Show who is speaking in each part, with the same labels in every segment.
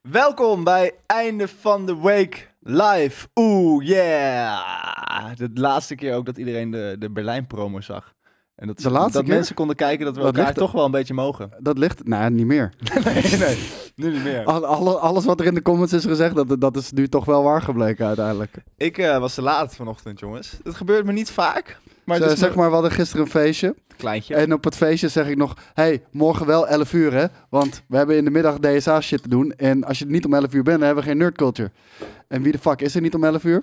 Speaker 1: Welkom bij Einde van de Week live. Oeh, yeah. De laatste keer ook dat iedereen de, de Berlijn-promo zag. En dat,
Speaker 2: De laatste
Speaker 1: dat
Speaker 2: keer?
Speaker 1: mensen konden kijken dat we
Speaker 2: Dat
Speaker 1: elkaar
Speaker 2: ligt-
Speaker 1: toch wel een beetje mogen. Oh.
Speaker 2: Dat ligt, nou niet meer.
Speaker 1: nee, nee, nu niet meer.
Speaker 2: Al- alle- alles wat er in de comments is gezegd, dat, dat is nu toch wel waar gebleken uiteindelijk.
Speaker 1: Ik eh, was te laat vanochtend, jongens. Het gebeurt me niet vaak. Maar het
Speaker 2: Ze-
Speaker 1: is
Speaker 2: zeg Eh. maar, we hadden gisteren een feestje.
Speaker 1: een kleintje.
Speaker 2: En op het feestje zeg ik nog, hey, morgen wel 11 uur hè. Want we hebben in de middag DSA shit te doen. En als je er niet om 11 uur bent, dan hebben we geen nerd culture. En wie de fuck is er niet om 11 uur?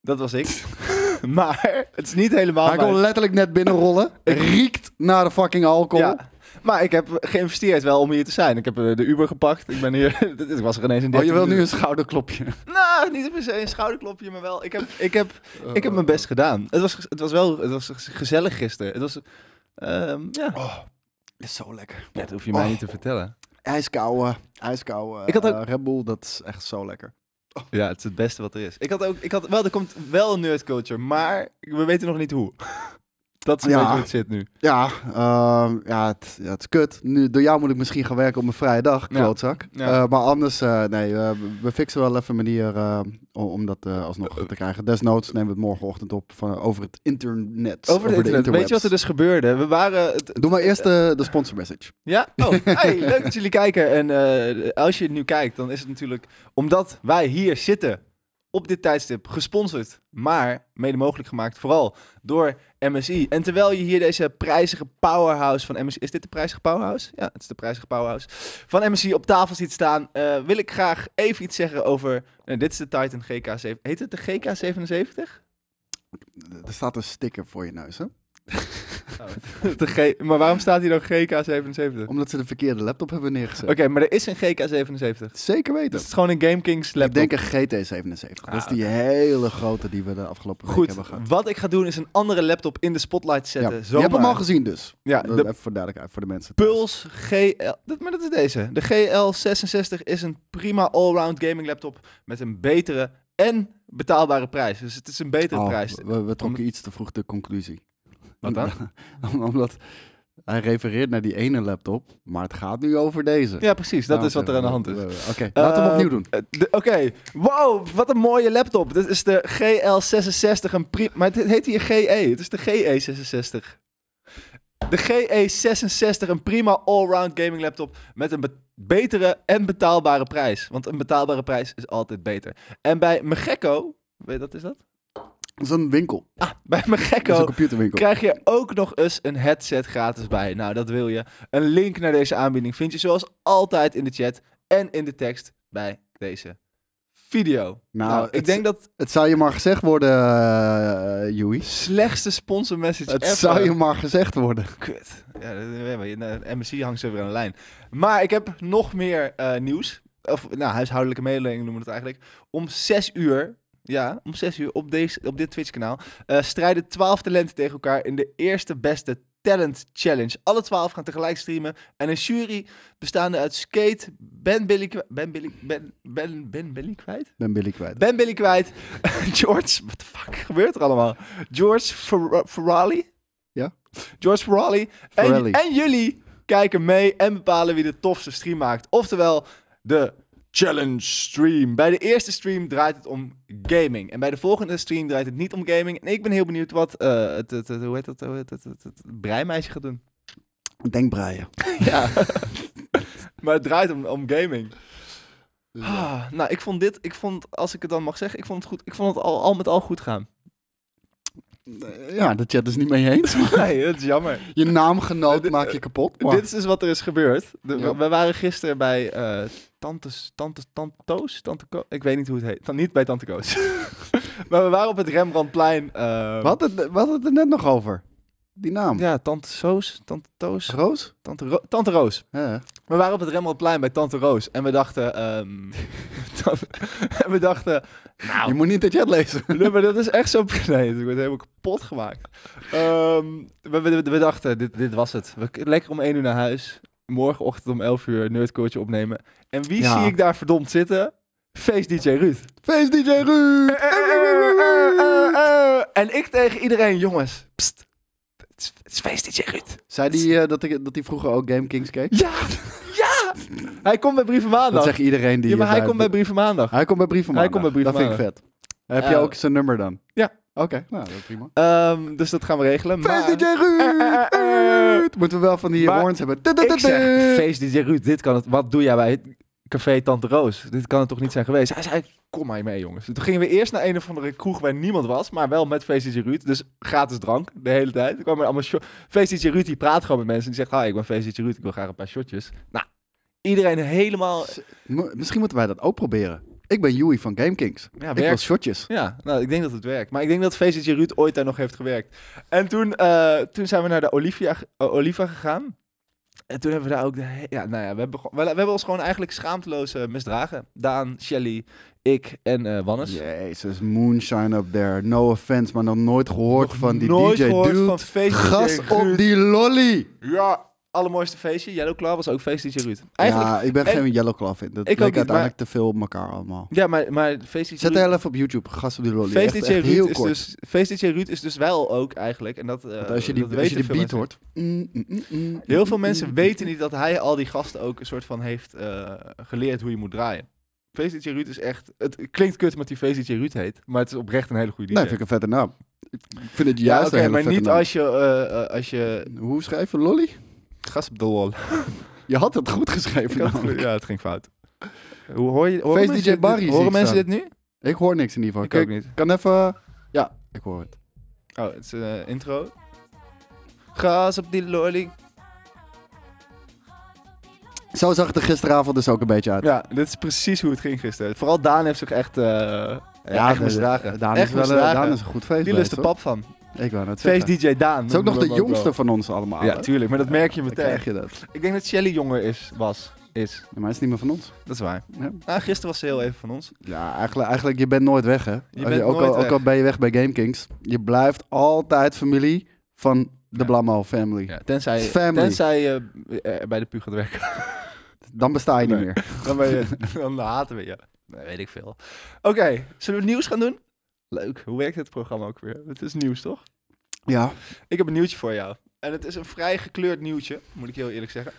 Speaker 1: Dat was ik. maar het is niet helemaal
Speaker 2: Hij
Speaker 1: mijn-
Speaker 2: kon letterlijk net binnenrollen. Riekt naar de fucking alcohol.
Speaker 1: Ja. Maar ik heb geïnvesteerd wel om hier te zijn. Ik heb eh, de Uber gepakt. Ik ben hier. ik was er ineens in
Speaker 2: Oh,
Speaker 1: 13
Speaker 2: je wil nu
Speaker 1: minuten.
Speaker 2: een schouderklopje.
Speaker 1: Nou, niet per se een schouderklopje, maar wel. Ik heb, ik heb, ik heb mijn best gedaan. Het was, het was wel het was gezellig gisteren. Het was. ehm, ja. Oh.
Speaker 2: Is zo lekker.
Speaker 1: dat hoef je
Speaker 2: mij
Speaker 1: mij niet
Speaker 2: niet
Speaker 1: te vertellen.
Speaker 2: Ijskouwe, ijskouwe.
Speaker 1: Ik had ook-
Speaker 2: eh, Red Bull, dat is echt zo lekker.
Speaker 1: Ja, het is het beste wat er is. Ik had ook. Ik had, wel, er komt wel een nerd culture, maar we weten nog niet hoe. Dat is een
Speaker 2: Ja.
Speaker 1: beetje hoe het zit nu.
Speaker 2: Ja, ehm, ja, het, ja, het is kut. Nu, door jou moet ik misschien gaan werken op mijn vrije dag,
Speaker 1: Ja.
Speaker 2: klootzak.
Speaker 1: Ja.
Speaker 2: Eh, maar anders, eh, nee, eh, we- we fixen wel even een manier eh, om, om dat eh, alsnog te krijgen. Desnoods nemen we het morgenochtend op van, over het internet.
Speaker 1: Over,
Speaker 2: de
Speaker 1: het internet. Weet je wat er
Speaker 2: interwebs.
Speaker 1: dus gebeurde? We waren. Het,
Speaker 2: Doe maar eerst de, de sponsor message.
Speaker 1: Ja? Oh, hey, leuk dat jullie kijken. En eh, als je nu kijkt, dan is het natuurlijk omdat wij hier zitten op dit tijdstip, gesponsord, maar mede mogelijk gemaakt vooral door MSI. En terwijl je hier deze prijzige powerhouse van MSI... Is dit de prijzige powerhouse? Ja, het is de prijzige powerhouse. Van MSI op tafel ziet staan, eh, wil ik graag even iets zeggen over... eh, dit is de Titan GK7... Heet het de GK77?
Speaker 2: Er staat een sticker voor je neus, hè?
Speaker 1: de G... Maar waarom staat hier dan GK77? Oké,
Speaker 2: Omdat ze de verkeerde laptop hebben neergezet.
Speaker 1: maar er is een GK77.
Speaker 2: Zeker weten.
Speaker 1: Dus het is gewoon een Game Kings
Speaker 2: Ik
Speaker 1: laptop.
Speaker 2: denk een GT77. dat is die hele grote die we de afgelopen week
Speaker 1: Goed,
Speaker 2: hebben gehad.
Speaker 1: wat ik ga doen is een andere laptop in de spotlight
Speaker 2: Ja.
Speaker 1: zetten.
Speaker 2: Je hebt hem al gezien dus.
Speaker 1: Ja,
Speaker 2: Dat
Speaker 1: de
Speaker 2: Even voor duidelijkheid, voor de mensen. thuis.
Speaker 1: Pulse GL... Dat, maar dat is deze. De GL66 is een prima allround gaming laptop met een betere en betaalbare prijs. Dus het is een betere
Speaker 2: Oh,
Speaker 1: prijs.
Speaker 2: We, we trokken iets te vroeg de conclusie.
Speaker 1: Wat
Speaker 2: nou,
Speaker 1: dan?
Speaker 2: Om- Omdat hij refereert naar die ene laptop, maar het gaat nu over deze. Nou,
Speaker 1: Ja, precies. Dat is wat er aan de hand is.
Speaker 2: Oké, laten we hem
Speaker 1: Eh,
Speaker 2: opnieuw doen.
Speaker 1: eh, de- Oké, wow, wat een mooie laptop. Dit is de GL66, een pri- maar het heet hier GE. Het is de GE66. De GE66, een prima allround gaming laptop met een be- betere en betaalbare prijs. Want een betaalbare prijs is altijd beter. En bij Megekko, weet je wat is dat?
Speaker 2: Dat is een winkel.
Speaker 1: Ah, bij Megekko
Speaker 2: Dat is een computerwinkel.
Speaker 1: krijg je ook nog eens een headset gratis bij. Nou, dat wil je. Een link naar deze aanbieding vind je zoals altijd in de chat en in de tekst bij deze video. Nou,
Speaker 2: Nou,
Speaker 1: ik
Speaker 2: het-
Speaker 1: denk dat
Speaker 2: Het zou je maar gezegd worden, eh Joey.
Speaker 1: slechtste sponsor message
Speaker 2: Het
Speaker 1: ever.
Speaker 2: zou je maar gezegd worden.
Speaker 1: Kut. Ja, dat- eh, nou, MSC hangt ze weer aan de lijn. Maar ik heb nog meer eh, nieuws. Of nou, huishoudelijke mededelingen noemen we het eigenlijk. Om 6 uur, ja, om 6 uur op, deze, op dit Twitch-kanaal... eh, strijden 12 talenten tegen elkaar in de eerste beste talent challenge. Alle 12 gaan tegelijk streamen. En een jury bestaande uit Skate, Ben Billy... kwa- Ben Billy... Ben, ben, ben Billy kwijt?
Speaker 2: Ik ben Billy kwijt.
Speaker 1: Ben Billy kwijt. George, wat de fuck gebeurt er allemaal? George Fer- Ferrali?
Speaker 2: Ja.
Speaker 1: George Ferrali. En,
Speaker 2: Ferrelli.
Speaker 1: en jullie kijken mee en bepalen wie de tofste stream maakt. Oftewel, de challenge stream. Bij de eerste stream draait het om gaming. En bij de volgende stream draait het niet om gaming. En ik ben heel benieuwd wat eh, het, het, het- hoe heet dat, hoe heet dat, het, het, het breimeisje gaat doen.
Speaker 2: Denk Brian.
Speaker 1: Ja. maar het draait om, om gaming. Ah, nou, ik vond dit, ik vond, als ik het dan mag zeggen, ik vond het goed. Ik vond het al, al met al goed gaan.
Speaker 2: Ja, de chat is dus niet mee eens.
Speaker 1: Nee, dat is jammer.
Speaker 2: Je naamgenoot maak je kapot. Maar
Speaker 1: Dit is dus wat er is gebeurd. De-
Speaker 2: Ja.
Speaker 1: we, we waren gisteren bij eh tantes, tantes, tante Toos, tante Ko- ik weet niet hoe het heet. Dan niet bij tante Koos. maar we waren op het Rembrandtplein. eh,
Speaker 2: we, hadden het, we hadden het er net nog over. Die naam.
Speaker 1: Ja, tante Soos, tante Toos,
Speaker 2: Roos?
Speaker 1: tante, Ro- tante Roos.
Speaker 2: Ja.
Speaker 1: We waren op het Rembrandtplein bij tante Roos en we dachten, ehm, en we dachten, nou,
Speaker 2: Je moet niet de chat lezen.
Speaker 1: Nee, maar dat is echt zo... Nee, ik word helemaal kapot gemaakt. Ehm, we, we, we dachten, dit, dit was het. We, lekker om 1 uur naar huis. Morgenochtend om 11 uur nerdcoach opnemen. En wie
Speaker 2: Ja.
Speaker 1: zie ik daar verdomd zitten? Feest DJ Ruud.
Speaker 2: Feest DJ
Speaker 1: Eh,
Speaker 2: Ruud! eh,
Speaker 1: En ik tegen iedereen, jongens. Pst, het is, het is feest DJ Ruud.
Speaker 2: Zei die eh, dat, ik, dat hij vroeger ook Game Kings keek?
Speaker 1: Ja, ja, Hij komt bij Brieven Maandag.
Speaker 2: Dat zegt iedereen die
Speaker 1: ja, maar
Speaker 2: hier
Speaker 1: hij
Speaker 2: bij-
Speaker 1: komt bij Brieven Maandag.
Speaker 2: Hij komt bij Brieven
Speaker 1: Hij komt bij Brieven
Speaker 2: Dat vind ik vet. Heb jij
Speaker 1: Eh,
Speaker 2: ook zijn nummer dan?
Speaker 1: ja.
Speaker 2: Oké, nou, dat is prima.
Speaker 1: Ehm, dus dat gaan we regelen. Maar Eh,
Speaker 2: Feest DJ Ruud! Ruud! Moeten we wel van die
Speaker 1: Maar
Speaker 2: horns hebben.
Speaker 1: ik zeg,
Speaker 2: Tudududu!
Speaker 1: feest DJ Ruud, dit kan het. Wat doe jij bij het café Tante Roos? Dit kan het toch niet zijn geweest? Hij zei, kom maar mee jongens. Toen gingen we eerst naar een of andere kroeg waar niemand was, maar wel met feest DJ Ruud. Dus gratis drank de hele tijd. Er kwamen allemaal shot- feest DJ Ruud die praat gewoon met mensen. Die zegt, hi, ik ben feest DJ Ruud, ik wil graag een paar shotjes. Nou, iedereen helemaal...
Speaker 2: M- Misschien moeten wij dat ook proberen. Ik ben Joey van GameKings.
Speaker 1: Ja,
Speaker 2: Ik wil
Speaker 1: werk
Speaker 2: shotjes.
Speaker 1: Ja, nou, ik denk dat het werkt. Maar ik denk dat Feestje Ruud ooit daar nog heeft gewerkt. En toen, eh, toen zijn we naar de Olivia, ge- eh, Oliva gegaan. En toen hebben we daar ook... De he- ja, nou ja, we hebben, gewoon- we, we hebben ons gewoon eigenlijk schaamteloos eh, misdragen. Daan, Shelly, ik en eh Wannes.
Speaker 2: Jezus, moonshine up there. No offense, maar nog nooit gehoord
Speaker 1: Nog
Speaker 2: van die
Speaker 1: nooit
Speaker 2: DJ
Speaker 1: gehoord
Speaker 2: dude.
Speaker 1: van Feestje
Speaker 2: Gas
Speaker 1: Ruud.
Speaker 2: op die lolly!
Speaker 1: Ja, allermooiste feestje. Yellow Claw was ook Feestje Ruud. Eigenlijk... Ja.
Speaker 2: ja, ik ben
Speaker 1: en-
Speaker 2: geen Yellow Claw in. Dat
Speaker 1: Ik ook
Speaker 2: ik
Speaker 1: niet,
Speaker 2: uiteindelijk te veel op elkaar allemaal.
Speaker 1: maar, maar Feestje
Speaker 2: Zet
Speaker 1: Ruud...
Speaker 2: heel even op YouTube, gas op die lolly.
Speaker 1: Feest
Speaker 2: Echt,
Speaker 1: DJ
Speaker 2: echt heel
Speaker 1: Ruud is
Speaker 2: kort.
Speaker 1: dus, Feest DJ Ruud is dus wel ook eigenlijk, en dat, eh,
Speaker 2: Want als je die,
Speaker 1: dat
Speaker 2: als je
Speaker 1: weten
Speaker 2: die
Speaker 1: veel
Speaker 2: beat
Speaker 1: mensen.
Speaker 2: hoort... Mm, mm, mm, mm,
Speaker 1: Heel
Speaker 2: mm,
Speaker 1: veel
Speaker 2: mm,
Speaker 1: mensen
Speaker 2: mm.
Speaker 1: weten niet dat hij al die gasten ook een soort van heeft eh, geleerd hoe je moet draaien. VCJ Ruud is echt... Het klinkt kut omdat hij VCJ Ruud heet, maar het is oprecht een hele goede DJ.
Speaker 2: Nee, vind ik een vette naam. Ik vind het
Speaker 1: ja,
Speaker 2: juist
Speaker 1: oké,
Speaker 2: een hele
Speaker 1: maar
Speaker 2: vette
Speaker 1: niet
Speaker 2: naam.
Speaker 1: als je, eh, eh, als je...
Speaker 2: Hoe schrijf je lolly?
Speaker 1: Gas op de wall.
Speaker 2: Je had het goed geschreven.
Speaker 1: Ik had het
Speaker 2: namelijk.
Speaker 1: goed- ja, het ging fout. Hoe hoor je... Horen
Speaker 2: Feest
Speaker 1: mensen
Speaker 2: DJ
Speaker 1: dit-
Speaker 2: Barry zie
Speaker 1: Horen
Speaker 2: ik
Speaker 1: mensen dit
Speaker 2: staan.
Speaker 1: nu?
Speaker 2: Ik hoor niks in ieder geval.
Speaker 1: Ik
Speaker 2: Kijk,
Speaker 1: ook niet.
Speaker 2: kan even... Ja, ik hoor het.
Speaker 1: Oh, het is een eh, intro. Gas op die lolly.
Speaker 2: Zo zag het er gisteravond dus ook een beetje uit.
Speaker 1: Ja, dit is precies hoe het ging gisteren. Vooral Daan heeft zich echt... eh ja, echt
Speaker 2: de-
Speaker 1: misdragen.
Speaker 2: Daan
Speaker 1: echt
Speaker 2: is, wel, een-
Speaker 1: misdragen.
Speaker 2: Daan is een goed feest
Speaker 1: Die lust de
Speaker 2: geweest,
Speaker 1: pap van.
Speaker 2: hoor. Ik wou net
Speaker 1: Feest
Speaker 2: zeggen.
Speaker 1: DJ Daan.
Speaker 2: Het is ook
Speaker 1: noemen
Speaker 2: nog de
Speaker 1: we hem wel.
Speaker 2: jongste van ons allemaal.
Speaker 1: Ja,
Speaker 2: hè?
Speaker 1: tuurlijk, maar dat merk je
Speaker 2: Dan
Speaker 1: meteen.
Speaker 2: krijg je dat.
Speaker 1: Ik denk dat Shelly jonger is, was, is.
Speaker 2: Maar hij is niet meer van ons.
Speaker 1: Dat is waar.
Speaker 2: Ja.
Speaker 1: Nou, gisteren was ze heel even van ons.
Speaker 2: Ja, eigenlijk, eigenlijk je bent nooit weg, hè? Als Je
Speaker 1: bent
Speaker 2: ook,
Speaker 1: nooit
Speaker 2: al, ook
Speaker 1: weg.
Speaker 2: al ben je weg bij GameKings. Je blijft altijd familie van de
Speaker 1: Ja.
Speaker 2: Blammo family.
Speaker 1: Ja, tenzij
Speaker 2: Family.
Speaker 1: tenzij je eh, bij de pu gaat werken.
Speaker 2: Dan besta je
Speaker 1: Nee.
Speaker 2: niet meer.
Speaker 1: Dan, ben je, dan haten we je. Nee, weet ik veel. Oké, zullen we het nieuws gaan doen? Leuk. Hoe werkt het programma ook weer? Het is nieuws, toch?
Speaker 2: Ja.
Speaker 1: Ik heb een nieuwtje voor jou. En het is een vrij gekleurd nieuwtje, moet ik heel eerlijk zeggen.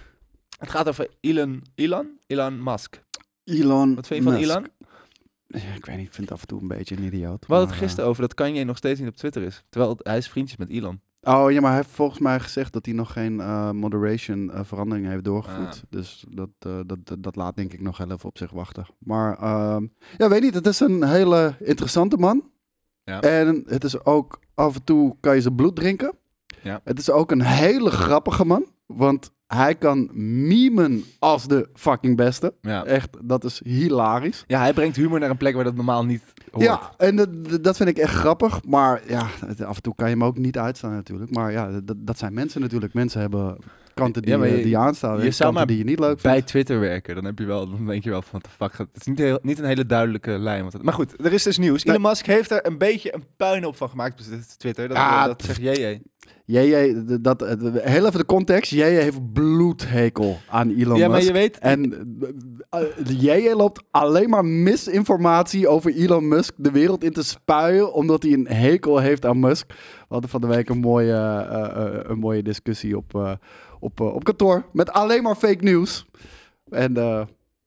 Speaker 1: Het gaat over Elon, Elon, Elon Musk.
Speaker 2: Elon
Speaker 1: Wat vind je van
Speaker 2: Musk.
Speaker 1: Elon?
Speaker 2: Ja, Ik weet niet, ik vind het af en toe een beetje een idioot.
Speaker 1: We hadden
Speaker 2: maar,
Speaker 1: het gisteren over dat Kanye nog steeds niet op Twitter is. Terwijl het- hij is vriendjes met Elon.
Speaker 2: eh, Oh ja, maar hij heeft volgens mij gezegd dat hij nog geen eh, moderation eh, verandering heeft doorgevoerd.
Speaker 1: Ah.
Speaker 2: Dus dat, eh, dat, dat, dat laat denk ik nog heel even op zich wachten. Maar ehm, ja, weet niet, het is een hele interessante man.
Speaker 1: Ja.
Speaker 2: En het is ook, af en toe kan je zijn bloed drinken.
Speaker 1: Ja.
Speaker 2: Het is ook een hele grappige man. Want hij kan memen als de fucking beste.
Speaker 1: Ja.
Speaker 2: Echt, dat is hilarisch.
Speaker 1: Ja, hij brengt humor naar een plek waar dat normaal niet hoort.
Speaker 2: Ja, en dat- dat, dat vind ik echt grappig. Maar ja, het- af en toe kan je hem ook niet uitstaan natuurlijk. Maar ja, dat, dat zijn mensen natuurlijk. Mensen hebben kanten die,
Speaker 1: Ja, maar
Speaker 2: eh,
Speaker 1: je-
Speaker 2: die je aanstaan.
Speaker 1: je
Speaker 2: en
Speaker 1: zou
Speaker 2: kanten
Speaker 1: maar
Speaker 2: die je niet leuk vindt.
Speaker 1: bij Twitter werken, dan heb je wel, dan denk je wel van, what the fuck, gaat- het is niet, heel, niet een hele duidelijke lijn. Want het- maar goed, er is dus nieuws. Elon Musk heeft er een beetje een puin op van gemaakt op Twitter. Dat,
Speaker 2: Ah,
Speaker 1: dat zegt JJ.
Speaker 2: JJ, d- dat, eh, heel even de context. JJ heeft bloedhekel aan Elon
Speaker 1: Ja, maar
Speaker 2: Musk.
Speaker 1: je weet,
Speaker 2: En eh, eh, JJ loopt alleen maar misinformatie over Elon Musk de wereld in te spuien, omdat hij een hekel heeft aan Musk. We hadden van de week een mooie, eh, eh, een mooie discussie op, eh, op, eh, op kantoor met alleen maar fake nieuws. En eh,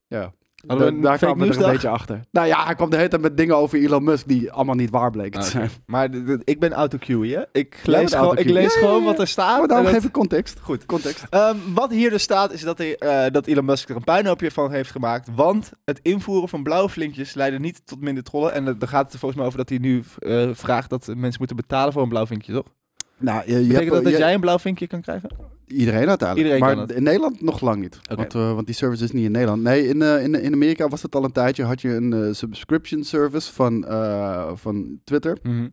Speaker 2: ja,
Speaker 1: Hadden we
Speaker 2: da-
Speaker 1: een
Speaker 2: daar
Speaker 1: fake
Speaker 2: kwamen we er
Speaker 1: nieuwsdag?
Speaker 2: een beetje achter. Nou ja, hij kwam de hele tijd met dingen over Elon Musk die allemaal niet waar bleken
Speaker 1: Ah,
Speaker 2: te
Speaker 1: oké.
Speaker 2: zijn.
Speaker 1: maar d- d- ik ben autocue, hè? Ik
Speaker 2: bent
Speaker 1: lees, gewoon, ik
Speaker 2: autocue.
Speaker 1: lees
Speaker 2: Ja, ja,
Speaker 1: gewoon
Speaker 2: ja.
Speaker 1: wat er staat.
Speaker 2: Maar daarom
Speaker 1: Ah, en dat-
Speaker 2: geef ik context.
Speaker 1: Goed.
Speaker 2: Context.
Speaker 1: Ehm, wat hier dus staat is dat, hij, eh, dat Elon Musk er een puinhoopje van heeft gemaakt. Want het invoeren van blauwe flinkjes leidde niet tot minder trollen. En eh, daar gaat het er volgens mij over dat hij nu eh, vraagt dat mensen moeten betalen voor een blauw vinkje, toch?
Speaker 2: Nou, je, je hebt-
Speaker 1: Betekent dat dat
Speaker 2: je-
Speaker 1: jij een blauw vinkje kan krijgen?
Speaker 2: Iedereen uiteindelijk.
Speaker 1: Iedereen
Speaker 2: maar
Speaker 1: kan het.
Speaker 2: in Nederland nog lang niet.
Speaker 1: Oké.
Speaker 2: Want, eh, want die service is niet in Nederland. Nee, in, eh, in, in Amerika was het al een tijdje. Had je een eh, subscription service van, eh, van Twitter.
Speaker 1: Mhm.
Speaker 2: En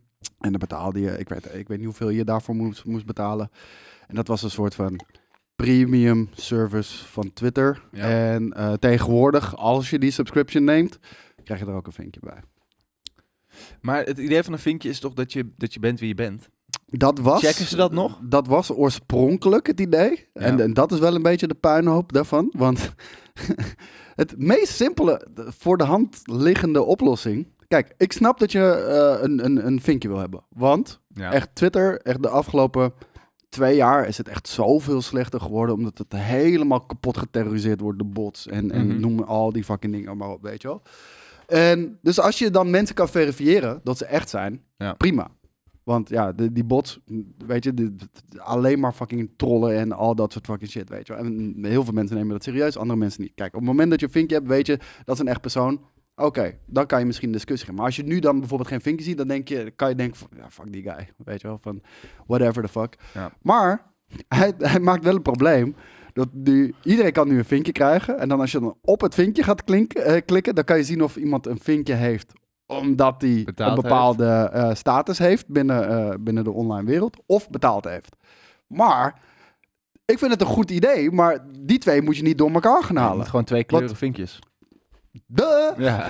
Speaker 2: dan betaalde je, ik weet, ik weet niet hoeveel je daarvoor moest, moest betalen. En dat was een soort van premium service van Twitter.
Speaker 1: Ja.
Speaker 2: En eh, tegenwoordig, als je die subscription neemt, krijg je er ook een vinkje bij.
Speaker 1: Maar het idee van een vinkje is toch dat je, dat je bent wie je bent?
Speaker 2: Dat was,
Speaker 1: Checken ze dat nog?
Speaker 2: Dat was oorspronkelijk het idee.
Speaker 1: Ja.
Speaker 2: En, en dat is wel een beetje de puinhoop daarvan. Want het meest simpele, de- voor de hand liggende oplossing. Kijk, ik snap dat je eh, een, een, een vinkje wil hebben. Want
Speaker 1: Ja.
Speaker 2: echt Twitter, echt de afgelopen twee jaar is het echt zoveel slechter geworden. Omdat het helemaal kapot geterroriseerd wordt door bots. En,
Speaker 1: Mhm.
Speaker 2: en noem al die fucking dingen maar op, weet je wel. En dus als je dan mensen kan verifiëren dat ze echt zijn,
Speaker 1: Ja.
Speaker 2: prima. Want ja, de- die bots, weet je, de- de- alleen maar fucking trollen en al dat soort fucking shit, weet je wel. En heel veel mensen nemen dat serieus, andere mensen niet. Kijk, op het moment dat je een vinkje hebt, weet je, dat is een echt persoon. Oké, dan kan je misschien een discussie gaan. Maar als je nu dan bijvoorbeeld geen vinkje ziet, dan denk je, kan je denken van, ja, fuck die guy, weet je wel, van whatever the fuck.
Speaker 1: Ja.
Speaker 2: Maar hij, hij maakt wel een probleem. Dat nu, iedereen kan nu een vinkje krijgen. En dan als je dan op het vinkje gaat klinken, eh, klikken, dan kan je zien of iemand een vinkje heeft omdat hij
Speaker 1: Betaald
Speaker 2: een bepaalde eh, status heeft binnen, eh, binnen de online wereld of betaald heeft. Maar ik vind het een goed idee, maar die twee moet je niet door elkaar gaan
Speaker 1: Je
Speaker 2: halen.
Speaker 1: moet Gewoon twee kleuren vinkjes.
Speaker 2: Duh!
Speaker 1: Ja.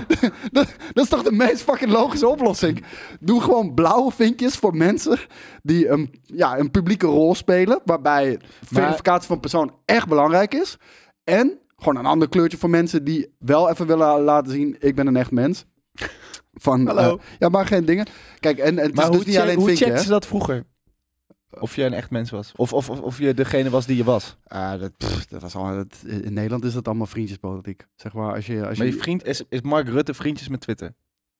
Speaker 2: dat, dat is toch de meest fucking logische oplossing? Doe gewoon blauwe vinkjes voor mensen die een, ja, een publieke rol spelen. Waarbij verificatie van persoon echt belangrijk is. En gewoon een ander kleurtje voor mensen die wel even willen laten zien: ik ben een echt mens. Van,
Speaker 1: Hallo.
Speaker 2: eh, ja, maar geen dingen. Kijk, en, en het
Speaker 1: Maar
Speaker 2: is
Speaker 1: hoe,
Speaker 2: dus niet
Speaker 1: check-
Speaker 2: alleen
Speaker 1: hoe
Speaker 2: het vinkje.
Speaker 1: checkten
Speaker 2: hè?
Speaker 1: ze dat vroeger? Of je een echt mens was. Of, of, of, of je degene was die je was.
Speaker 2: Ah, dat, pff, dat was al, dat- in Nederland is dat allemaal vriendjespolitiek. Zeg maar, als je, als
Speaker 1: Maar je vriend is, is Mark Rutte vriendjes met Twitter.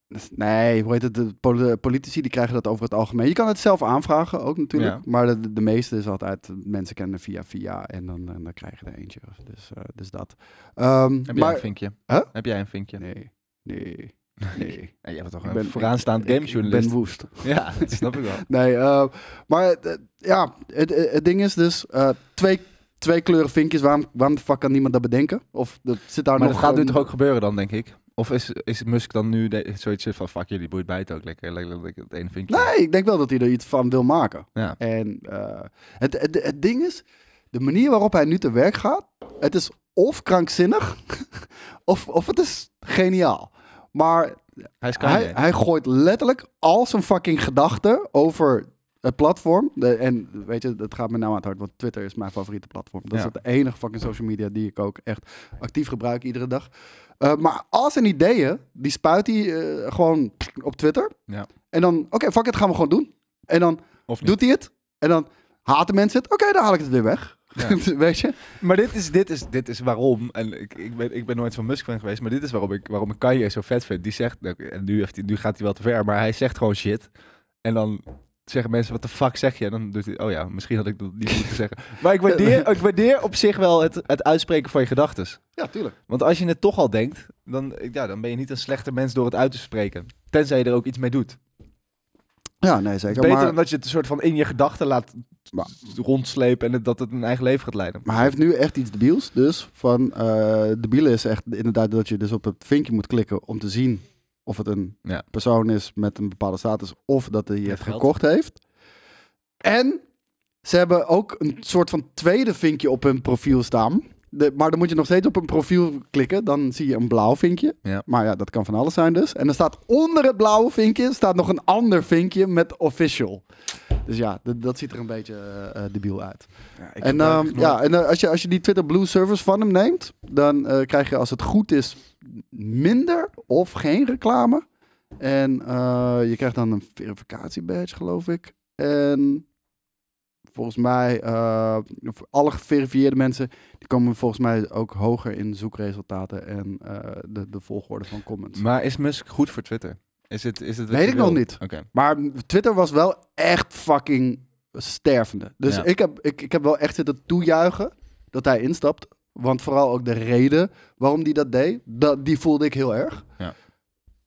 Speaker 2: Dus Nee, hoe heet het? De pol- politici die krijgen dat over het algemeen. Je kan het zelf aanvragen ook natuurlijk.
Speaker 1: Ja.
Speaker 2: Maar de, de meeste is altijd mensen kennen via via en dan, en dan krijg je er eentje. Dus, eh, dus dat. Ehm,
Speaker 1: Heb jij
Speaker 2: maar
Speaker 1: een vinkje?
Speaker 2: Huh?
Speaker 1: Heb jij een vinkje?
Speaker 2: nee, nee, nee.
Speaker 1: Ja, jij bent toch
Speaker 2: Ik
Speaker 1: een
Speaker 2: ben-
Speaker 1: vooraanstaand
Speaker 2: Ik- ik
Speaker 1: gamejournalist.
Speaker 2: ben woest.
Speaker 1: Ja, dat snap ik wel.
Speaker 2: Nee, eh, maar eh, ja, het, het- het ding is dus eh, twee, twee kleuren vinkjes. Waarom, waarom de fuck kan niemand dat bedenken? Of dat zit daar
Speaker 1: Maar
Speaker 2: nog
Speaker 1: dat gaat nu
Speaker 2: een-
Speaker 1: toch ook gebeuren dan, denk ik? Of is, is Musk dan nu de, zoiets van, fuck jullie, boeit bij het ook lekker. Lekker dat ik het ene vinkje.
Speaker 2: Nee, ik denk wel dat hij er iets van wil maken.
Speaker 1: Ja.
Speaker 2: En eh, het, het, het ding is, de manier waarop hij nu te werk gaat, het is of krankzinnig, of, of het is geniaal. Maar
Speaker 1: Hij is
Speaker 2: hij,
Speaker 1: Kanye.
Speaker 2: hij gooit letterlijk al zijn fucking gedachten over het platform. De, en weet je, dat gaat me nou aan het hart, want Twitter is mijn favoriete platform. Dat
Speaker 1: Ja.
Speaker 2: is de enige fucking social media die ik ook echt actief gebruik iedere dag. Eh, maar al zijn ideeën, die spuit hij eh, gewoon op Twitter.
Speaker 1: Ja.
Speaker 2: En dan, oké, fuck it, gaan we gewoon doen. En dan
Speaker 1: Of niet?
Speaker 2: doet hij het. En dan haten mensen het. Oké, dan haal ik het weer weg. Weet je?
Speaker 1: Maar dit is, dit is, dit is waarom, en ik, ik, ben, ik ben nooit van Musk fan geweest, maar dit is waarom ik, waarom ik Kanye zo vet vind. Die zegt, nou, en nu, heeft hij, nu gaat hij wel te ver, maar hij zegt gewoon shit. En dan zeggen mensen, wat de fuck zeg je? En dan doet hij, oh ja, misschien had ik dat niet moeten zeggen. Maar ik waardeer, ik waardeer op zich wel het, het uitspreken van je gedachten.
Speaker 2: Ja, tuurlijk.
Speaker 1: Want als je het toch al denkt, dan, ja, dan ben je niet een slechter mens door het uit te spreken. Tenzij je er ook iets mee doet.
Speaker 2: Ja, nee,
Speaker 1: Het is
Speaker 2: zeker.
Speaker 1: beter
Speaker 2: maar,
Speaker 1: dan dat je het een soort van in je gedachten laat
Speaker 2: Maar-
Speaker 1: rondslepen en het- dat het een eigen leven gaat leiden.
Speaker 2: maar hij heeft nu echt iets debiels. Dus van eh debiel is echt inderdaad dat je dus op het vinkje moet klikken om te zien of het een
Speaker 1: Ja.
Speaker 2: persoon is met een bepaalde status of dat hij het
Speaker 1: geld.
Speaker 2: gekocht heeft. En ze hebben ook een soort van tweede vinkje op hun profiel staan. De- maar dan moet je nog steeds op een profiel klikken. Dan zie je een blauw vinkje.
Speaker 1: Ja.
Speaker 2: Maar ja, dat kan van alles zijn dus. En dan staat onder het blauwe vinkje staat nog een ander vinkje met official. Dus ja, d- dat ziet er een beetje eh, eh, debiel uit. en ehm, ja, en eh, als, je, als je die Twitter Blue service van hem neemt, dan eh, krijg je als het goed is minder of geen reclame. En eh, je krijgt dan een verificatie badge, geloof ik. En volgens mij, eh, voor alle geverifieerde mensen, die komen volgens mij ook hoger in zoekresultaten en eh, de, de volgorde van comments.
Speaker 1: Maar is Musk goed voor Twitter? Is het, is het wat
Speaker 2: Weet
Speaker 1: je
Speaker 2: ik nog
Speaker 1: wil?
Speaker 2: niet.
Speaker 1: Oké.
Speaker 2: Maar Twitter was wel echt fucking stervende. Dus
Speaker 1: Ja.
Speaker 2: ik, heb, ik, ik heb wel echt zitten toejuichen dat hij instapt. Want vooral ook de reden waarom hij dat deed, dat, die voelde ik heel erg.
Speaker 1: Ja.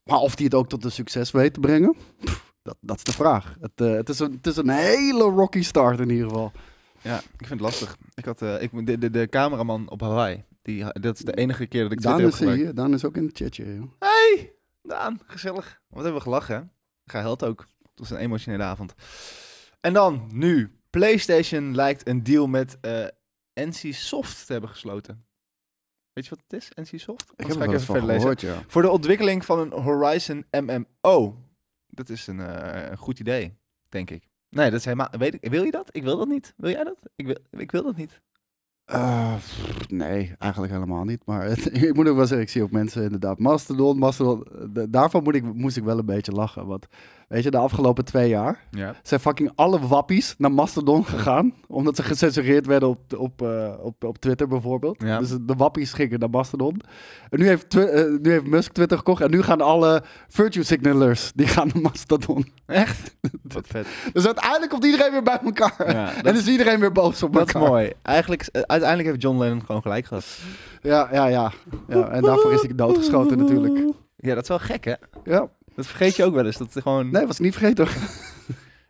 Speaker 2: Maar of hij het ook tot een succes weet te brengen, pff, dat, dat is de vraag. Het, eh, het, is een, het is een hele rocky start in ieder geval.
Speaker 1: Ja, ik vind het lastig. Ik had, eh, ik, de, de, de cameraman op Hawaii, die, ha- dat is de enige keer dat ik
Speaker 2: Daan
Speaker 1: Twitter heb
Speaker 2: is, eh,
Speaker 1: gebruikt.
Speaker 2: hier, Daan is ook in het chatje. joh.
Speaker 1: Hey, Daan, gezellig. Wat hebben we gelachen, hè? Gehuild ook. Het was een emotionele avond. En dan, nu. PlayStation lijkt een deal met eh, NCSoft te hebben gesloten. Weet je wat het is, NCSoft?
Speaker 2: Ik
Speaker 1: Anders
Speaker 2: heb
Speaker 1: ga
Speaker 2: er wel eens van
Speaker 1: lezen.
Speaker 2: gehoord, ja.
Speaker 1: Voor de ontwikkeling van een Horizon MMO. Dat is een eh, een goed idee, denk ik. Nee, dat is helemaal... Weet ik, wil je dat? Ik wil dat niet. Wil jij dat? Ik wil, ik wil dat niet.
Speaker 2: Eh, pff, nee, eigenlijk helemaal niet. Maar het- ik moet ook wel zeggen, ik zie ook mensen inderdaad. Mastodon, Mastodon. d- daarvan moet ik, moest ik wel een beetje lachen. Want weet je, de afgelopen twee jaar
Speaker 1: Ja.
Speaker 2: zijn fucking alle wappies naar Mastodon gegaan. Omdat ze gecensureerd werden op, op, eh, op, op Twitter bijvoorbeeld.
Speaker 1: Ja.
Speaker 2: Dus de wappies gingen naar Mastodon. En nu heeft, Twi- eh, nu heeft Musk Twitter gekocht. En nu gaan alle virtue signalers, die gaan naar Mastodon.
Speaker 1: Echt? Wat vet.
Speaker 2: Dus uiteindelijk komt iedereen weer bij elkaar.
Speaker 1: Ja, dat,
Speaker 2: en is iedereen weer boos op
Speaker 1: dat is
Speaker 2: elkaar.
Speaker 1: mooi. Eigenlijk, is- eh, uiteindelijk heeft John Lennon gewoon gelijk gehad.
Speaker 2: Ja, ja, ja. ja en daarvoor is hij doodgeschoten natuurlijk.
Speaker 1: Ja, dat is wel gek, hè?
Speaker 2: Ja,
Speaker 1: Dat vergeet je ook wel eens. Dat is gewoon...
Speaker 2: nee, was ik niet vergeten. hoor.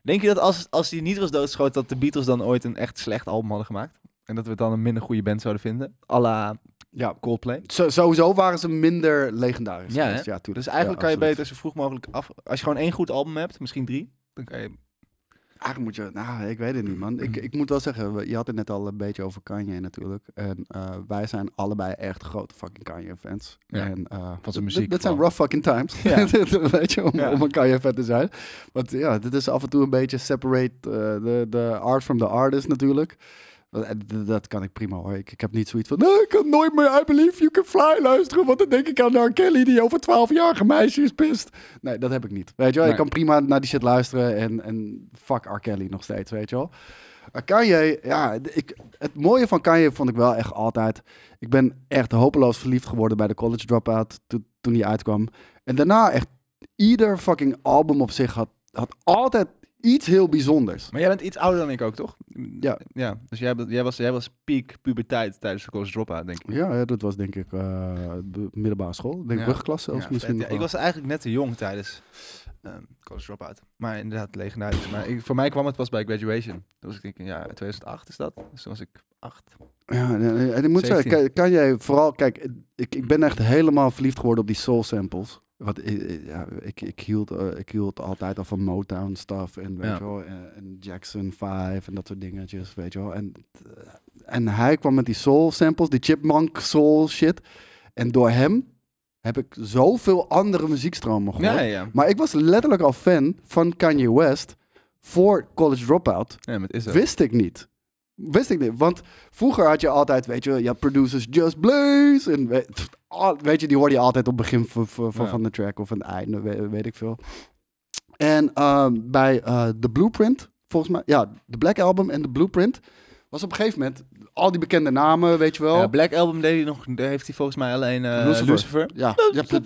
Speaker 1: Denk je dat als, als hij niet was doodgeschoten, dat de Beatles dan ooit een echt slecht album hadden gemaakt? En dat we het dan een minder goede band zouden vinden? À la
Speaker 2: Ja,
Speaker 1: Coldplay.
Speaker 2: zo- sowieso waren ze minder legendarisch.
Speaker 1: Ja,
Speaker 2: geweest.
Speaker 1: hè?
Speaker 2: ja tuurlijk.
Speaker 1: Dus eigenlijk
Speaker 2: Ja,
Speaker 1: kan je
Speaker 2: absoluut.
Speaker 1: beter zo vroeg mogelijk af... Als je gewoon één goed album hebt, misschien drie, dan kan je...
Speaker 2: Eigenlijk moet je... Nou, ik weet het niet, man. Ik, ik moet wel zeggen, we- je had het net al een beetje over Kanye natuurlijk. En eh, wij zijn allebei echt grote fucking Kanye-fans.
Speaker 1: Ja,
Speaker 2: En, eh,
Speaker 1: van zijn
Speaker 2: d- d-
Speaker 1: muziek
Speaker 2: Dit zijn
Speaker 1: vooral.
Speaker 2: rough fucking times.
Speaker 1: Ja.
Speaker 2: weet je, om,
Speaker 1: Ja.
Speaker 2: om een Kanye-fan te zijn. Want ja, dit is af en toe een beetje separate eh, de de art from the artist natuurlijk. Dat- eh, d- Dat kan ik prima hoor. Ik, ik heb niet zoiets van. Nee, ik kan nooit meer I Believe You Can Fly luisteren. Want dan denk ik aan R. Kelly die over 12-jarige meisjes pist. Nee, dat heb ik niet. Weet je wel, ik
Speaker 1: Nee.
Speaker 2: kan prima naar die shit luisteren. En, en fuck R. Kelly nog steeds, weet je wel. Maar Kanye, ja, d- ik, het mooie van Kanye vond ik wel echt altijd. Ik ben echt hopeloos verliefd geworden bij de college dropout to- toen die uitkwam. En daarna echt ieder fucking album op zich had, had altijd iets heel bijzonders.
Speaker 1: Maar jij bent iets ouder dan ik ook, toch?
Speaker 2: Ja.
Speaker 1: Ja, dus jij, be- jij was, jij was peak puberteit tijdens de college dropout, denk ik.
Speaker 2: Ja, ja, dat was denk ik eh, de middelbare school. Denk ik
Speaker 1: Ja.
Speaker 2: brugklasse of
Speaker 1: Ja,
Speaker 2: misschien
Speaker 1: vet.
Speaker 2: nog
Speaker 1: Ja, ik
Speaker 2: wel.
Speaker 1: was eigenlijk net te jong tijdens ehm college dropout. Maar inderdaad, legendarisch. Maar ik, voor mij kwam het pas bij graduation. Toen was ik denk ik, ja, 2008 is dat. Dus toen was ik acht.
Speaker 2: Ja, en- en en ik moet
Speaker 1: 17.
Speaker 2: zeggen, kan, kan jij vooral... Kijk, ik, ik ben echt helemaal verliefd geworden op die soul samples. Want ik, ik- ja, ik, ik, hield, eh, ik hield altijd al van Motown stuff en, weet
Speaker 1: Ja.
Speaker 2: je wel, en, en Jackson 5 en dat soort dingetjes, weet je wel. En, eh, en hij kwam met die soul samples, die chipmunk soul shit. En door hem heb ik zoveel andere muziekstromen gehoord.
Speaker 1: Ja, ja, ja.
Speaker 2: Maar ik was letterlijk al fan van Kanye West voor College Dropout.
Speaker 1: Ja, maar het is er.
Speaker 2: Wist ik niet. Wist ik niet. Want vroeger had je altijd, weet je, je had producers Just Blaze. En we- pff, al- weet je, die hoorde je altijd op het begin van, van, van-
Speaker 1: Ja.
Speaker 2: van de track of aan het einde, we- weet, ik veel. En ehm, bij eh The Blueprint, volgens mij, ja, de Black Album en The Blueprint, was op een gegeven moment al die bekende namen, weet je wel.
Speaker 1: Ja,
Speaker 2: Ja,
Speaker 1: Black Album deed hij nog, heeft hij volgens mij alleen eh
Speaker 2: Lucifer.
Speaker 1: Lucifer.
Speaker 2: ja, dude,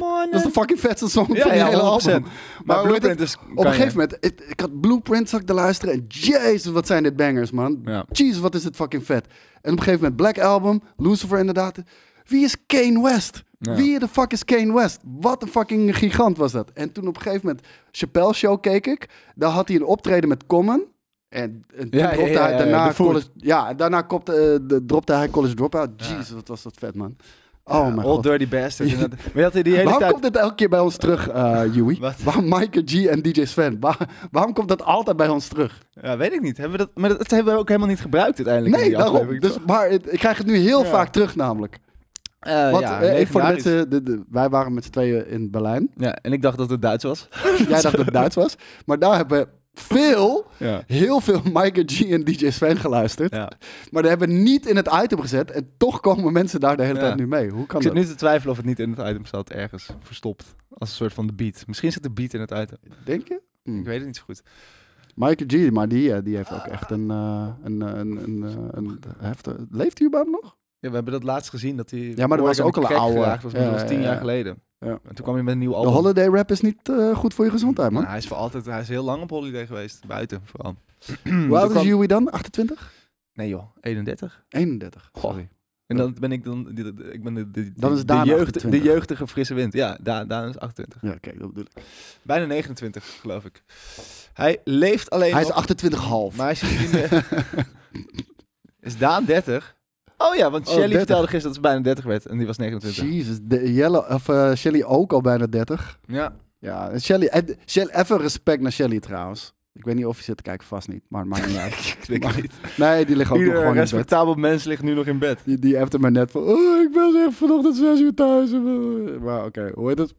Speaker 2: dat is de fucking vetste song van
Speaker 1: ja,
Speaker 2: die
Speaker 1: ja,
Speaker 2: hele
Speaker 1: 100%.
Speaker 2: album.
Speaker 1: Maar,
Speaker 2: Maar hoe heet
Speaker 1: Blueprint is
Speaker 2: Op een gegeven moment, ik, ik had Blueprint zag ik te luisteren en jezus, wat zijn dit bangers, man.
Speaker 1: Ja.
Speaker 2: Jeez, wat is het fucking vet. En op een gegeven moment Black Album, Lucifer inderdaad. Wie is Kane West?
Speaker 1: Ja.
Speaker 2: Wie de fuck is Kane West? Wat een fucking gigant was dat. En toen op een gegeven moment Chappelle Show keek ik. Daar had hij een optreden met Common. En, en toen
Speaker 1: Ja, ja,
Speaker 2: dropte
Speaker 1: ja,
Speaker 2: hij
Speaker 1: ja,
Speaker 2: daarna
Speaker 1: de food.
Speaker 2: college... Ja, en daarna kopte, eh, de, dropte hij College Dropout. Jezus, wat was dat vet, man. Oh
Speaker 1: Ja,
Speaker 2: mijn
Speaker 1: All
Speaker 2: god.
Speaker 1: Dirty Bastard. inderdaad. maar je had hij die hele
Speaker 2: Waarom
Speaker 1: tijd...
Speaker 2: komt dit elke keer bij ons terug, eh Joey?
Speaker 1: Wat?
Speaker 2: Waarom Mike G en DJ Sven? Waar- waarom komt dat altijd bij ons terug?
Speaker 1: Ja, weet ik niet. Hebben we dat... Maar dat, dat hebben we ook helemaal niet gebruikt uiteindelijk. in
Speaker 2: Nee,
Speaker 1: die
Speaker 2: daarom.
Speaker 1: aflevering,
Speaker 2: Dus,
Speaker 1: toch?
Speaker 2: maar het- ik krijg het nu heel
Speaker 1: Ja.
Speaker 2: vaak terug namelijk.
Speaker 1: Eh,
Speaker 2: Want
Speaker 1: ja,
Speaker 2: eh, even voor de
Speaker 1: legendarisch.
Speaker 2: mensen, de- de- wij waren met z'n tweeën in Berlijn.
Speaker 1: eh, Ja, en ik dacht dat het Duits was.
Speaker 2: Jij dacht dat het Duits was. Maar daar hebben we veel,
Speaker 1: Ja.
Speaker 2: heel veel Mike G en DJ Sven geluisterd.
Speaker 1: ja.
Speaker 2: Maar die hebben we niet in het item gezet. En toch komen mensen daar de hele
Speaker 1: Ja.
Speaker 2: tijd nu mee. Hoe kan
Speaker 1: Ik zit
Speaker 2: dat?
Speaker 1: nu te twijfelen of het niet in het item zat, ergens verstopt. Als een soort van de beat. Misschien zit de beat in het item.
Speaker 2: Denk je?
Speaker 1: Ik weet het niet zo goed.
Speaker 2: Mike G, maar die, eh, die heeft ook echt een, eh, een, eh, een, een, eh, een heftige... Leeft hij überhaupt nog?
Speaker 1: Ja, we hebben dat laatst gezien dat hij.
Speaker 2: maar dat was
Speaker 1: Oregon
Speaker 2: ook al een
Speaker 1: crack
Speaker 2: oude.
Speaker 1: geraakt was, maar dat
Speaker 2: Ja,
Speaker 1: was tien
Speaker 2: ja,
Speaker 1: jaar
Speaker 2: ja.
Speaker 1: geleden.
Speaker 2: Ja.
Speaker 1: En toen kwam hij met een nieuw
Speaker 2: De
Speaker 1: album.
Speaker 2: holiday rap is niet eh, goed voor je gezondheid, man.
Speaker 1: Nou, hij is voor altijd, hij is heel lang op holiday geweest, buiten vooral.
Speaker 2: Hoe oud is
Speaker 1: kwam-
Speaker 2: Joey dan? 28?
Speaker 1: Nee joh, 31.
Speaker 2: 31.
Speaker 1: Goh.
Speaker 2: Sorry.
Speaker 1: En dan ben ik dan, die- die- ik ben de, de,
Speaker 2: Dan is
Speaker 1: de,
Speaker 2: Daan
Speaker 1: jeugd, de
Speaker 2: 28.
Speaker 1: jeugdige frisse wind. Ja, Daan, Daan is 28.
Speaker 2: Ja, kijk, dat bedoel ik.
Speaker 1: Bijna 29, geloof ik. Hij leeft alleen
Speaker 2: Hij is
Speaker 1: nog,
Speaker 2: 28 half.
Speaker 1: maar hij is niet meer... Is Daan 30? Oh ja, want
Speaker 2: Oh,
Speaker 1: Shelly
Speaker 2: 30.
Speaker 1: vertelde gisteren dat ze bijna 30 werd en die was 29.
Speaker 2: Jezus, de Jelle, of, eh, Shelly ook al bijna 30.
Speaker 1: Ja,
Speaker 2: Ja, en Shelly, en Shell- even respect naar Shelly trouwens. Ik weet niet of je zit te kijken, vast niet, maar het maakt niet uit.
Speaker 1: ik denk
Speaker 2: Maar-
Speaker 1: het niet.
Speaker 2: Nee, die liggen ook nog
Speaker 1: Ieder
Speaker 2: gewoon in bed.
Speaker 1: respectabel mens ligt nu nog in bed.
Speaker 2: Die, die appte me net van, oh, ik ben echt vanochtend 6 uur thuis. Maar oké, hoe heet het?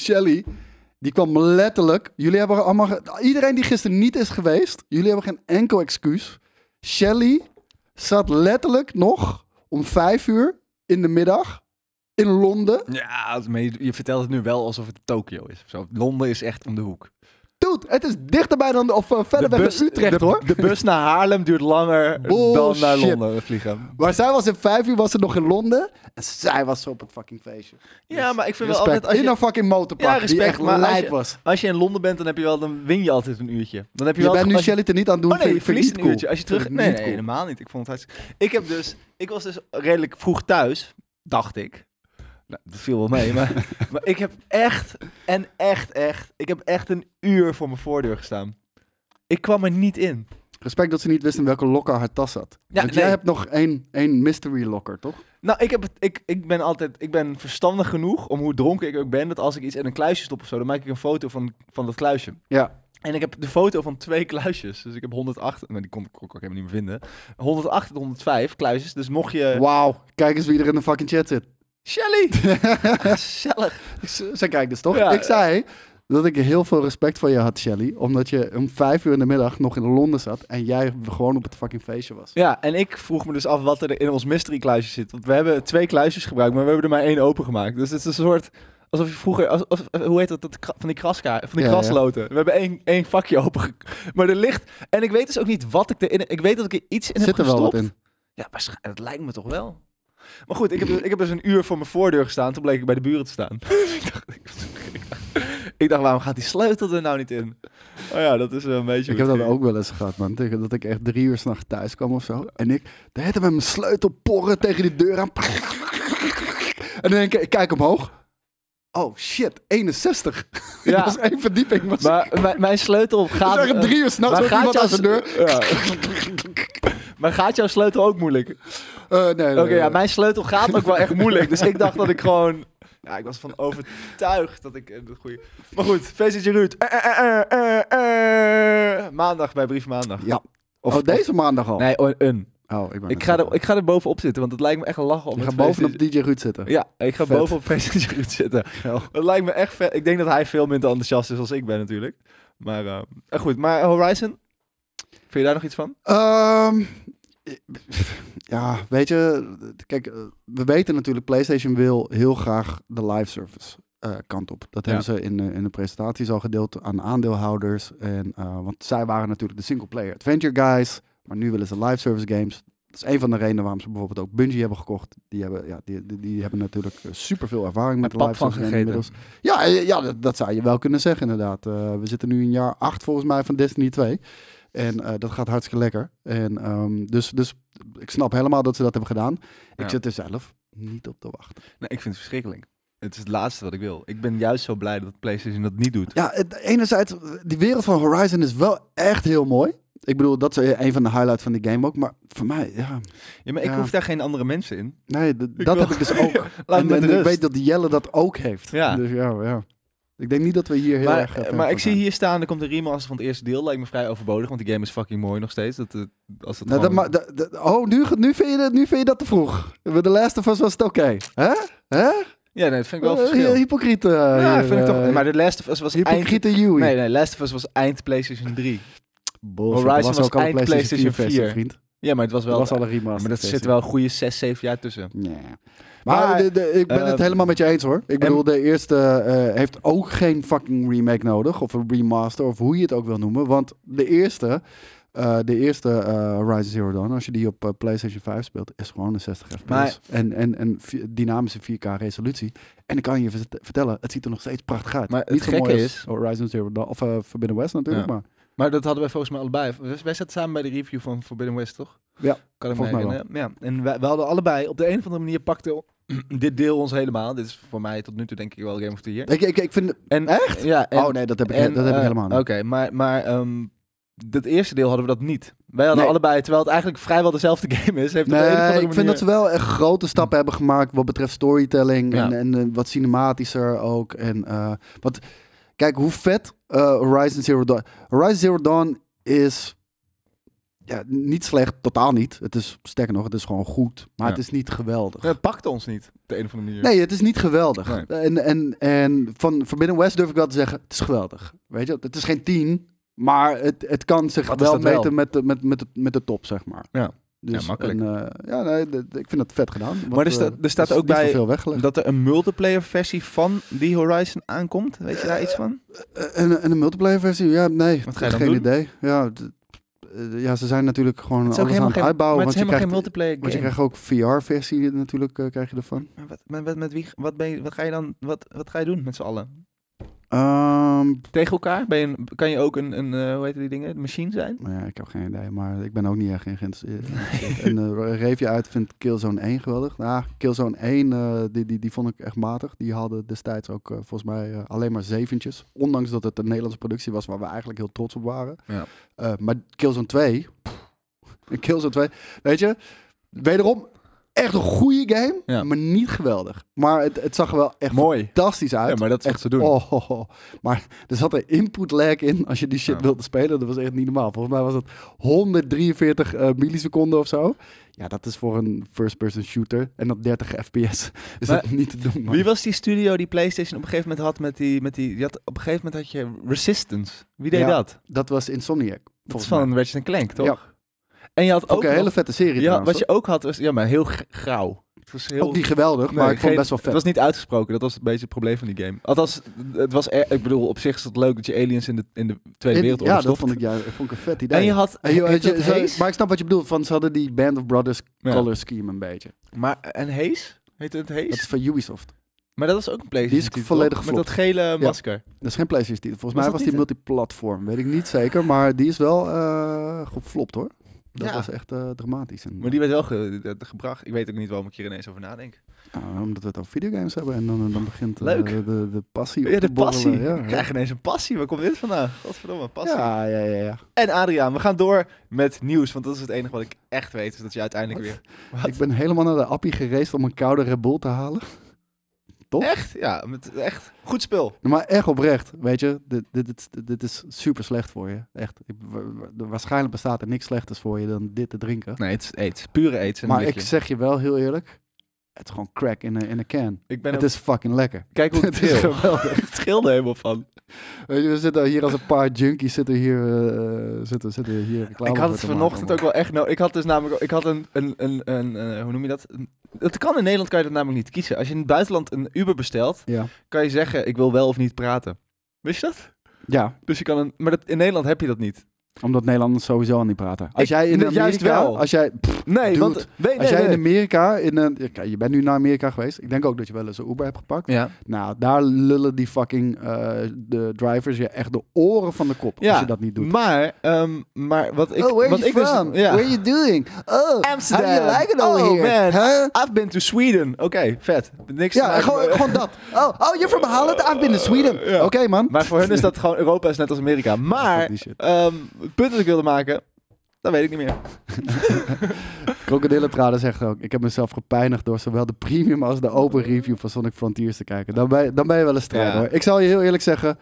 Speaker 2: Shelly, die kwam letterlijk, jullie hebben allemaal, ge- iedereen die gisteren niet is geweest, jullie hebben geen enkel excuus. Shelly zat letterlijk nog om vijf uur in de middag in Londen.
Speaker 1: Ja, maar je, je vertelt het nu wel alsof het Tokio is. of Zo. Londen is echt om de hoek.
Speaker 2: Dude, het is dichterbij dan, of eh, verder
Speaker 1: de
Speaker 2: weg dan Utrecht
Speaker 1: de,
Speaker 2: hoor.
Speaker 1: De bus naar Haarlem duurt langer dan naar
Speaker 2: Bullshit.
Speaker 1: Londen vliegen.
Speaker 2: Maar zij was in vijf uur was ze nog in Londen. En zij was zo op het fucking feestje.
Speaker 1: Ja, maar ik vind wel
Speaker 2: Respect.
Speaker 1: altijd... Als
Speaker 2: In
Speaker 1: je,
Speaker 2: een fucking motorpak.
Speaker 1: Ja, respect,
Speaker 2: die echt
Speaker 1: maar als
Speaker 2: lijp
Speaker 1: je-
Speaker 2: was.
Speaker 1: als je in Londen bent, dan, heb je wel, dan win je altijd een uurtje. Dan heb je,
Speaker 2: Je
Speaker 1: wel
Speaker 2: bent nu
Speaker 1: als je-
Speaker 2: Shelly er niet aan het doen.
Speaker 1: Oh nee,
Speaker 2: vind
Speaker 1: je
Speaker 2: ik- vind
Speaker 1: verliest
Speaker 2: ik niet
Speaker 1: een
Speaker 2: cool.
Speaker 1: uurtje. Als je
Speaker 2: Vind
Speaker 1: terug...
Speaker 2: ik
Speaker 1: Nee,
Speaker 2: niet
Speaker 1: nee,
Speaker 2: cool.
Speaker 1: helemaal niet. Ik vond het hartstikke... Ik heb dus... Ik was dus redelijk vroeg thuis, dacht ik. Nou, dat viel wel mee, maar, maar ik heb echt en echt echt... Ik heb echt een uur voor mijn voordeur gestaan. Ik kwam er niet in.
Speaker 2: Respect dat ze niet wisten in welke locker haar tas zat.
Speaker 1: Ja,
Speaker 2: Want
Speaker 1: nee.
Speaker 2: jij hebt nog één, één mystery locker, toch?
Speaker 1: Nou, ik, heb het, ik, ik ben altijd ik ben verstandig genoeg om hoe dronken ik ook ben... dat als ik iets in een kluisje stop of zo... dan maak ik een foto van, van dat kluisje.
Speaker 2: Ja.
Speaker 1: En ik heb de foto van twee kluisjes. Dus ik heb 108... Nou, die kon ik ook helemaal niet meer vinden. 108 en 105 kluisjes. Dus mocht je...
Speaker 2: Eh. Wauw, kijk eens wie er in de fucking chat zit.
Speaker 1: Shelly! Gezellig.
Speaker 2: Ze ze kijkt dus toch?
Speaker 1: Ja.
Speaker 2: ik zei dat ik heel veel respect voor je had, Shelly. Omdat je om vijf uur in de middag nog in Londen zat. En jij gewoon op het fucking feestje was.
Speaker 1: Ja, en ik vroeg me dus af wat er in ons mystery kluisje zit. Want we hebben twee kluisjes gebruikt, maar we hebben er maar één opengemaakt. Dus het is een soort... Alsof je vroeger... als- als- eh, hoe heet dat? dat kra- van die, kraska, van die
Speaker 2: Ja, ja.
Speaker 1: krasloten. We hebben één, één vakje open. Maar er ligt... En ik weet dus ook niet wat ik erin... Ik weet dat ik er iets in
Speaker 2: Zit
Speaker 1: heb
Speaker 2: er wel
Speaker 1: gestopt.
Speaker 2: wat in.
Speaker 1: Ja, waarschijnlijk. Dat lijkt me toch wel. Maar goed, ik heb, dus- ik heb dus een uur voor mijn voordeur gestaan. Toen bleek ik bij de buren te staan. ik, dacht, ik, dacht, ik dacht, waarom gaat die sleutel er nou niet in? Oh ja, dat is wel een beetje...
Speaker 2: Ik
Speaker 1: hoe
Speaker 2: heb
Speaker 1: het
Speaker 2: dat
Speaker 1: ging.
Speaker 2: ook wel eens gehad, man. Tegen dat ik echt drie uur s'nachts thuis kwam of zo. En ik de hele tijd met mijn sleutel porren tegen die deur aan. En dan denk ik, ik kijk omhoog. Oh shit, 61.
Speaker 1: Ja.
Speaker 2: dat was één verdieping. Was
Speaker 1: Maar mijn- mijn sleutel gaat... eh,
Speaker 2: dus echt om drie uur s'nachts
Speaker 1: Maar
Speaker 2: ook iemand
Speaker 1: gaat,
Speaker 2: aan zijn
Speaker 1: jouw,
Speaker 2: deur.
Speaker 1: ja. maar gaat jouw sleutel ook moeilijk? Oké,
Speaker 2: Eh, nee, nee, nee,
Speaker 1: ja,
Speaker 2: nee.
Speaker 1: mijn sleutel gaat ook wel echt moeilijk. Dus ik dacht dat ik gewoon... Ja, ik was van overtuigd dat ik eh, het goede... Maar goed, feestje Ruud. Eh, eh, eh, eh, eh, eh. Maandag bij Brief Maandag.
Speaker 2: Ja.
Speaker 1: Of-
Speaker 2: oh, deze maandag al?
Speaker 1: Nee, een. een.
Speaker 2: Oh, ik, ben
Speaker 1: Ik, ga er, ik ga er bovenop zitten, want het lijkt me echt een lachen om
Speaker 2: Je
Speaker 1: met
Speaker 2: gaat bovenop
Speaker 1: feestje-
Speaker 2: DJ Ruud zitten.
Speaker 1: Ja, ik ga
Speaker 2: Vet.
Speaker 1: bovenop feestje Ruud zitten. Dat lijkt me echt vet. Ik denk dat hij veel minder enthousiast is als ik ben natuurlijk. Maar eh, eh, goed, maar Horizon? Vind je daar nog iets van?
Speaker 2: Ehm, ja, weet je, kijk, eh, we weten natuurlijk, PlayStation wil heel graag de live service eh, kant op. Dat
Speaker 1: Ja.
Speaker 2: hebben ze in, de- in de presentaties al gedeeld aan aandeelhouders. En, eh, want zij waren natuurlijk de single player adventure guys, maar nu willen ze live service games. Dat is een van de redenen waarom ze bijvoorbeeld ook Bungie hebben gekocht. Die hebben, ja, die, die, die hebben natuurlijk eh, superveel ervaring met de live service games inmiddels. Ja, eh, ja dat, dat zou je wel kunnen zeggen, inderdaad. Eh, we zitten nu in jaar 8 volgens mij van Destiny 2. En eh, dat gaat hartstikke lekker. En, ehm, dus, dus ik snap helemaal dat ze dat hebben gedaan.
Speaker 1: Ja.
Speaker 2: Ik zit er zelf niet op te wachten.
Speaker 1: Nee, ik vind het verschrikkelijk. Het is het laatste wat ik wil. Ik ben juist zo blij dat PlayStation dat niet doet.
Speaker 2: Ja, het- enerzijds, die wereld van Horizon is wel echt heel mooi. Ik bedoel, dat is eh, een van de highlights van de game ook. Maar voor mij, ja.
Speaker 1: Ja, maar ik
Speaker 2: Ja.
Speaker 1: hoef daar geen andere mensen in.
Speaker 2: Nee, d- dat
Speaker 1: wil-
Speaker 2: heb ik dus ook.
Speaker 1: Laat
Speaker 2: en
Speaker 1: me met
Speaker 2: en ik
Speaker 1: rust.
Speaker 2: weet dat Jelle dat ook heeft.
Speaker 1: Ja.
Speaker 2: Dus ja, ja. Ik denk niet dat we hier heel erg... eh,
Speaker 1: maar
Speaker 2: fan
Speaker 1: maar
Speaker 2: van
Speaker 1: ik zie
Speaker 2: zijn.
Speaker 1: hier staan, er komt een remaster van het eerste deel. Lijkt me vrij overbodig, want die game is fucking mooi nog steeds. Dat, eh, als dat
Speaker 2: Nou, dat
Speaker 1: gewoon-
Speaker 2: ma- dat- dat- oh, nu, ge- nu, vind je dat, nu vind je dat te vroeg. Bij The Last of Us was het oké. Hè? Hè?
Speaker 1: Ja, nee, dat vind ik wel
Speaker 2: Eh,
Speaker 1: verschil.
Speaker 2: hypocriet. eh,
Speaker 1: ja,
Speaker 2: hier,
Speaker 1: vind ik toch...
Speaker 2: eh,
Speaker 1: Maar de Last of Us was eind...
Speaker 2: hypocriete Yui.
Speaker 1: Nee, nee, Last of Us was eind PlayStation 3.
Speaker 2: Bullshit,
Speaker 1: Horizon
Speaker 2: dat
Speaker 1: was
Speaker 2: ook al een
Speaker 1: eind PlayStation 4.
Speaker 2: versie, vriend.
Speaker 1: Ja, maar het was wel...
Speaker 2: Dat was eh, al een remaster.
Speaker 1: maar dat zit
Speaker 2: versie.
Speaker 1: wel een goede 6, 7 jaar tussen.
Speaker 2: Nee. Maar,
Speaker 1: Maar,
Speaker 2: de- de- ik ben het
Speaker 1: eh,
Speaker 2: helemaal met je eens hoor. Ik bedoel, de eerste eh, heeft ook geen fucking remake nodig. Of een remaster, of hoe je het ook wil noemen. Want de eerste, eh, de eerste eh, Horizon Zero Dawn, als je die op eh, PlayStation 5 speelt, is gewoon een 60 fps.
Speaker 1: Maar-
Speaker 2: en, en, en vi- dynamische 4K resolutie. En ik kan je vert- vertellen, het ziet er nog steeds prachtig uit.
Speaker 1: Maar het
Speaker 2: Niet zo
Speaker 1: gekke
Speaker 2: mooi als
Speaker 1: is-
Speaker 2: Horizon Zero Dawn, of eh, Forbidden West natuurlijk,
Speaker 1: Ja.
Speaker 2: maar...
Speaker 1: Maar dat hadden wij volgens mij allebei. Wij wij zaten samen bij de review van Forbidden West, toch?
Speaker 2: Ja,
Speaker 1: kan ik me
Speaker 2: volgens mij
Speaker 1: herinneren. Ja, en wij, we hadden allebei, op de een of andere manier pakte dit deel ons helemaal. Dit is voor mij tot nu toe denk ik wel Game of the Year.
Speaker 2: Ik, ik, ik vind...
Speaker 1: En,
Speaker 2: Echt?
Speaker 1: Ja, en,
Speaker 2: oh nee, dat heb ik,
Speaker 1: en,
Speaker 2: dat heb ik
Speaker 1: eh,
Speaker 2: helemaal niet.
Speaker 1: Oké, maar, maar ehm dat eerste deel hadden we dat niet. Wij hadden
Speaker 2: Nee.
Speaker 1: allebei, terwijl het eigenlijk vrijwel dezelfde game is, heeft het op een of
Speaker 2: Nee,
Speaker 1: andere
Speaker 2: ik vind dat ze wel echt grote stappen hebben gemaakt wat betreft storytelling en,
Speaker 1: Ja.
Speaker 2: en eh, wat cinematischer ook. En eh, wat, kijk hoe vet eh, Horizon Zero Dawn. Horizon Zero Dawn is ja, niet slecht, totaal niet. Het is sterker nog, het is gewoon goed, maar
Speaker 1: Ja.
Speaker 2: het is niet geweldig.
Speaker 1: Het pakte ons niet, op de een of andere manier.
Speaker 2: Nee, het is niet geweldig.
Speaker 1: Nee.
Speaker 2: En, en, en van Forbidden West durf ik wel te zeggen, het is geweldig. Weet je, het is geen 10, maar het, het kan zich
Speaker 1: Wat is
Speaker 2: wel
Speaker 1: dat wel?
Speaker 2: meten Met, de, met, met, de, met de top, zeg maar.
Speaker 1: Ja.
Speaker 2: Dus
Speaker 1: Ja, makkelijk.
Speaker 2: een, eh, ja, nee, d- d- ik vind dat vet gedaan. want,
Speaker 1: er sta-
Speaker 2: eh,
Speaker 1: er staat
Speaker 2: is
Speaker 1: ook
Speaker 2: niet
Speaker 1: bij-
Speaker 2: zoveel weggelegd.
Speaker 1: Dat er een multiplayer versie van die Horizon aankomt. Weet je daar iets van?
Speaker 2: Eh, En, en de multiplayer versie, ja, nee.
Speaker 1: Wat ga je dan
Speaker 2: geen
Speaker 1: doen?
Speaker 2: idee. Ja, d- eh, ja, ze zijn natuurlijk gewoon
Speaker 1: Eh, Het is ook
Speaker 2: alles aan
Speaker 1: helemaal
Speaker 2: het
Speaker 1: geen,
Speaker 2: uitbouwen.
Speaker 1: maar het
Speaker 2: want
Speaker 1: is helemaal geen
Speaker 2: je krijgt,
Speaker 1: multiplayer
Speaker 2: want je
Speaker 1: game.
Speaker 2: krijgt ook VR-versie natuurlijk, eh, krijg je ervan.
Speaker 1: Maar wat, met, met, met wie, wat, ben je, wat ga je dan wat, wat ga je doen met z'n allen?
Speaker 2: Ehm,
Speaker 1: Tegen elkaar? Ben je een- kan je ook een, een eh, hoe heet die dingen? Een machine zijn?
Speaker 2: nou ja, ik heb geen idee, maar ik ben ook niet echt in geïnteresseerd. en eh Revia uit vindt Killzone 1 geweldig. Nou, Killzone 1, eh, die, die, die vond ik echt matig. Die hadden destijds ook eh, volgens mij eh, alleen maar zeventjes. Ondanks dat het een Nederlandse productie was waar we eigenlijk heel trots op waren.
Speaker 1: Ja.
Speaker 2: Eh, maar Killzone 2, pff, en Killzone 2, weet je, wederom echt een goede game,
Speaker 1: Ja.
Speaker 2: maar niet geweldig. Maar het, het zag er wel echt
Speaker 1: Mooi.
Speaker 2: fantastisch uit.
Speaker 1: Ja, maar dat is wat ze doen.
Speaker 2: Oh, oh, oh. Maar er zat een input lag in als je die shit
Speaker 1: Ja.
Speaker 2: wilde spelen. Dat was echt niet normaal. Volgens mij was dat 143 eh, milliseconden of zo. Ja, dat is voor een first-person shooter. En dat 30 fps is
Speaker 1: Maar
Speaker 2: dat niet te doen. man.
Speaker 1: Wie was die studio die PlayStation op een gegeven moment had met die, met die, die had, op een gegeven moment had je Resistance. Wie deed
Speaker 2: Ja,
Speaker 1: dat? Dat
Speaker 2: Dat was Insomniac.
Speaker 1: is
Speaker 2: Volgens
Speaker 1: van
Speaker 2: mij.
Speaker 1: Ratchet Clank, toch?
Speaker 2: Ja.
Speaker 1: En je had ook
Speaker 2: Ook een hele
Speaker 1: nog-
Speaker 2: vette serie
Speaker 1: ja,
Speaker 2: trouwens.
Speaker 1: wat je ook had was ja, maar heel g- grauw. Het was
Speaker 2: hoor.
Speaker 1: heel
Speaker 2: Ook niet geweldig,
Speaker 1: Nee,
Speaker 2: maar ik vond
Speaker 1: geen-
Speaker 2: het best wel
Speaker 1: Het
Speaker 2: vet.
Speaker 1: was niet uitgesproken, dat was een beetje het probleem van die game. Althans, het was er- ik bedoel, op zich is het leuk dat je aliens in de, in de Tweede
Speaker 2: In-
Speaker 1: Wereldoorlog
Speaker 2: ja, dat
Speaker 1: stopt.
Speaker 2: vond ik, ja, dat vond ik een vet idee.
Speaker 1: En je had
Speaker 2: En je-
Speaker 1: heet
Speaker 2: je-
Speaker 1: dat
Speaker 2: ze-
Speaker 1: Haze?
Speaker 2: maar ik snap wat je bedoelt. Van, ze hadden die Band of Brothers
Speaker 1: Ja.
Speaker 2: color scheme een beetje.
Speaker 1: Maar, en Haze? Heet het Haze?
Speaker 2: Dat is van Ubisoft.
Speaker 1: maar dat was ook een PlayStation.
Speaker 2: Die is
Speaker 1: natuurlijk,
Speaker 2: volledig
Speaker 1: toch? Met dat gele masker.
Speaker 2: Dat is geen PlayStation titel. Volgens
Speaker 1: Was
Speaker 2: mij
Speaker 1: dat
Speaker 2: was die
Speaker 1: niet,
Speaker 2: multiplatform. Weet ik niet zeker. Maar die is wel eh geflopt hoor. Dat
Speaker 1: Ja.
Speaker 2: was echt eh, dramatisch. En,
Speaker 1: Maar die werd wel ge- eh, gebracht. Ik weet ook niet waarom ik hier ineens over nadenk.
Speaker 2: nou, omdat we het over videogames hebben. En dan, dan begint eh,
Speaker 1: Leuk.
Speaker 2: de, de, de passie.
Speaker 1: Ja,
Speaker 2: op te
Speaker 1: de passie.
Speaker 2: borrelen.
Speaker 1: Ik
Speaker 2: Ja,
Speaker 1: krijg ineens een passie. Waar komt dit vandaan? Godverdomme, passie.
Speaker 2: ja, ja, ja, ja.
Speaker 1: En Adriaan, we gaan door met nieuws. Want dat is het enige wat ik echt weet. Is dat je uiteindelijk
Speaker 2: Wat?
Speaker 1: weer... Wat?
Speaker 2: Ik ben helemaal naar de appie gereisd om een koude Red Bull te halen. Toch?
Speaker 1: Echt? Ja, met, echt. Goed spul.
Speaker 2: Maar echt oprecht, weet je, dit, dit, dit, dit is super slecht voor je. Echt. Ik- wa- wa- Waarschijnlijk bestaat er niks slechters voor je dan dit te drinken.
Speaker 1: Nee, het is aids. Pure aids.
Speaker 2: Maar ik zeg je wel heel eerlijk, het is gewoon crack in een in een can.
Speaker 1: ik ben
Speaker 2: Het
Speaker 1: ook-
Speaker 2: is fucking lekker.
Speaker 1: Kijk hoe het
Speaker 2: Het is
Speaker 1: heel.
Speaker 2: geweldig.
Speaker 1: Het scheelde helemaal van.
Speaker 2: Weet je, we zitten hier als een paar junkies zitten hier, eh, zitten, zitten hier reclame
Speaker 1: ik had
Speaker 2: voor
Speaker 1: het
Speaker 2: te
Speaker 1: vanochtend ook
Speaker 2: maken,
Speaker 1: wel echt nodig. Ik had dus namelijk, ik had een, een, een, een eh, hoe noem je dat? Een- Het kan in Nederland kan je dat namelijk niet kiezen. Als je in het buitenland een Uber bestelt,
Speaker 2: man. Ja,
Speaker 1: kan je zeggen ik wil wel of niet praten. Wist je dat?
Speaker 2: ja
Speaker 1: Dus je kan een, maar dat, in Nederland heb je dat niet.
Speaker 2: omdat Nederlanders sowieso al niet praten. Als
Speaker 1: Ik-
Speaker 2: jij in
Speaker 1: nee,
Speaker 2: Amerika,
Speaker 1: juist wel.
Speaker 2: Als jij, pff,
Speaker 1: Nee,
Speaker 2: Dude,
Speaker 1: want nee,
Speaker 2: als
Speaker 1: nee,
Speaker 2: jij in
Speaker 1: nee.
Speaker 2: Amerika, in een, ja, kijk, je bent nu naar Amerika geweest. Ik denk ook dat je wel eens een Uber hebt gepakt.
Speaker 1: ja.
Speaker 2: Nou, daar lullen die fucking eh, de drivers je echt de oren van de kop
Speaker 1: Ja,
Speaker 2: als je dat niet doet.
Speaker 1: Maar, ehm, maar wat ik,
Speaker 2: oh, where
Speaker 1: wat
Speaker 2: you
Speaker 1: ik dus,
Speaker 2: from?
Speaker 1: ja.
Speaker 2: Where you doing? Oh,
Speaker 1: Amsterdam.
Speaker 2: how do you like it over
Speaker 1: oh
Speaker 2: here?
Speaker 1: man,
Speaker 2: Huh?
Speaker 1: I've been to Sweden. Oké, vet. Niks. te
Speaker 2: Ja,
Speaker 1: maken
Speaker 2: gewoon,
Speaker 1: met-
Speaker 2: gewoon dat. Oh, oh, you're from Holland? I've been to Sweden. Oké,
Speaker 1: Ja.
Speaker 2: man.
Speaker 1: Maar voor hun is dat gewoon Europa is net als Amerika. Maar
Speaker 2: die shit.
Speaker 1: ehm, het punt dat ik wilde maken, dat weet ik niet meer.
Speaker 2: Krokodillentraden zegt ook, ik heb mezelf gepijnigd door zowel de premium als de open review van Sonic Frontiers te kijken. Dan ben je, dan ben je wel een strijder
Speaker 1: Ja.
Speaker 2: hoor. Ik zal je heel eerlijk zeggen,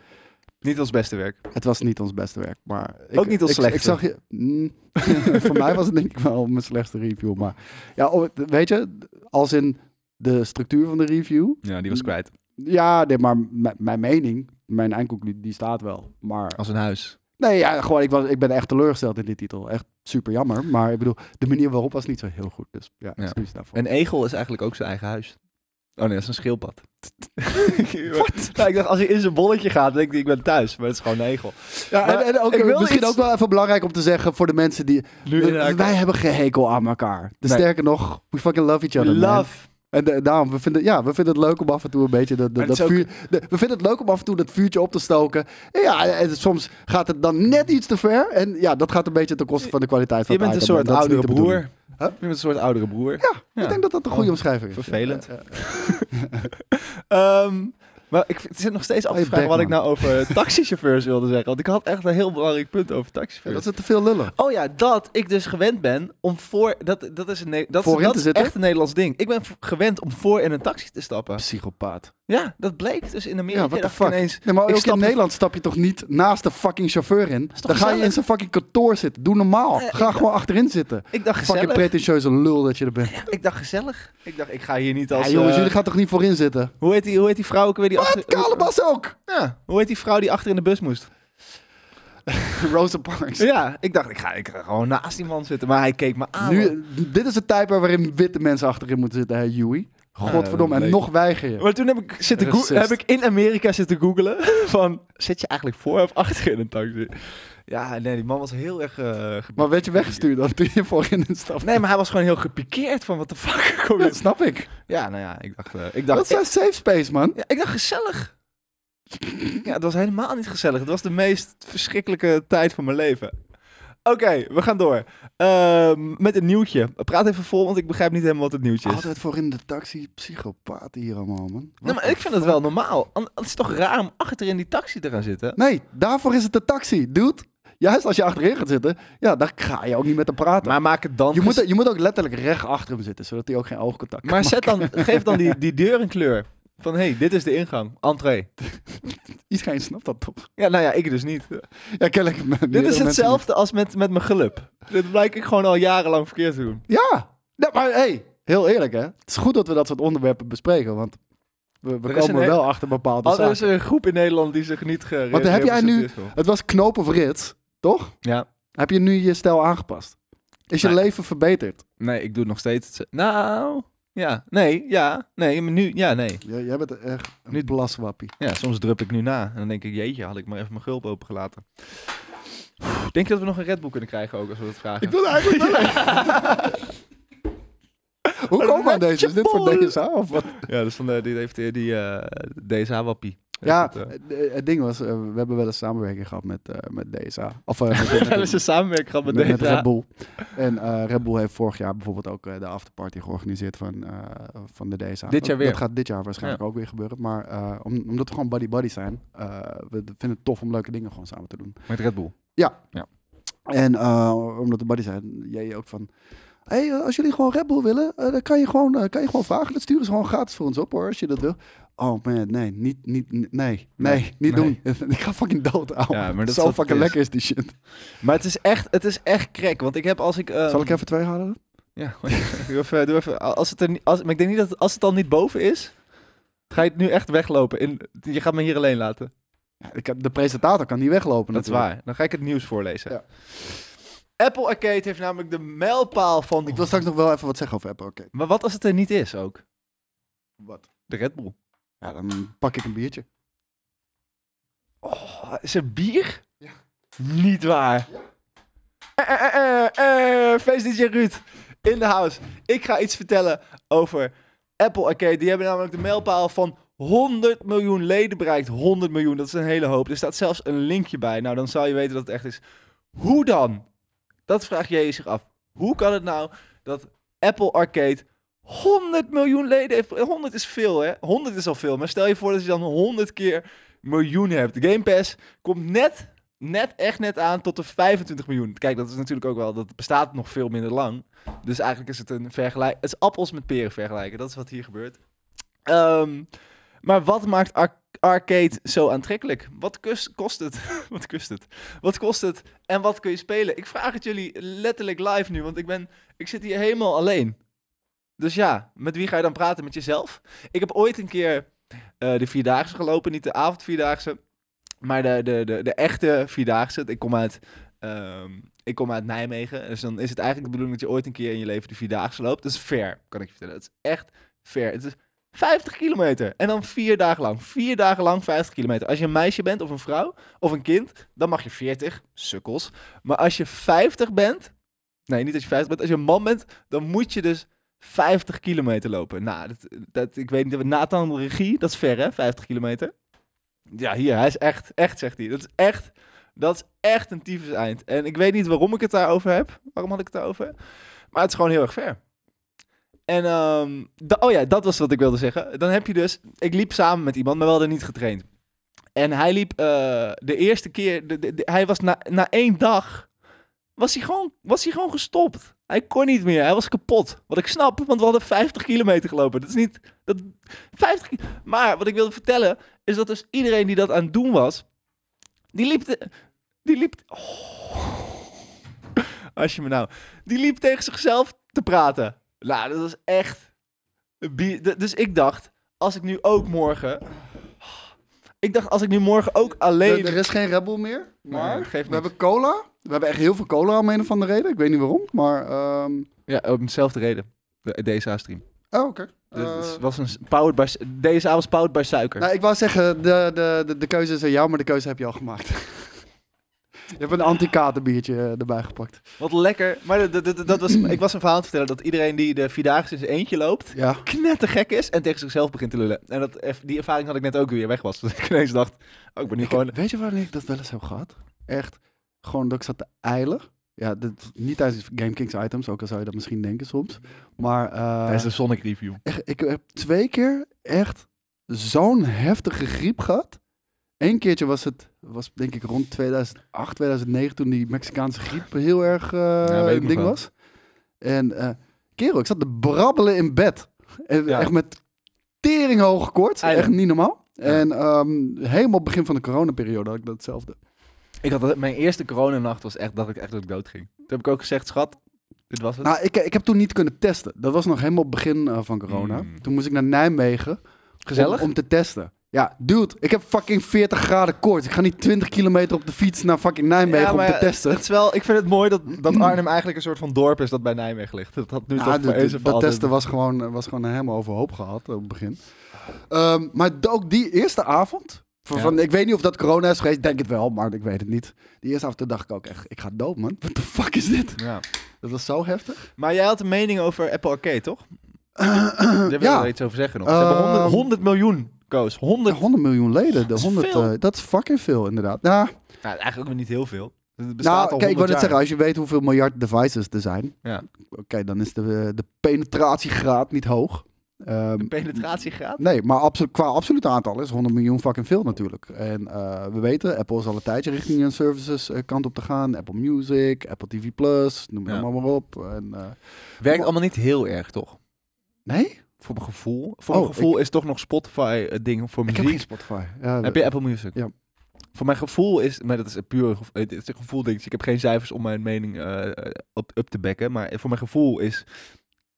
Speaker 1: Niet ons beste werk.
Speaker 2: het was niet ons beste werk. Maar ik,
Speaker 1: Ook niet ons
Speaker 2: ik-
Speaker 1: slechtste.
Speaker 2: Ik zag je... Mm. voor mij was het denk ik wel mijn slechtste review. Maar ja, oh, weet je, als in de structuur van de review.
Speaker 1: Ja, die was kwijt.
Speaker 2: Ja, nee, maar m- mijn mening, mijn eindconclusie, die staat wel. Maar
Speaker 1: Als een huis.
Speaker 2: nee, ja, gewoon, ik, was, ik ben echt teleurgesteld in dit titel. Echt super jammer. Maar ik bedoel, de manier waarop was niet zo heel goed. Dus ja,
Speaker 1: Ja.
Speaker 2: excuus daarvoor.
Speaker 1: Een egel is eigenlijk ook zijn eigen huis. Oh nee, dat is een schildpad. Wat? ik dacht, als hij in zijn bolletje gaat, denk ik, ik ben thuis. Maar het is gewoon een egel.
Speaker 2: Ja,
Speaker 1: Maar
Speaker 2: en, en ook, eh,
Speaker 1: ik wil
Speaker 2: misschien
Speaker 1: iets-
Speaker 2: ook wel even belangrijk om te zeggen voor de mensen die...
Speaker 1: Nu
Speaker 2: wij hebben geen hekel aan elkaar. Dus
Speaker 1: Nee.
Speaker 2: Sterker nog, we fucking love each other, man.
Speaker 1: Love.
Speaker 2: En da- daarom, we vinden, ja, we vinden het leuk om af en toe een beetje dat, dat,
Speaker 1: Maar het
Speaker 2: dat
Speaker 1: is
Speaker 2: vuur... de- we vinden het leuk om af en toe dat vuurtje op te stoken. En ja, en soms gaat het dan net iets te ver. En ja, dat gaat een beetje ten koste van de kwaliteit van
Speaker 1: Je bent een
Speaker 2: het item.
Speaker 1: soort
Speaker 2: En dat is
Speaker 1: oudere
Speaker 2: niet de
Speaker 1: broer.
Speaker 2: bedoeling.
Speaker 1: Je bent een soort oudere broer. Oh,
Speaker 2: Ik denk dat dat een goede omschrijving is.
Speaker 1: Vervelend.
Speaker 2: Ja, ja, ja.
Speaker 1: Ehm, maar ik zit nog steeds af
Speaker 2: Oh,
Speaker 1: te
Speaker 2: je
Speaker 1: vragen
Speaker 2: bek,
Speaker 1: wat ik
Speaker 2: man.
Speaker 1: nou over taxichauffeurs wilde zeggen. Want ik had echt een heel belangrijk punt over
Speaker 2: Ja,
Speaker 1: taxichauffeurs.
Speaker 2: dat ze te veel lullen.
Speaker 1: Oh ja, dat ik dus gewend ben om voor. Dat, dat is, een, Ne- dat, is-
Speaker 2: Voorin
Speaker 1: dat
Speaker 2: te
Speaker 1: is
Speaker 2: zitten?
Speaker 1: echt een Nederlands ding. Ik ben v- gewend om voor in een taxi te stappen.
Speaker 2: Psychopaat.
Speaker 1: Ja, dat bleek dus in Amerika.
Speaker 2: Ja, wat de
Speaker 1: dat ik
Speaker 2: fuck. Nou,
Speaker 1: ineens-
Speaker 2: Nee, maar
Speaker 1: ik
Speaker 2: ook
Speaker 1: stap
Speaker 2: in
Speaker 1: de-
Speaker 2: Nederland stap je toch niet naast de fucking chauffeur in?
Speaker 1: is toch
Speaker 2: Dan ga je
Speaker 1: gezellig?
Speaker 2: in zijn fucking kantoor zitten. Doe normaal.
Speaker 1: Eh,
Speaker 2: Ga gewoon achterin zitten.
Speaker 1: Ik dacht
Speaker 2: Fucking
Speaker 1: gezellig.
Speaker 2: pretentieuze lul dat je er bent.
Speaker 1: Ja, ik dacht gezellig. Ik dacht, ik ga hier niet als.
Speaker 2: Ja, jongens,
Speaker 1: eh,
Speaker 2: jullie gaan toch niet voorin zitten?
Speaker 1: hoe,
Speaker 2: eh,
Speaker 1: heet die, hoe heet die vrouw ook weer die achter.
Speaker 2: Wat? Kalebas ook!
Speaker 1: Ja, hoe heet die vrouw die achter in de bus moest?
Speaker 2: Rosa Parks.
Speaker 1: Ja, ik dacht, ik ga, ik ga gewoon naast die man zitten. Maar hij keek me
Speaker 2: Ah,
Speaker 1: aan. man.
Speaker 2: Nu, dit is het type waarin witte mensen achterin moeten zitten, hè, Joey? Godverdomme, en
Speaker 1: leuk.
Speaker 2: nog weiger je.
Speaker 1: Maar toen heb ik, zitten goo-
Speaker 2: Racist.
Speaker 1: heb ik in Amerika zitten googelen van... Zit je eigenlijk voor of achter in een taxi? Ja, nee, die man was heel erg... eh, ge-
Speaker 2: Maar werd je weggestuurd dan toen je voor in een staf?
Speaker 1: nee, maar hij was gewoon heel gepikeerd van... Wat de fuck kom
Speaker 2: dat
Speaker 1: je...
Speaker 2: snap ik.
Speaker 1: Ja, nou ja, ik dacht... eh, ik
Speaker 2: Dat
Speaker 1: dacht
Speaker 2: is een safe space, man.
Speaker 1: Ja, ik dacht gezellig. Ja, het was helemaal niet gezellig. Het was de meest verschrikkelijke tijd van mijn leven. Oké, we gaan door. Ehm, met een nieuwtje. Praat even vol, want ik begrijp niet helemaal Oh, wat het nieuwtje is.
Speaker 2: Altijd voor in de taxi, psychopaat hier allemaal, man. Nou,
Speaker 1: Nee, maar ik vind het wel normaal. An- Het is toch raar om achter in die taxi te gaan zitten?
Speaker 2: Nee, daarvoor is het de taxi, dude. Juist als je achterin gaat zitten, ja, dan ga je ook niet met hem praten.
Speaker 1: Maar maak het dan...
Speaker 2: je,
Speaker 1: gez-
Speaker 2: moet, je moet ook letterlijk recht achter hem zitten, zodat hij ook geen oogcontact
Speaker 1: Maar
Speaker 2: kan
Speaker 1: zet dan, geef dan die, die deur een kleur. Van, hé, hey, dit is de ingang. Entree.
Speaker 2: maken. Iedereen snapt dat toch?
Speaker 1: Ja, nou ja, ik dus niet.
Speaker 2: Ja, kennelijk.
Speaker 1: Dit is hetzelfde als met, met mijn geluk. Dit blijk ik gewoon al jarenlang verkeerd te doen.
Speaker 2: Ja, nee, maar hey, heel eerlijk hè. Het is goed dat we dat soort onderwerpen bespreken, want we, we
Speaker 1: Er is
Speaker 2: komen
Speaker 1: een he-
Speaker 2: wel achter bepaalde
Speaker 1: Al er
Speaker 2: zaken.
Speaker 1: is een groep in Nederland die zich niet gere-
Speaker 2: Want heb jij nu-
Speaker 1: gerepresenteerd voelt.
Speaker 2: Het was knoop of rits, toch?
Speaker 1: Ja.
Speaker 2: Heb je nu je stijl aangepast? Is je
Speaker 1: Nee.
Speaker 2: leven verbeterd?
Speaker 1: Nee, ik doe nog steeds hetze- Nou, ja. Nee, ja. Nee, maar nu... Ja, nee.
Speaker 2: J- jij bent echt een
Speaker 1: Nu-
Speaker 2: blaswappie.
Speaker 1: Ja, soms drup ik nu na. En dan denk ik, jeetje, had ik maar even mijn gulp opengelaten. Oeh, Denk je dat we nog een Red Bull kunnen krijgen ook, als we dat vragen?
Speaker 2: wil eigenlijk wel. Hoe komen we aan deze? Is dit voor
Speaker 1: Redje
Speaker 2: DSA of wat?
Speaker 1: Ja, dus van de, die heeft die, die eh, DSH-wappie.
Speaker 2: Ja,
Speaker 1: Dat, eh,
Speaker 2: eh, het ding was, eh, we hebben wel eens samenwerking gehad met, eh, met DSA. Of eh, met-
Speaker 1: Wel eens een samenwerking gehad met,
Speaker 2: met, met
Speaker 1: DSH.
Speaker 2: Red Bull. En eh, Red Bull heeft vorig jaar bijvoorbeeld ook eh, de afterparty georganiseerd van, eh, van de DSA.
Speaker 1: Dit jaar
Speaker 2: Dat-
Speaker 1: weer?
Speaker 2: Dat gaat dit jaar waarschijnlijk ook weer gebeuren. Maar eh, om- omdat we gewoon buddy-buddy zijn, eh, we vinden het tof om leuke dingen gewoon samen te doen.
Speaker 1: Met Red Bull.
Speaker 2: En eh, omdat we buddy zijn, jij ook van... hey, eh, als jullie gewoon Red Bull willen, eh, dan kan je, gewoon, eh, kan je gewoon vragen. Dat sturen ze gewoon gratis voor ons op hoor, als je dat wil. Oh man, nee, niet, niet, nee, nee,
Speaker 1: Nee.
Speaker 2: niet
Speaker 1: Nee.
Speaker 2: doen. Ik ga fucking dood, ouwe.
Speaker 1: Ja, maar dat is
Speaker 2: Zo
Speaker 1: wat het
Speaker 2: fucking
Speaker 1: is. Ehm,
Speaker 2: lekker is die shit.
Speaker 1: Maar het is echt, het is echt crack. Want ik heb als ik... eh,
Speaker 2: Zal ik even twee halen?
Speaker 1: Ja, doe even, doe even. Als het er niet, als, maar ik denk niet dat het- als het al niet boven is, ga je het nu echt weglopen. In, je gaat me hier alleen laten.
Speaker 2: Ja, ik, de presentator kan niet weglopen
Speaker 1: Dat is
Speaker 2: natuurlijk.
Speaker 1: waar. Dan ga ik het nieuws voorlezen.
Speaker 2: Ja.
Speaker 1: Apple Arcade heeft namelijk de mijlpaal van.
Speaker 2: Ik wil straks nog wel even wat zeggen over Apple Arcade.
Speaker 1: Maar wat als het er niet is ook?
Speaker 2: Wat?
Speaker 1: De Red Bull.
Speaker 2: Ja, dan pak ik een biertje.
Speaker 1: Oh, is er bier? Niet waar. Eh, eh, eh, eh, eh, Feest DJ Ruud in de house. Ik ga iets vertellen over Apple Arcade. Die hebben namelijk de mijlpaal van 100 miljoen leden bereikt. 100 miljoen, dat is een hele hoop. Er staat zelfs een linkje bij. Nou, dan zou je weten dat het echt is. Hoe dan? Dat vraagt jij je zich af. Hoe kan het nou dat Apple Arcade 100 miljoen leden heeft? 100 is veel, hè? 100 is al veel. Maar stel je voor dat je dan 100 keer miljoen hebt. Game Pass komt net, net, echt net aan tot de 25 miljoen. Kijk, dat is natuurlijk ook wel, dat bestaat nog veel minder lang. Dus eigenlijk is het een vergelijk. Het is appels met peren vergelijken. Dat is wat hier gebeurt. Ehm, maar wat maakt ar- arcade zo aantrekkelijk? Wat kus- kost het? wat kost het? Wat kost het? En wat kun je spelen? Ik vraag het jullie letterlijk live nu, want ik ben, ik zit hier helemaal alleen. Dus ja, met wie ga je dan praten? Met jezelf? Ik heb ooit een keer eh, de vierdaagse gelopen. Niet de avondvierdaagse, maar de, de, de, de echte vierdaagse. Ik kom uit, ehm, ik kom uit Nijmegen. Dus dan is het eigenlijk de bedoeling dat je ooit een keer in je leven de vierdaagse loopt. Dat is ver, kan ik je vertellen. Dat is echt ver. Het is 50 kilometer en dan vier dagen lang. Vier dagen lang 50 kilometer. Als je een meisje bent of een vrouw of een kind, dan mag je 40, sukkels. Maar als je 50 bent, nee, niet als je 50 bent, als je een man bent, dan moet je dus 50 kilometer lopen. Nou, dat, dat, ik weet niet, Nathan Regie, dat is ver hè, 50 kilometer. Ja, hier, hij is echt, echt zegt hij. Dat is echt, dat is echt een tyfus eind. En ik weet niet waarom ik het daarover heb. Waarom had ik het daarover? Maar het is gewoon heel erg ver. En, ehm, da- oh ja, dat was wat ik wilde zeggen. Dan heb je dus, ik liep samen met iemand, maar wel er niet getraind. En hij liep eh, de eerste keer, de- de- de- hij was na, na één dag, was hij, gewoon, was hij gewoon gestopt. Hij kon niet meer, hij was kapot. Wat ik snap, want we hadden 50 kilometer gelopen. Dat is niet, dat, 50, ki- maar wat ik wilde vertellen, is dat dus iedereen die dat aan het doen was, die liep, te- die liep, oh. als je me nou, die liep tegen zichzelf te praten. Nou, dat was echt, bi- d- dus ik dacht, als ik nu ook morgen Ik dacht, als ik nu morgen ook alleen...
Speaker 2: Er, er is geen Rebel meer, maar
Speaker 1: Nee, geeft
Speaker 2: we
Speaker 1: niks.
Speaker 2: hebben cola. We hebben echt heel veel cola om een of andere reden. Ik weet niet waarom, maar... ehm,
Speaker 1: Ja, om dezelfde reden. De DSA-stream.
Speaker 2: Oh, oké. Eh,
Speaker 1: Dus het was een s- powered by... s- DSA was powered by suiker.
Speaker 2: nou, ik wou zeggen, de, de, de, de keuze is aan jou, maar de keuze heb je al gemaakt. je hebt een anti-katerbiertje eh, erbij gepakt.
Speaker 1: Wat lekker. Maar dat, dat, dat, dat was, ik was een verhaal te vertellen dat iedereen die de Vierdaagse in zijn eentje loopt...
Speaker 2: Ja.
Speaker 1: knettergek is en tegen zichzelf begint te lullen. En dat, eff- die ervaring had ik net ook weer weg was. Dat ik ineens dacht, oh, ik ben nu gewoon...
Speaker 2: Weet je waarom ik dat wel eens heb gehad? Echt, gewoon dat ik zat te eilen. Ja, dit, niet tijdens Game Kings items, ook al zou je dat misschien denken soms. Maar eh,
Speaker 1: Tijdens de Sonic review.
Speaker 2: echt, ik heb twee keer echt zo'n heftige griep gehad. Eén keertje was het, was denk ik rond 2008, 2009, toen die Mexicaanse griep heel erg eh,
Speaker 1: weet ik
Speaker 2: een
Speaker 1: nog
Speaker 2: ding
Speaker 1: wel.
Speaker 2: was. En eh kerel, ik zat te brabbelen in bed. En
Speaker 1: Ja.
Speaker 2: Echt met teringhoge koorts,
Speaker 1: Eilen.
Speaker 2: echt niet normaal.
Speaker 1: Ja.
Speaker 2: En ehm, helemaal begin van de coronaperiode had ik dat hetzelfde.
Speaker 1: Ik had, dat- mijn eerste coronanacht was echt dat ik echt ook dood ging. Toen heb ik ook gezegd, schat, dit was het.
Speaker 2: Nou, ik, ik heb toen niet kunnen testen. Dat was nog helemaal begin eh, van corona.
Speaker 1: Mm.
Speaker 2: Toen moest ik naar Nijmegen.
Speaker 1: Gezellig?
Speaker 2: Om, om te testen. Ja, dude, ik heb fucking 40 graden koorts. Ik ga niet 20 kilometer op de fiets naar fucking Nijmegen
Speaker 1: Ja, maar
Speaker 2: om te testen.
Speaker 1: Het is wel, ik vind het mooi dat, dat Arnhem eigenlijk een soort van dorp is dat bij Nijmegen ligt. Dat had nu
Speaker 2: Ja,
Speaker 1: toch
Speaker 2: dude,
Speaker 1: voor eens en voor
Speaker 2: Nou, dat
Speaker 1: altijd-
Speaker 2: testen was gewoon, was gewoon helemaal overhoop gehad eh, op het begin. Ehm, maar ook die eerste avond. Van,
Speaker 1: Ja.
Speaker 2: van- ik weet niet of dat corona is geweest. Denk het wel, maar ik weet het niet. Die eerste avond toen dacht ik ook echt, ik ga dood, man. What the fuck is dit?
Speaker 1: Ja.
Speaker 2: Dat was zo heftig.
Speaker 1: Maar jij had een mening over Apple Arcade, toch? Daar wil je
Speaker 2: ja.
Speaker 1: wel iets over zeggen nog. Ze hebben 100,
Speaker 2: Ehm,
Speaker 1: 100 miljoen, Koos. 100.
Speaker 2: 100 miljoen leden. De
Speaker 1: is
Speaker 2: 100,
Speaker 1: veel.
Speaker 2: eh, dat is fucking veel, inderdaad. Nou,
Speaker 1: Nou, eigenlijk ook weer niet heel veel. Het bestaat
Speaker 2: nou
Speaker 1: al
Speaker 2: kijk, ik wil
Speaker 1: 100
Speaker 2: net zeggen,
Speaker 1: jaar.
Speaker 2: als je weet hoeveel miljard devices er zijn,
Speaker 1: Ja.
Speaker 2: oké, dan is de, eh, de penetratiegraad niet hoog. Ehm,
Speaker 1: De penetratiegraad?
Speaker 2: nee, maar absolu- qua absoluut aantal is 100 miljoen fucking veel natuurlijk. En eh, we weten, Apple is al een tijdje richting een services eh, kant op te gaan. Apple Music, Apple TV+, noem het
Speaker 1: Ja.
Speaker 2: allemaal maar op. En, eh,
Speaker 1: Werkt allemaal niet heel erg, toch?
Speaker 2: nee?
Speaker 1: Voor mijn gevoel. Voor
Speaker 2: Oh,
Speaker 1: mijn gevoel is toch nog Spotify het ding voor
Speaker 2: Ik
Speaker 1: muziek.
Speaker 2: heb geen Spotify. Ja,
Speaker 1: Heb je Apple Music?
Speaker 2: Ja.
Speaker 1: Voor mijn gevoel is, maar dat is een puur gevo- het is een gevoel ding. dus ik heb geen cijfers om mijn mening eh, op, up te bekken. Maar voor mijn gevoel is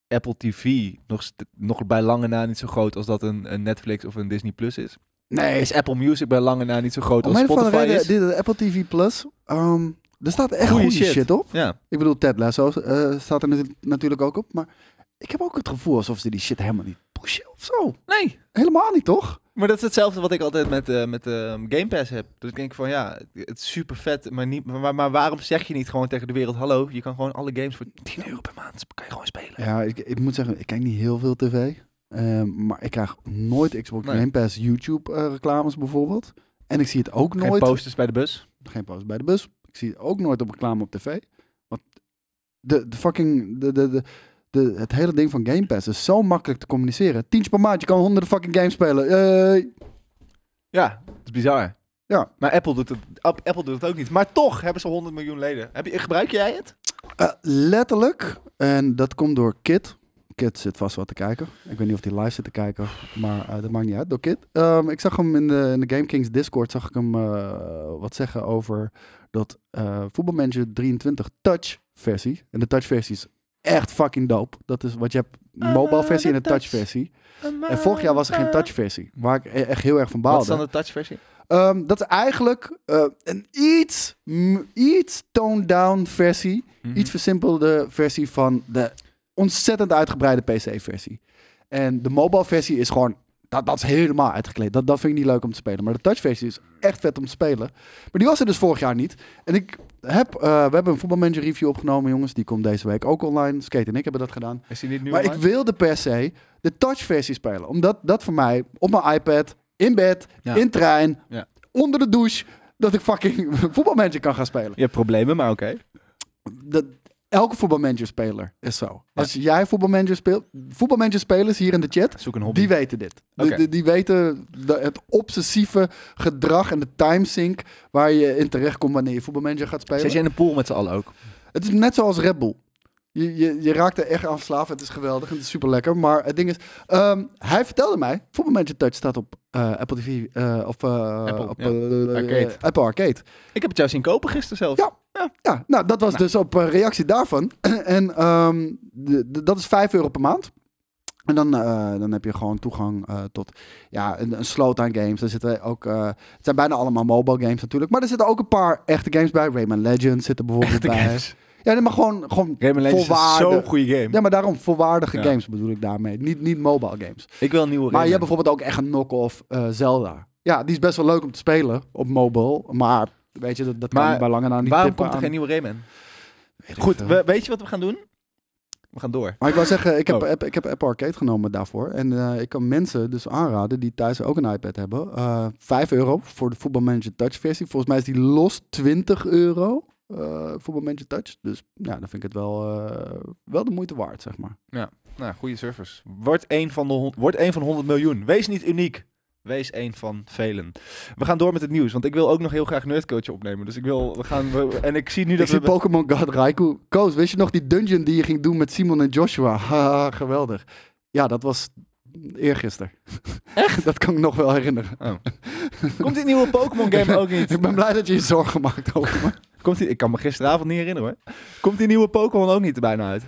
Speaker 1: Apple TV nog, st- nog bij lange na niet zo groot als dat een, een Netflix of een Disney Plus is.
Speaker 2: Nee,
Speaker 1: Is Apple Music bij lange na niet zo groot
Speaker 2: om
Speaker 1: als
Speaker 2: een of andere
Speaker 1: Spotify
Speaker 2: reden,
Speaker 1: is?
Speaker 2: dit, eh, Apple TV+, Plus, ehm, er staat echt
Speaker 1: Goeie
Speaker 2: goede
Speaker 1: shit.
Speaker 2: shit op.
Speaker 1: Ja,
Speaker 2: Ik bedoel, Ted Lasso eh, staat er natu- natuurlijk ook op. Maar ik heb ook het gevoel alsof ze die shit helemaal niet pushen of zo.
Speaker 1: nee.
Speaker 2: Helemaal niet, toch?
Speaker 1: Maar dat is hetzelfde wat ik altijd met, eh, met eh, Game Pass heb. Dus ik denk van ja, het is super vet, maar, niet, maar, maar waarom zeg je niet gewoon tegen de wereld, hallo, je kan gewoon alle games voor 10 euro per maand, kan je gewoon spelen.
Speaker 2: Ja, ik, ik moet zeggen, ik kijk niet heel veel tv. eh, maar ik krijg nooit Xbox
Speaker 1: Nee.
Speaker 2: Game Pass YouTube eh, reclames bijvoorbeeld. En ik zie het ook
Speaker 1: Geen
Speaker 2: nooit...
Speaker 1: posters bij de bus.
Speaker 2: Geen post bij de bus. Ik zie het ook nooit op reclame op tv. Want de, de fucking... De, de, de, de, het hele ding van Game Pass is zo makkelijk te communiceren. Tientje per maand, je kan honderden fucking games spelen. Yay.
Speaker 1: Ja, dat is bizar.
Speaker 2: Ja.
Speaker 1: Maar Apple doet, het, App- Apple doet het ook niet. Maar toch hebben ze 100 miljoen leden. Heb je, gebruik jij het?
Speaker 2: Eh, letterlijk. En dat komt door Kit. Kit zit vast wat te kijken. Ik weet niet of hij live zit te kijken, maar eh, dat maakt niet uit. Door Kit. Ehm, ik zag hem in de, in de Game Kings Discord, zag ik hem eh, wat zeggen over dat eh voetbalmanager 23 touch versie. En de touch versie is echt fucking dope. Dat is wat je hebt, mobile versie en een touch versie. En vorig jaar was er
Speaker 1: Eh.
Speaker 2: geen touch versie, waar ik e- echt heel erg van
Speaker 1: Wat is
Speaker 2: baalde.
Speaker 1: dan de touchversie?
Speaker 2: Ehm, dat is eigenlijk eh, een iets, mm, iets toned down versie iets versimpelde versie van de ontzettend uitgebreide PC-versie. En de mobile versie is gewoon. Dat, dat is helemaal uitgekleed. Dat, dat vind ik niet leuk om te spelen. Maar de touch-versie is echt vet om te spelen. Maar die was er dus vorig jaar niet. En ik heb, eh, we hebben een voetbalmanager review opgenomen, jongens. Die komt deze week ook online. Skate en ik hebben dat gedaan.
Speaker 1: Is die niet nu
Speaker 2: maar ik
Speaker 1: online?
Speaker 2: wilde per se de touch-versie spelen. Omdat dat voor mij op mijn iPad, in bed,
Speaker 1: Ja.
Speaker 2: in trein,
Speaker 1: Ja.
Speaker 2: onder de douche. Dat ik fucking voetbalmanager kan gaan spelen
Speaker 1: Je hebt problemen, maar oké.
Speaker 2: dat elke voetbalmanager-speler is zo. Als jij voetbalmanager speelt, voetbalmanager-spelers hier in de chat,
Speaker 1: Zoek een hobby.
Speaker 2: die weten dit. Die-
Speaker 1: Oké.
Speaker 2: Die, die weten de- het obsessieve gedrag en de timesync waar je in terecht komt wanneer je voetbalmanager gaat spelen.
Speaker 1: Zit je in een pool met z'n allen ook?
Speaker 2: Het is net zoals Red Bull. Je, je, je raakt er echt aan verslaafd. Het is geweldig. en Het is super lekker. Maar het ding is, ehm, hij vertelde mij, voetbalmanager touch staat op eh, Apple TV eh, of eh,
Speaker 1: Apple,
Speaker 2: op,
Speaker 1: ja.
Speaker 2: eh,
Speaker 1: Arcade.
Speaker 2: Apple Arcade.
Speaker 1: Ik heb het jou zien kopen gisteren zelf.
Speaker 2: Ja. Ja, nou, dat was
Speaker 1: Nou.
Speaker 2: dus op eh, reactie daarvan. en ehm, de, de- dat is 5 euro per maand. En dan, eh, dan heb je gewoon toegang eh, tot ja, een, een sloot aan games. Er zitten ook, eh, het zijn bijna allemaal mobile games natuurlijk. Maar er zitten ook een paar echte games bij. Rayman Legends zit er bijvoorbeeld bij. Ja, nee, maar gewoon, gewoon
Speaker 1: Rayman Legends is
Speaker 2: volwaardig.
Speaker 1: zo'n goede game.
Speaker 2: Ja, maar daarom volwaardige
Speaker 1: Ja.
Speaker 2: games bedoel ik daarmee. Niet, niet mobile games.
Speaker 1: Ik wil een nieuwe
Speaker 2: Maar je hebt
Speaker 1: Rayman.
Speaker 2: bijvoorbeeld ook echt een knock-off eh, Zelda. Ja, die is best wel leuk om te spelen op mobile. Maar weet je, dat, dat kan
Speaker 1: Maar
Speaker 2: ik bij lange na niet
Speaker 1: Waarom
Speaker 2: tippen
Speaker 1: komt er
Speaker 2: aan-
Speaker 1: geen nieuwe Rayman?
Speaker 2: Weet ik
Speaker 1: Goed,
Speaker 2: veel.
Speaker 1: we- weet je wat we gaan doen? We gaan door.
Speaker 2: Maar ik wil zeggen, ik heb,
Speaker 1: Oh.
Speaker 2: app, ik heb Apple Arcade genomen daarvoor. En eh, ik kan mensen dus aanraden die thuis ook een iPad hebben. eh 5 euro voor de Football Manager Touch versie. Volgens mij is die los 20 euro. eh Football Manager Touch. Dus ja, dan vind ik het wel, eh, wel de moeite waard, zeg maar.
Speaker 1: Nou, goede service. Word één van de hon- word één van 100 miljoen. Wees niet uniek. Wees één van velen. We gaan door met het nieuws, want ik wil ook nog heel graag Nerdcoach opnemen. Dus ik wil, we gaan, we- en ik zie nu
Speaker 2: Ik
Speaker 1: dat
Speaker 2: zie
Speaker 1: we...
Speaker 2: Pokémon God Raikou. Koos, wist je nog die dungeon die je ging doen met Simon en Joshua? Haha, geweldig. Ja, dat was eergisteren. Echt? Dat kan ik nog wel herinneren.
Speaker 1: Komt die nieuwe Pokémon game ook niet?
Speaker 2: Ik ben blij dat je je zorgen maakt over me.
Speaker 1: Komt die, ik kan me gisteravond niet herinneren hoor. Komt die nieuwe Pokémon ook niet er bijna uit?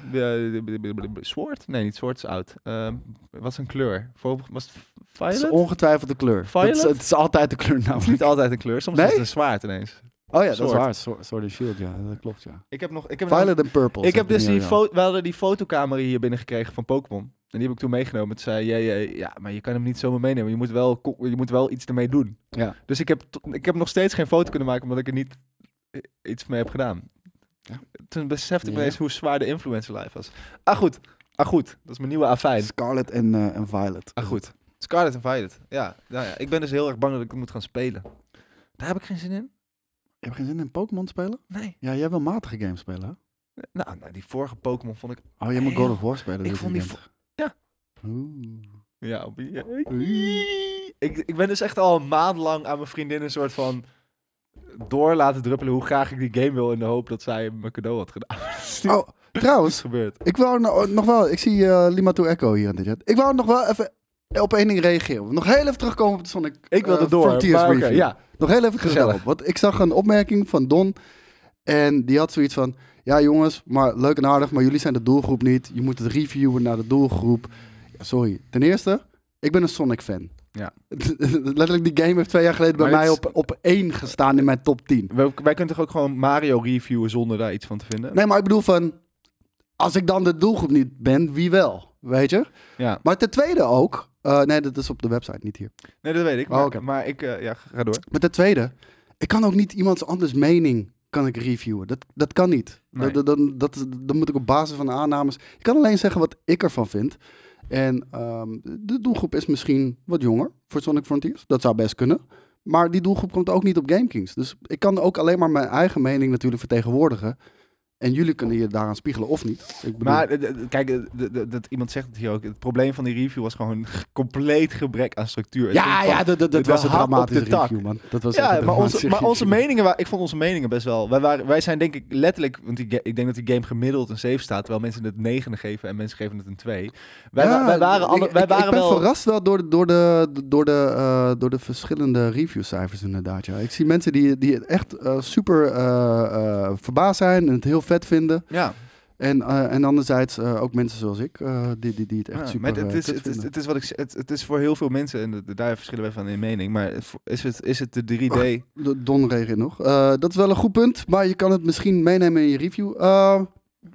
Speaker 1: Eh, Sword? Nee, niet Sword is oud. Eh, wat is een kleur? Voor, was het
Speaker 2: Het is
Speaker 1: violet?
Speaker 2: ongetwijfeld de kleur. Dat is-
Speaker 1: Violet?
Speaker 2: het is altijd de kleur
Speaker 1: Het is
Speaker 2: namelijk.
Speaker 1: niet altijd een kleur, soms
Speaker 2: Nee?
Speaker 1: is het een zwaard ineens.
Speaker 2: Oh ja, dat
Speaker 1: Sword.
Speaker 2: is waar. Sword Sword and Shield, ja. Dat klopt, ja.
Speaker 1: Ik heb nog... Ik heb nog-
Speaker 2: Violet en Purple.
Speaker 1: Ik heb
Speaker 2: zegt
Speaker 1: dus
Speaker 2: de
Speaker 1: die,
Speaker 2: nieuwe, ja.
Speaker 1: fo- we hadden die fotocamera hier binnen gekregen van Pokémon. En die heb ik toen meegenomen. Toen zei jij, eh, ja, maar je kan hem niet zomaar meenemen. Je moet wel, ko- je moet wel iets ermee doen.
Speaker 2: Ja.
Speaker 1: Dus ik heb, to- ik heb nog steeds geen foto kunnen maken, omdat ik er niet eh, iets mee heb gedaan.
Speaker 2: Ja.
Speaker 1: Toen besefte ik
Speaker 2: Ja.
Speaker 1: me eens hoe zwaar de influencer live was. Ah goed, ah goed. Dat is mijn nieuwe A5.
Speaker 2: Scarlet en, eh, en Violet.
Speaker 1: Ah goed. Scarlet en Violet. Ja, nou ja, ik ben dus heel erg bang dat ik het moet gaan spelen. Daar heb ik geen zin in.
Speaker 2: Je hebt geen zin in Pokémon spelen?
Speaker 1: Nee.
Speaker 2: Ja, jij wil matige games spelen, hè?
Speaker 1: Nou, nou die vorige Pokémon vond ik...
Speaker 2: Oh, jij moet
Speaker 1: Heel-
Speaker 2: God of War spelen.
Speaker 1: ik
Speaker 2: dit
Speaker 1: vond die
Speaker 2: weekend.
Speaker 1: ja.
Speaker 2: Oeh.
Speaker 1: Ja, op- ik, ik ben dus echt al een maand lang aan mijn vriendin een soort van door laten druppelen hoe graag ik die game wil in de hoop dat zij me cadeau had gedaan. Dat is niet
Speaker 2: Oh, trouwens,
Speaker 1: gebeurd.
Speaker 2: Ik wou no- nog wel, ik zie eh Lima to Echo hier in de chat. Ik wou nog wel even op één ding reageren. Nog heel even terugkomen op de Sonic
Speaker 1: Ik wilde
Speaker 2: eh,
Speaker 1: door,
Speaker 2: Frontiers
Speaker 1: maar oké,
Speaker 2: review.
Speaker 1: ja.
Speaker 2: Nog heel even gezellig.
Speaker 1: Gezellig.
Speaker 2: want ik zag een opmerking van Don en die had zoiets van... Ja jongens, maar leuk en aardig, maar jullie zijn de doelgroep niet. Je moet het reviewen naar de doelgroep. Ja, sorry. Ten eerste, ik ben een Sonic fan.
Speaker 1: Ja.
Speaker 2: Letterlijk, die game heeft twee jaar geleden bij
Speaker 1: Maar
Speaker 2: mij
Speaker 1: dit
Speaker 2: op, op één gestaan in mijn top 10.
Speaker 1: Wij, wij kunnen toch ook gewoon Mario reviewen zonder daar iets van te vinden?
Speaker 2: Nee, maar ik bedoel van... Als ik dan de doelgroep niet ben, wie wel? Weet je?
Speaker 1: Ja,
Speaker 2: Maar ten tweede ook... eh, nee, dat is op de website, niet hier.
Speaker 1: nee, dat weet ik.
Speaker 2: Oh,
Speaker 1: Maar,
Speaker 2: oké.
Speaker 1: maar ik, eh, ja, ga door.
Speaker 2: Maar ten tweede... Ik kan ook niet iemands anders mening kan ik reviewen. Dat, dat kan niet.
Speaker 1: Nee.
Speaker 2: Dat, dat, dat, dat- dan moet ik op basis van aannames... Ik kan alleen zeggen wat ik ervan vind. En ehm, de doelgroep is misschien wat jonger voor Sonic Frontiers. Dat zou best kunnen. Maar die doelgroep komt ook niet op GameKings. Dus ik kan ook alleen maar mijn eigen mening natuurlijk vertegenwoordigen. En jullie kunnen je daaraan spiegelen of niet. Ik bedoel-
Speaker 1: Maar eh, d- d- kijk, eh, d- d- dat iemand zegt het hier ook. Het probleem van die review was gewoon een compleet gebrek aan structuur. Het ging
Speaker 2: Ja,
Speaker 1: van-
Speaker 2: ja, dat, dat, dat
Speaker 1: de
Speaker 2: was een
Speaker 1: hap op de
Speaker 2: dramatische
Speaker 1: tak.
Speaker 2: review, man. Dat was echt
Speaker 1: Ja,
Speaker 2: een
Speaker 1: maar onze,
Speaker 2: dramatische
Speaker 1: maar onze
Speaker 2: review.
Speaker 1: meningen, wa- ik vond onze meningen best wel. Wij, waren, wij zijn denk ik letterlijk, want die, ga- ik denk dat die game gemiddeld een 7 staat, terwijl mensen het 9 geven en mensen geven het een 2. Wij, wa-
Speaker 2: Ja,
Speaker 1: wij waren, alle,
Speaker 2: ik,
Speaker 1: wij
Speaker 2: ik-
Speaker 1: waren
Speaker 2: ik ben
Speaker 1: wel.
Speaker 2: verrast wel door de, door de, door de, eh, door de verschillende reviewcijfers inderdaad, ja. Ik zie mensen die, die het echt eh, super eh, eh, verbaasd zijn en het heel vet vinden.
Speaker 1: Ja,
Speaker 2: En, eh, en anderzijds eh, ook mensen zoals ik, eh, die, die, die het echt
Speaker 1: ja,
Speaker 2: super
Speaker 1: maar het,
Speaker 2: eh,
Speaker 1: is,
Speaker 2: kut
Speaker 1: het, is,
Speaker 2: vinden.
Speaker 1: het is wat ik z- het, het is voor heel veel mensen, en de- daar verschillen wij van in mening, maar het vo- is het, is het de
Speaker 2: Oh,
Speaker 1: 3D?
Speaker 2: De- Don reageert nog. Eh, dat is wel een goed punt, maar je kan het misschien meenemen in je review. Eh,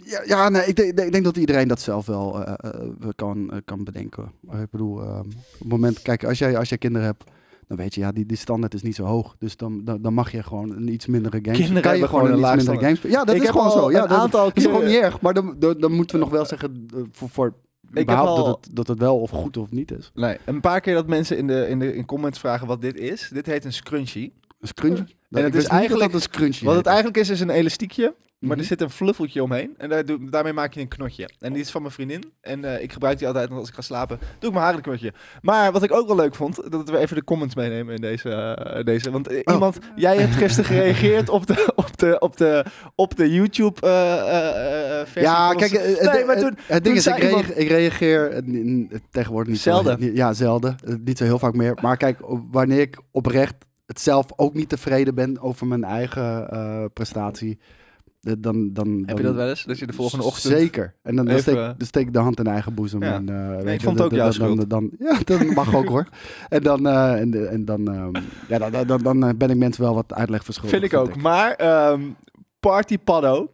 Speaker 2: ja, ja nee, ik, denk- ik denk dat iedereen dat zelf wel eh, eh, kan, eh, kan bedenken. Maar ik bedoel, eh, op het moment, kijk, als jij, als jij kinderen hebt, dan weet je, ja, die, die standaard is niet zo hoog. Dus dan, dan, dan mag je gewoon een iets mindere game
Speaker 1: Kinderen
Speaker 2: spelen. Kan je
Speaker 1: hebben gewoon een
Speaker 2: iets
Speaker 1: laag
Speaker 2: mindere
Speaker 1: standaard.
Speaker 2: game spelen. Ja, dat
Speaker 1: ik
Speaker 2: is
Speaker 1: heb
Speaker 2: gewoon
Speaker 1: al
Speaker 2: zo. Ja,
Speaker 1: een
Speaker 2: dat,
Speaker 1: aantal
Speaker 2: dat is gewoon
Speaker 1: keren-
Speaker 2: niet erg, maar dan, dan, dan moeten we nog wel zeggen eh, voor... voor
Speaker 1: heb
Speaker 2: überhaupt
Speaker 1: al-
Speaker 2: dat, het, dat het wel of goed of niet is.
Speaker 1: Nee, een paar keer dat mensen in de, in de in comments vragen wat dit is. Dit heet een scrunchie.
Speaker 2: Een scrunchie.
Speaker 1: het
Speaker 2: Ik
Speaker 1: is
Speaker 2: wist niet dat
Speaker 1: eigenlijk-
Speaker 2: dat een scrunchie
Speaker 1: Wat het
Speaker 2: heette.
Speaker 1: eigenlijk is, is een elastiekje. Maar
Speaker 2: Mhm.
Speaker 1: er zit een fluffeltje omheen. En daar doe- daarmee maak je een knotje. En die is van mijn vriendin. En eh, ik gebruik die altijd want als ik ga slapen. Doe ik mijn haar een knotje. Maar wat ik ook wel leuk vond, dat we even de comments meenemen in deze. eh, deze. Want eh,
Speaker 2: Oh.
Speaker 1: iemand, jij hebt gisteren gereageerd op de, op de, op de, op de YouTube eh, eh, eh, versie.
Speaker 2: Ja,
Speaker 1: van ons.
Speaker 2: kijk, eh, het,
Speaker 1: nee, maar
Speaker 2: het-
Speaker 1: toen,
Speaker 2: het ding is, ik,
Speaker 1: zei
Speaker 2: reage-
Speaker 1: iemand-
Speaker 2: ik reageer eh, n- n- tegenwoordig niet zo-
Speaker 1: Zelden.
Speaker 2: niet- ja, zelden. Eh, Niet zo heel vaak meer. Maar kijk, op- wanneer ik oprecht het zelf ook niet tevreden ben over mijn eigen eh, prestatie, Dan, dan, dan,
Speaker 1: Heb je dat wel eens? Dat je de volgende ochtend...
Speaker 2: Zeker. En dan, dan,
Speaker 1: even-
Speaker 2: steek, dan steek ik de hand in eigen boezem.
Speaker 1: Ja.
Speaker 2: En, eh, weet
Speaker 1: ik
Speaker 2: je,
Speaker 1: vond het
Speaker 2: dan-
Speaker 1: ook
Speaker 2: dan-
Speaker 1: jouw
Speaker 2: dan- dan- ja, dat mag ook hoor. En dan, eh, en, de- en dan, ehm, ja, dan, dan, dan, dan, eh, ben ik mensen wel wat uitleg verschuldigd.
Speaker 1: Vind ik ook. Maar ehm Party Paddo,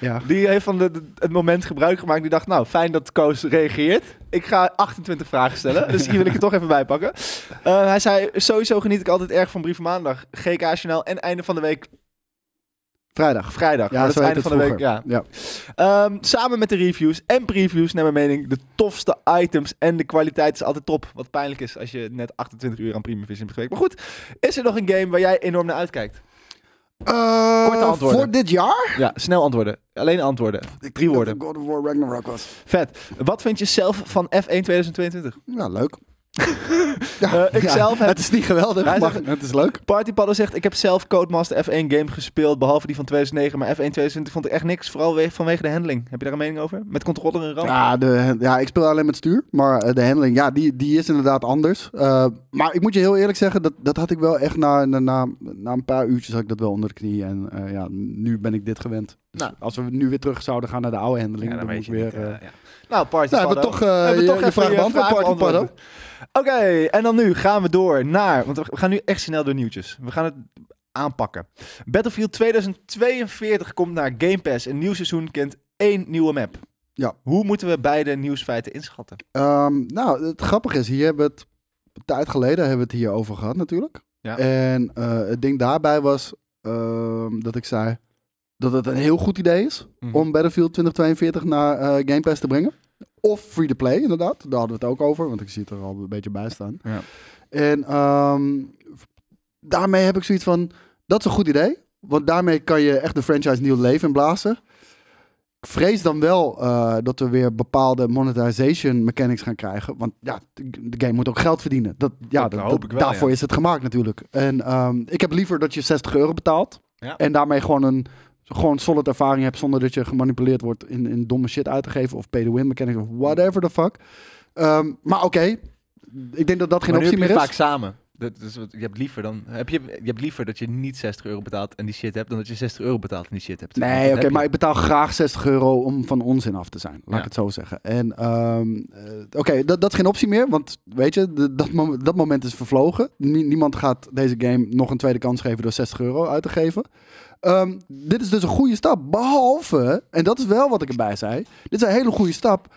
Speaker 2: Ja.
Speaker 1: die heeft van de- de- het moment gebruik gemaakt. Die dacht, nou, fijn dat Koos reageert. Ik ga 28 vragen stellen, dus die wil ik er toch even bij pakken. Eh, hij zei, sowieso geniet ik altijd erg van Brieven Maandag, GK Journaal en einde van de week
Speaker 2: Vrijdag.
Speaker 1: vrijdag.
Speaker 2: Ja,
Speaker 1: Maar
Speaker 2: zo
Speaker 1: dat is
Speaker 2: heet het
Speaker 1: einde van de week.
Speaker 2: vroeger.
Speaker 1: Ja. Ehm, samen met de reviews en previews, naar mijn mening, de tofste items en de kwaliteit is altijd top. Wat pijnlijk is als je net 28 uur aan Premium Vision hebt gewerkt. Maar goed, is er nog een game waar jij enorm naar uitkijkt?
Speaker 2: Eh,
Speaker 1: Korte antwoorden.
Speaker 2: Voor dit jaar?
Speaker 1: Ja, snel antwoorden. Alleen antwoorden.
Speaker 2: Ik
Speaker 1: Drie
Speaker 2: dacht
Speaker 1: woorden.
Speaker 2: dat God of War Ragnarok was.
Speaker 1: Vet. Wat vind je zelf van F1 2022?
Speaker 2: Ja, leuk.
Speaker 1: Eh, ik zelf heb-
Speaker 2: Het is niet geweldig,
Speaker 1: Hij
Speaker 2: maar
Speaker 1: zegt-
Speaker 2: het is leuk.
Speaker 1: Partypadden zegt, ik heb zelf Codemaster F1 game gespeeld, behalve die van 2009. Maar F1 2020 vond ik echt niks, vooral we- vanwege de handling. Heb je daar een mening over? Met controller en ramp?
Speaker 2: Ja, de, ja, ik speel alleen met stuur, maar eh, de handling, ja, die, die is inderdaad anders. Eh, maar ik moet je heel eerlijk zeggen, dat, dat had ik wel echt na, na, na, na een paar uurtjes had ik dat wel onder de knie. En eh, ja, nu ben ik dit gewend. Dus
Speaker 1: Nou.
Speaker 2: als we nu weer terug zouden gaan naar de oude handling,
Speaker 1: Ja,
Speaker 2: dan,
Speaker 1: dan
Speaker 2: moet
Speaker 1: weet
Speaker 2: ik
Speaker 1: je
Speaker 2: weer...
Speaker 1: niet,
Speaker 2: eh,
Speaker 1: eh, ja. Nou, Party
Speaker 2: Nou, hebben we toch, eh,
Speaker 1: Hebben we
Speaker 2: je-
Speaker 1: toch
Speaker 2: je
Speaker 1: even
Speaker 2: vraag
Speaker 1: je
Speaker 2: beantwoord,
Speaker 1: vraag
Speaker 2: Party Paddo?
Speaker 1: beantwoord. Oké, en dan nu gaan we door naar... Want we gaan nu echt snel door nieuwtjes. We gaan het aanpakken. Battlefield 2042 komt naar Game Pass. Een nieuw seizoen kent één nieuwe map.
Speaker 2: Ja.
Speaker 1: Hoe moeten we beide nieuwsfeiten inschatten?
Speaker 2: Ehm, nou, het grappige is, hier hebben we het een tijd geleden hebben we het hier over gehad natuurlijk.
Speaker 1: Ja.
Speaker 2: En eh, het ding daarbij was ehm, dat ik zei dat het een heel goed idee is
Speaker 1: Mhm.
Speaker 2: om Battlefield 2042 naar eh, Game Pass te brengen. Of free to play, inderdaad. Daar hadden we het ook over, want ik zie het er al een beetje bij staan.
Speaker 1: Ja.
Speaker 2: En ehm, daarmee heb ik zoiets van: dat is een goed idee. Want daarmee kan je echt de franchise nieuw leven in blazen. Ik vrees dan wel eh, dat we weer bepaalde monetization mechanics gaan krijgen. Want ja, de game moet ook geld verdienen. Dat, ja,
Speaker 1: Dat
Speaker 2: dat-
Speaker 1: hoop
Speaker 2: dat-
Speaker 1: ik wel,
Speaker 2: daarvoor
Speaker 1: ja.
Speaker 2: is het gemaakt natuurlijk. En ehm, ik heb liever dat je 60 euro betaalt.
Speaker 1: Ja.
Speaker 2: En daarmee gewoon een gewoon solid ervaring hebt zonder dat je gemanipuleerd wordt in, in domme shit uit te geven. Of pay to win mechanics of whatever the fuck. Ehm, maar oké, ik denk dat dat geen
Speaker 1: Maar nu
Speaker 2: optie
Speaker 1: heb
Speaker 2: meer
Speaker 1: je
Speaker 2: is.
Speaker 1: vaak samen. Dat is wat, je, hebt liever dan, heb je, je hebt liever dat je niet 60 euro betaalt en die shit hebt, dan dat je 60 euro betaalt en die shit hebt. Want
Speaker 2: Nee,
Speaker 1: dat
Speaker 2: oké,
Speaker 1: heb je.
Speaker 2: maar ik betaal graag 60 euro om van onzin af te zijn. Laat
Speaker 1: Ja.
Speaker 2: ik het zo zeggen. En ehm, eh, oké, dat, dat is geen optie meer, want weet je, de- dat, mom- dat moment is vervlogen. Nie- niemand gaat deze game nog een tweede kans geven door 60 euro uit te geven. Ehm, dit is dus een goede stap, behalve, en dat is wel wat ik erbij zei, dit is een hele goede stap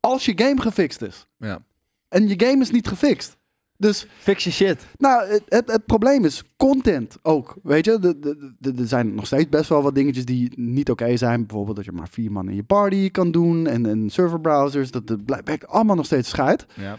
Speaker 2: als je game gefixt is.
Speaker 1: Ja.
Speaker 2: En je game is niet gefixt. Dus
Speaker 1: Fix je shit.
Speaker 2: nou, het, het, het probleem is content ook. Weet je, De- de- de- er zijn nog steeds best wel wat dingetjes die niet oké zijn. Bijvoorbeeld dat je maar vier man in je party kan doen. En, en serverbrowsers. Dat, dat blijkt werkt allemaal nog steeds scheid.
Speaker 1: Ja.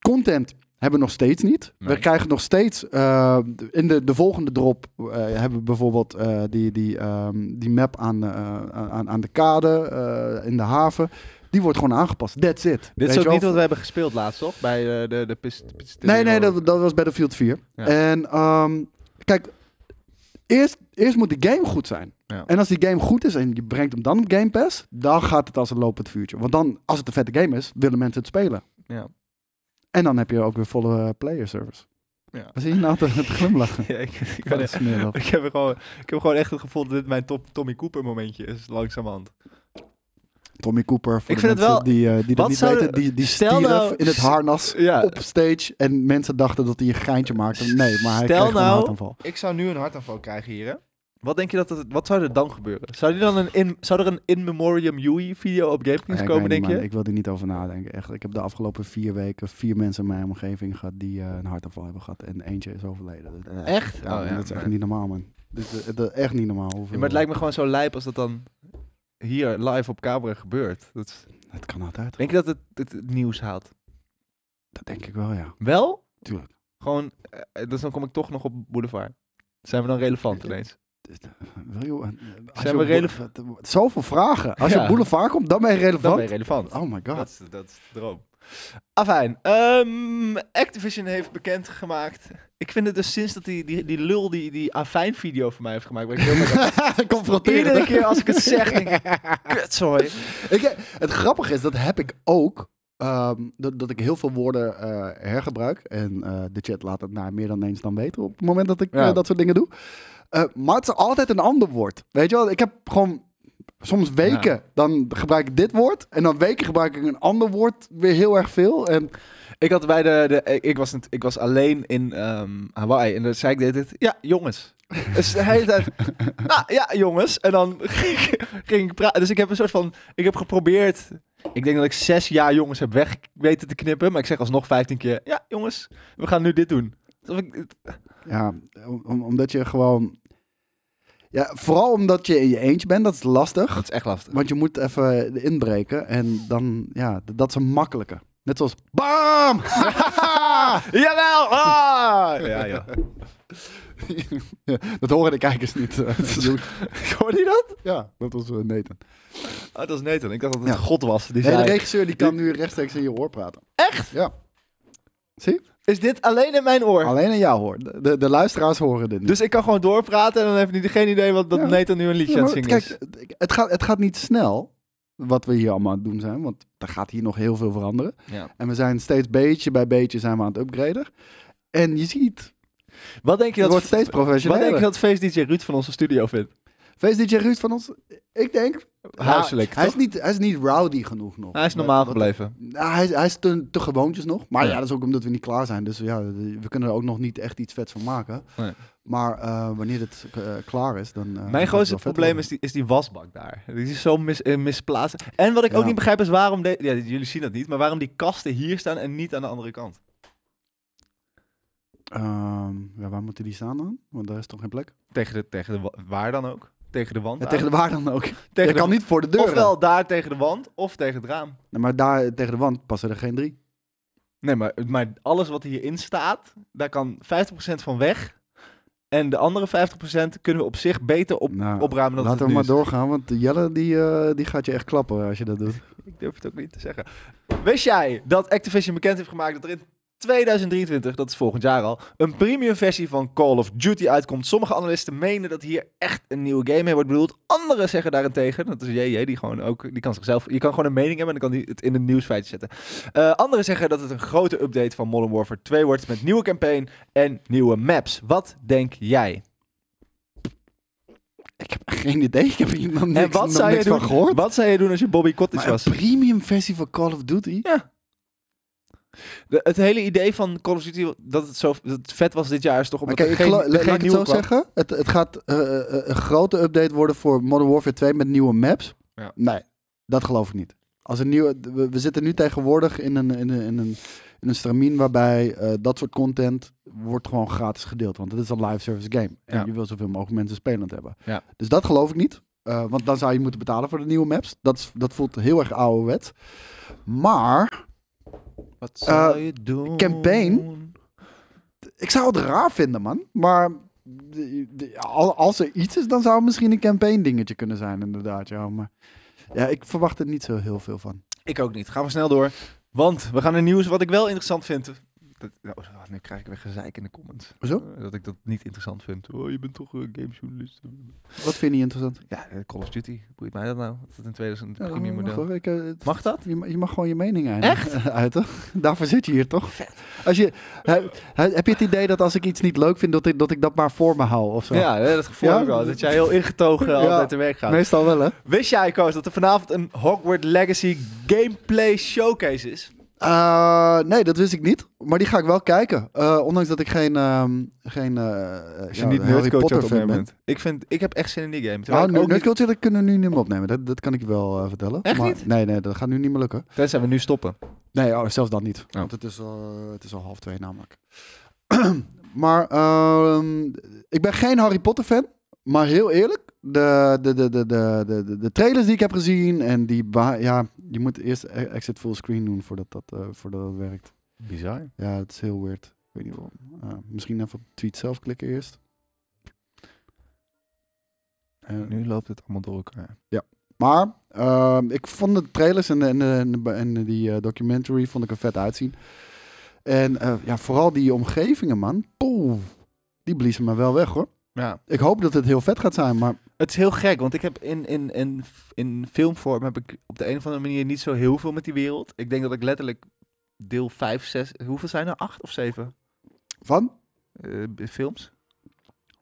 Speaker 2: Content hebben we nog steeds niet.
Speaker 1: Nee.
Speaker 2: We krijgen nog steeds... eh, in de, de volgende drop eh, hebben we bijvoorbeeld eh, die, die, ehm, die map aan, eh, aan, aan de kade eh, in de haven. Die wordt gewoon aangepast. That's it.
Speaker 1: Dit
Speaker 2: Weet
Speaker 1: is
Speaker 2: je
Speaker 1: ook
Speaker 2: wel?
Speaker 1: niet wat we hebben gespeeld laatst, toch? Bij eh, de, de pist, pist-
Speaker 2: Nee, nee, dat, dat was Battlefield 4.
Speaker 1: Ja.
Speaker 2: En ehm, kijk, eerst, eerst moet de game goed zijn.
Speaker 1: Ja.
Speaker 2: En als die game goed is en je brengt hem dan op Game Pass, dan gaat het als een lopend vuurtje. Want dan, als het een vette game is, willen mensen het spelen.
Speaker 1: Ja.
Speaker 2: En dan heb je ook weer volle eh, player service.
Speaker 1: Ja.
Speaker 2: Wat zie je nou te, te glimlachen?
Speaker 1: Ja, ik, ik, ben,
Speaker 2: Wat smerig.
Speaker 1: ik, heb er gewoon, ik heb gewoon echt het gevoel dat dit mijn top, Tommy Cooper momentje is, langzamerhand.
Speaker 2: Tommy Cooper, voor
Speaker 1: Ik
Speaker 2: de
Speaker 1: vind het
Speaker 2: mensen
Speaker 1: wel-
Speaker 2: die, eh, die dat
Speaker 1: wat
Speaker 2: niet
Speaker 1: zouden-
Speaker 2: weten, die, die
Speaker 1: stel
Speaker 2: stierf
Speaker 1: nou-
Speaker 2: in het harnas
Speaker 1: Ja.
Speaker 2: op stage. En mensen dachten dat hij een geintje maakte. Nee, maar hij
Speaker 1: Stel
Speaker 2: kreeg gewoon een
Speaker 1: nou-
Speaker 2: hartaanval.
Speaker 1: Ik zou nu een hartaanval krijgen hier, hè? Wat denk je dat het, wat zou er dan gebeuren? Zou, die dan een in, zou er een In Memoriam Yui video op GameKings
Speaker 2: Ja, ik
Speaker 1: komen,
Speaker 2: weet
Speaker 1: denk
Speaker 2: niet,
Speaker 1: je?
Speaker 2: man. Ik wil er niet over nadenken. Echt, ik heb de afgelopen vier weken vier mensen in mijn omgeving gehad die eh, een hartaanval hebben gehad. En eentje is overleden. Dat- eh,
Speaker 1: Echt?
Speaker 2: ja,
Speaker 1: Oh,
Speaker 2: man,
Speaker 1: ja,
Speaker 2: dat is echt
Speaker 1: nee.
Speaker 2: niet normaal, man. Dit is eh, dat is echt niet normaal. Hoeveel...
Speaker 1: Ja, maar het lijkt me gewoon zo lijp als dat dan hier live op camera gebeurt. Dat is-
Speaker 2: Het kan altijd.
Speaker 1: denk je dat het, het, het nieuws haalt?
Speaker 2: Dat denk ik wel, ja.
Speaker 1: Wel?
Speaker 2: Tuurlijk.
Speaker 1: Gewoon, eh, dus dan kom ik toch nog op Boulevard. Zijn we dan
Speaker 2: Eh,
Speaker 1: relevant ineens?
Speaker 2: Dit- Wil je, eh, als
Speaker 1: Zijn
Speaker 2: je
Speaker 1: we
Speaker 2: op boule-
Speaker 1: relevant?
Speaker 2: wat- Zoveel vragen. Als je
Speaker 1: Ja.
Speaker 2: op boulevard komt, dan ben je
Speaker 1: Dan
Speaker 2: eh, relevant.
Speaker 1: ben je relevant.
Speaker 2: Oh my god.
Speaker 1: Dat is, dat is de droom. Afijn, ehm, Activision heeft bekendgemaakt. Ik vind het dus sinds dat die, die, die lul die, die Afijn-video van mij heeft gemaakt. waar ik heel erg-
Speaker 2: Confronterend.
Speaker 1: Iedere keer als ik het zeg, denk ik, kutzooi.
Speaker 2: Ik- eh, het grappige is, dat heb ik ook. ehm, dat, dat ik heel veel woorden eh, hergebruik. En eh, de chat laat het nou meer dan eens dan weten op het moment dat ik
Speaker 1: Ja.
Speaker 2: eh, dat soort dingen doe. eh, maar het is altijd een ander woord. Weet je wel, ik heb gewoon soms weken, dan gebruik ik dit woord. En dan weken gebruik ik een ander woord weer heel erg veel. En
Speaker 1: Ik had bij de, de ik, ik was, niet- ik was alleen in ehm Hawaii en dan zei ik dit, dit ja jongens. Dus de hele tijd, nou ja jongens. En dan ging, ging ik praten. Dus ik heb een soort van, ik heb geprobeerd, ik denk dat ik zes jaar jongens heb weg weten te knippen. Maar ik zeg alsnog vijftien keer, ja jongens, we gaan nu dit doen. Alsof ik-
Speaker 2: ja, om- omdat je gewoon... Ja, vooral omdat je in je eentje bent, dat is lastig.
Speaker 1: Dat is echt lastig.
Speaker 2: Want je moet even inbreken en dan, ja, d- dat is een makkelijke. Net zoals BAM!
Speaker 1: Jawel! Ah! Ja, ja.
Speaker 2: dat horen de kijkers niet. eh,
Speaker 1: Hoorde je dat?
Speaker 2: ja, dat was eh, Nathan.
Speaker 1: Oh, dat is Nathan. Ik dacht dat het
Speaker 2: Ja.
Speaker 1: God was. Die
Speaker 2: Nee, de
Speaker 1: zei,
Speaker 2: regisseur die kan nu rechtstreeks in je oor praten.
Speaker 1: Echt?
Speaker 2: Ja. Zie?
Speaker 1: Is dit alleen in mijn oor?
Speaker 2: Alleen aan jou hoor. De, de, de luisteraars horen dit niet.
Speaker 1: Dus ik kan gewoon doorpraten en dan heeft hij geen idee wat dat
Speaker 2: Ja.
Speaker 1: Nathan nu een liedje
Speaker 2: Ja,
Speaker 1: aan
Speaker 2: maar
Speaker 1: het zingen
Speaker 2: kijk,
Speaker 1: is.
Speaker 2: het- het gaat, het gaat niet snel wat we hier allemaal aan het doen zijn, want er gaat hier nog heel veel veranderen.
Speaker 1: Ja.
Speaker 2: En we zijn steeds beetje bij beetje zijn we aan het upgraden. En je ziet,
Speaker 1: Wat denk je dat,
Speaker 2: het wordt steeds
Speaker 1: wat denk je
Speaker 2: professioneler.
Speaker 1: dat Face DJ Ruud van onze studio vindt?
Speaker 2: Feest DJ Ruud van ons, ik denk...
Speaker 1: Huiselijk,
Speaker 2: Ja, Nou, hij, is
Speaker 1: toch?
Speaker 2: niet, hij is niet rowdy genoeg nog.
Speaker 1: Hij is normaal
Speaker 2: Wat- wat-
Speaker 1: gebleven.
Speaker 2: Nou, hij, is- hij is te, te gewoontjes nog. Maar ja.
Speaker 1: Ja.
Speaker 2: dat is ook omdat we niet klaar zijn. Dus ja, we kunnen er ook nog niet echt iets vets van maken.
Speaker 1: Nee.
Speaker 2: Maar eh, wanneer het eh, klaar is, dan... eh, gaat
Speaker 1: Mijn
Speaker 2: het
Speaker 1: grootste
Speaker 2: wel vet
Speaker 1: probleem
Speaker 2: worden.
Speaker 1: is die, is die wasbak daar. Die is zo mis, eh, misplaatst. En wat ik ook
Speaker 2: Ja.
Speaker 1: niet begrijp is waarom... de- ja, jullie zien dat niet, maar waarom die kasten hier staan en niet aan de andere kant.
Speaker 2: Ehm, ja, waar moeten die staan dan? Want daar is toch geen plek?
Speaker 1: Tegen de, tegen de wa- waar dan ook. Tegen de wand.
Speaker 2: Ja,
Speaker 1: aan.
Speaker 2: tegen de waar dan ook.
Speaker 1: Tegen
Speaker 2: je
Speaker 1: de-
Speaker 2: kan niet voor de deur.
Speaker 1: Ofwel daar tegen de wand, of tegen het raam.
Speaker 2: Nee, maar daar tegen de wand passen er geen drie.
Speaker 1: Nee, maar, maar alles wat hierin staat, daar kan 50% van weg. En de andere 50% kunnen we op zich beter op,
Speaker 2: Nou,
Speaker 1: opruimen dan
Speaker 2: Laten
Speaker 1: het
Speaker 2: we
Speaker 1: nu
Speaker 2: maar
Speaker 1: is.
Speaker 2: doorgaan, want Jelle die, eh, die gaat je echt klappen als je dat doet.
Speaker 1: Ik durf het ook niet te zeggen. Wist jij dat Activision bekend heeft gemaakt dat er in 2023, dat is volgend jaar al, een premium versie van Call of Duty uitkomt? Sommige analisten menen dat hier echt een nieuwe game mee wordt bedoeld. Anderen zeggen daarentegen, dat is JJ, die gewoon ook, die kan zichzelf, je kan gewoon een mening hebben en dan kan hij het in een nieuwsfeitje zetten. Eh, anderen zeggen dat het een grote update van Modern Warfare 2 wordt met nieuwe campaign en nieuwe maps. Wat denk jij?
Speaker 2: Ik heb geen idee. Ik heb hier nog niks,
Speaker 1: en wat
Speaker 2: nog
Speaker 1: zou, je
Speaker 2: niks van
Speaker 1: doen,
Speaker 2: gehoord.
Speaker 1: wat zou je doen als je Bobby Cottage
Speaker 2: Maar een
Speaker 1: was?
Speaker 2: premium versie van Call of Duty?
Speaker 1: De- het hele idee van Call of Duty, dat het zo dat het vet was dit jaar, is toch
Speaker 2: Maar
Speaker 1: omdat
Speaker 2: kijk,
Speaker 1: er
Speaker 2: ik
Speaker 1: geen,
Speaker 2: gelo-
Speaker 1: er
Speaker 2: laat
Speaker 1: geen
Speaker 2: ik het
Speaker 1: nieuwe
Speaker 2: zo
Speaker 1: kwam.
Speaker 2: zeggen. Het, het gaat eh, eh, eh, een grote update worden voor Modern Warfare 2 met nieuwe maps.
Speaker 1: Ja.
Speaker 2: Nee, dat geloof ik niet. Als een nieuwe, we, we zitten nu tegenwoordig in een, in een, in een, in een stramien waarbij eh, dat soort content wordt gewoon gratis gedeeld. Want het is een live service game. En
Speaker 1: Ja.
Speaker 2: je wil zoveel mogelijk mensen spelend hebben.
Speaker 1: Ja.
Speaker 2: Dus dat geloof ik niet. Eh, want dan zou je moeten betalen voor de nieuwe maps. Dat, is- dat voelt heel erg ouderwets. Maar
Speaker 1: Wat
Speaker 2: zou
Speaker 1: je doen?
Speaker 2: Eh, campaign? Ik zou het raar vinden, man. Maar de- de- al- als er iets is, dan zou het misschien een campaign dingetje kunnen zijn, inderdaad. Ja, maar ja, ik verwacht er niet zo heel veel van.
Speaker 1: Ik ook niet. Gaan we snel door. Want we gaan naar nieuws wat ik wel interessant vind. Dat, nou, nu krijg ik weer gezeik in de comments.
Speaker 2: Hoezo?
Speaker 1: Eh, Dat ik dat niet interessant vind. Oh, je bent toch een gamejournalist.
Speaker 2: Wat vind je interessant?
Speaker 1: Ja, eh, Call of Duty. Boeit mij dat nou? Dat het een 2000 premium model.
Speaker 2: Mag, eh,
Speaker 1: Mag dat?
Speaker 2: Je, ma- je mag gewoon je mening uit.
Speaker 1: Echt?
Speaker 2: Uiten. Daarvoor zit je hier toch? Als je, he- he- heb je het idee dat als ik iets niet leuk vind, dat ik dat, ik dat maar voor me hou of zo?
Speaker 1: Ja, hè, dat gevoel
Speaker 2: Ja?
Speaker 1: heb ik wel. Dat jij heel ingetogen
Speaker 2: Ja.
Speaker 1: altijd te werk gaat.
Speaker 2: Meestal wel, hè?
Speaker 1: Wist jij, Koos, dat er vanavond een Hogwarts Legacy gameplay showcase is?
Speaker 2: Eh, nee, dat wist ik niet. Maar die ga ik wel kijken. Eh, ondanks dat ik geen, ehm, geen eh,
Speaker 1: Als je
Speaker 2: ja,
Speaker 1: niet
Speaker 2: Harry
Speaker 1: nerdcoach
Speaker 2: Potter
Speaker 1: op
Speaker 2: fan
Speaker 1: bent. Oh,
Speaker 2: ben.
Speaker 1: Ik, vind, ik heb echt zin in die game. Terwijl
Speaker 2: Ja,
Speaker 1: ik ook niet-
Speaker 2: nerdculture dat kunnen we Nou, nu niet meer opnemen. Dat, dat kan ik je wel eh, vertellen.
Speaker 1: Echt
Speaker 2: maar,
Speaker 1: niet?
Speaker 2: Nee, nee, dat gaat nu niet meer lukken.
Speaker 1: Tenzij we nu stoppen.
Speaker 2: Nee, oh, zelfs dan niet. Want het is, al, eh, het is al half twee namelijk. maar ehm, ik ben geen Harry Potter fan. Maar heel eerlijk, de, de, de, de, de, de, de- de trailers die ik heb gezien en die... ba- Ja, je moet eerst e- exit full screen doen voordat dat, eh, voordat dat werkt.
Speaker 1: Bizar.
Speaker 2: Ja, het is heel weird. Ik weet niet waarom. Eh, misschien even op de tweet zelf klikken eerst. Eh,
Speaker 1: Nu loopt het allemaal door elkaar.
Speaker 2: Maar ehm, ik vond de trailers en, de- en, de- en, de- en die eh, documentary vond ik er vet uitzien. En eh, ja, vooral die omgevingen, man. Poeh, die bliezen me wel weg, hoor.
Speaker 1: Ja.
Speaker 2: Ik hoop dat het heel vet gaat zijn, maar
Speaker 1: Het is heel gek, want ik heb in, in, in, in filmvorm heb ik op de een of andere manier niet zo heel veel met die wereld. Ik denk dat ik letterlijk deel 5, 6, hoeveel zijn er? 8 of 7
Speaker 2: van?
Speaker 1: eh, films?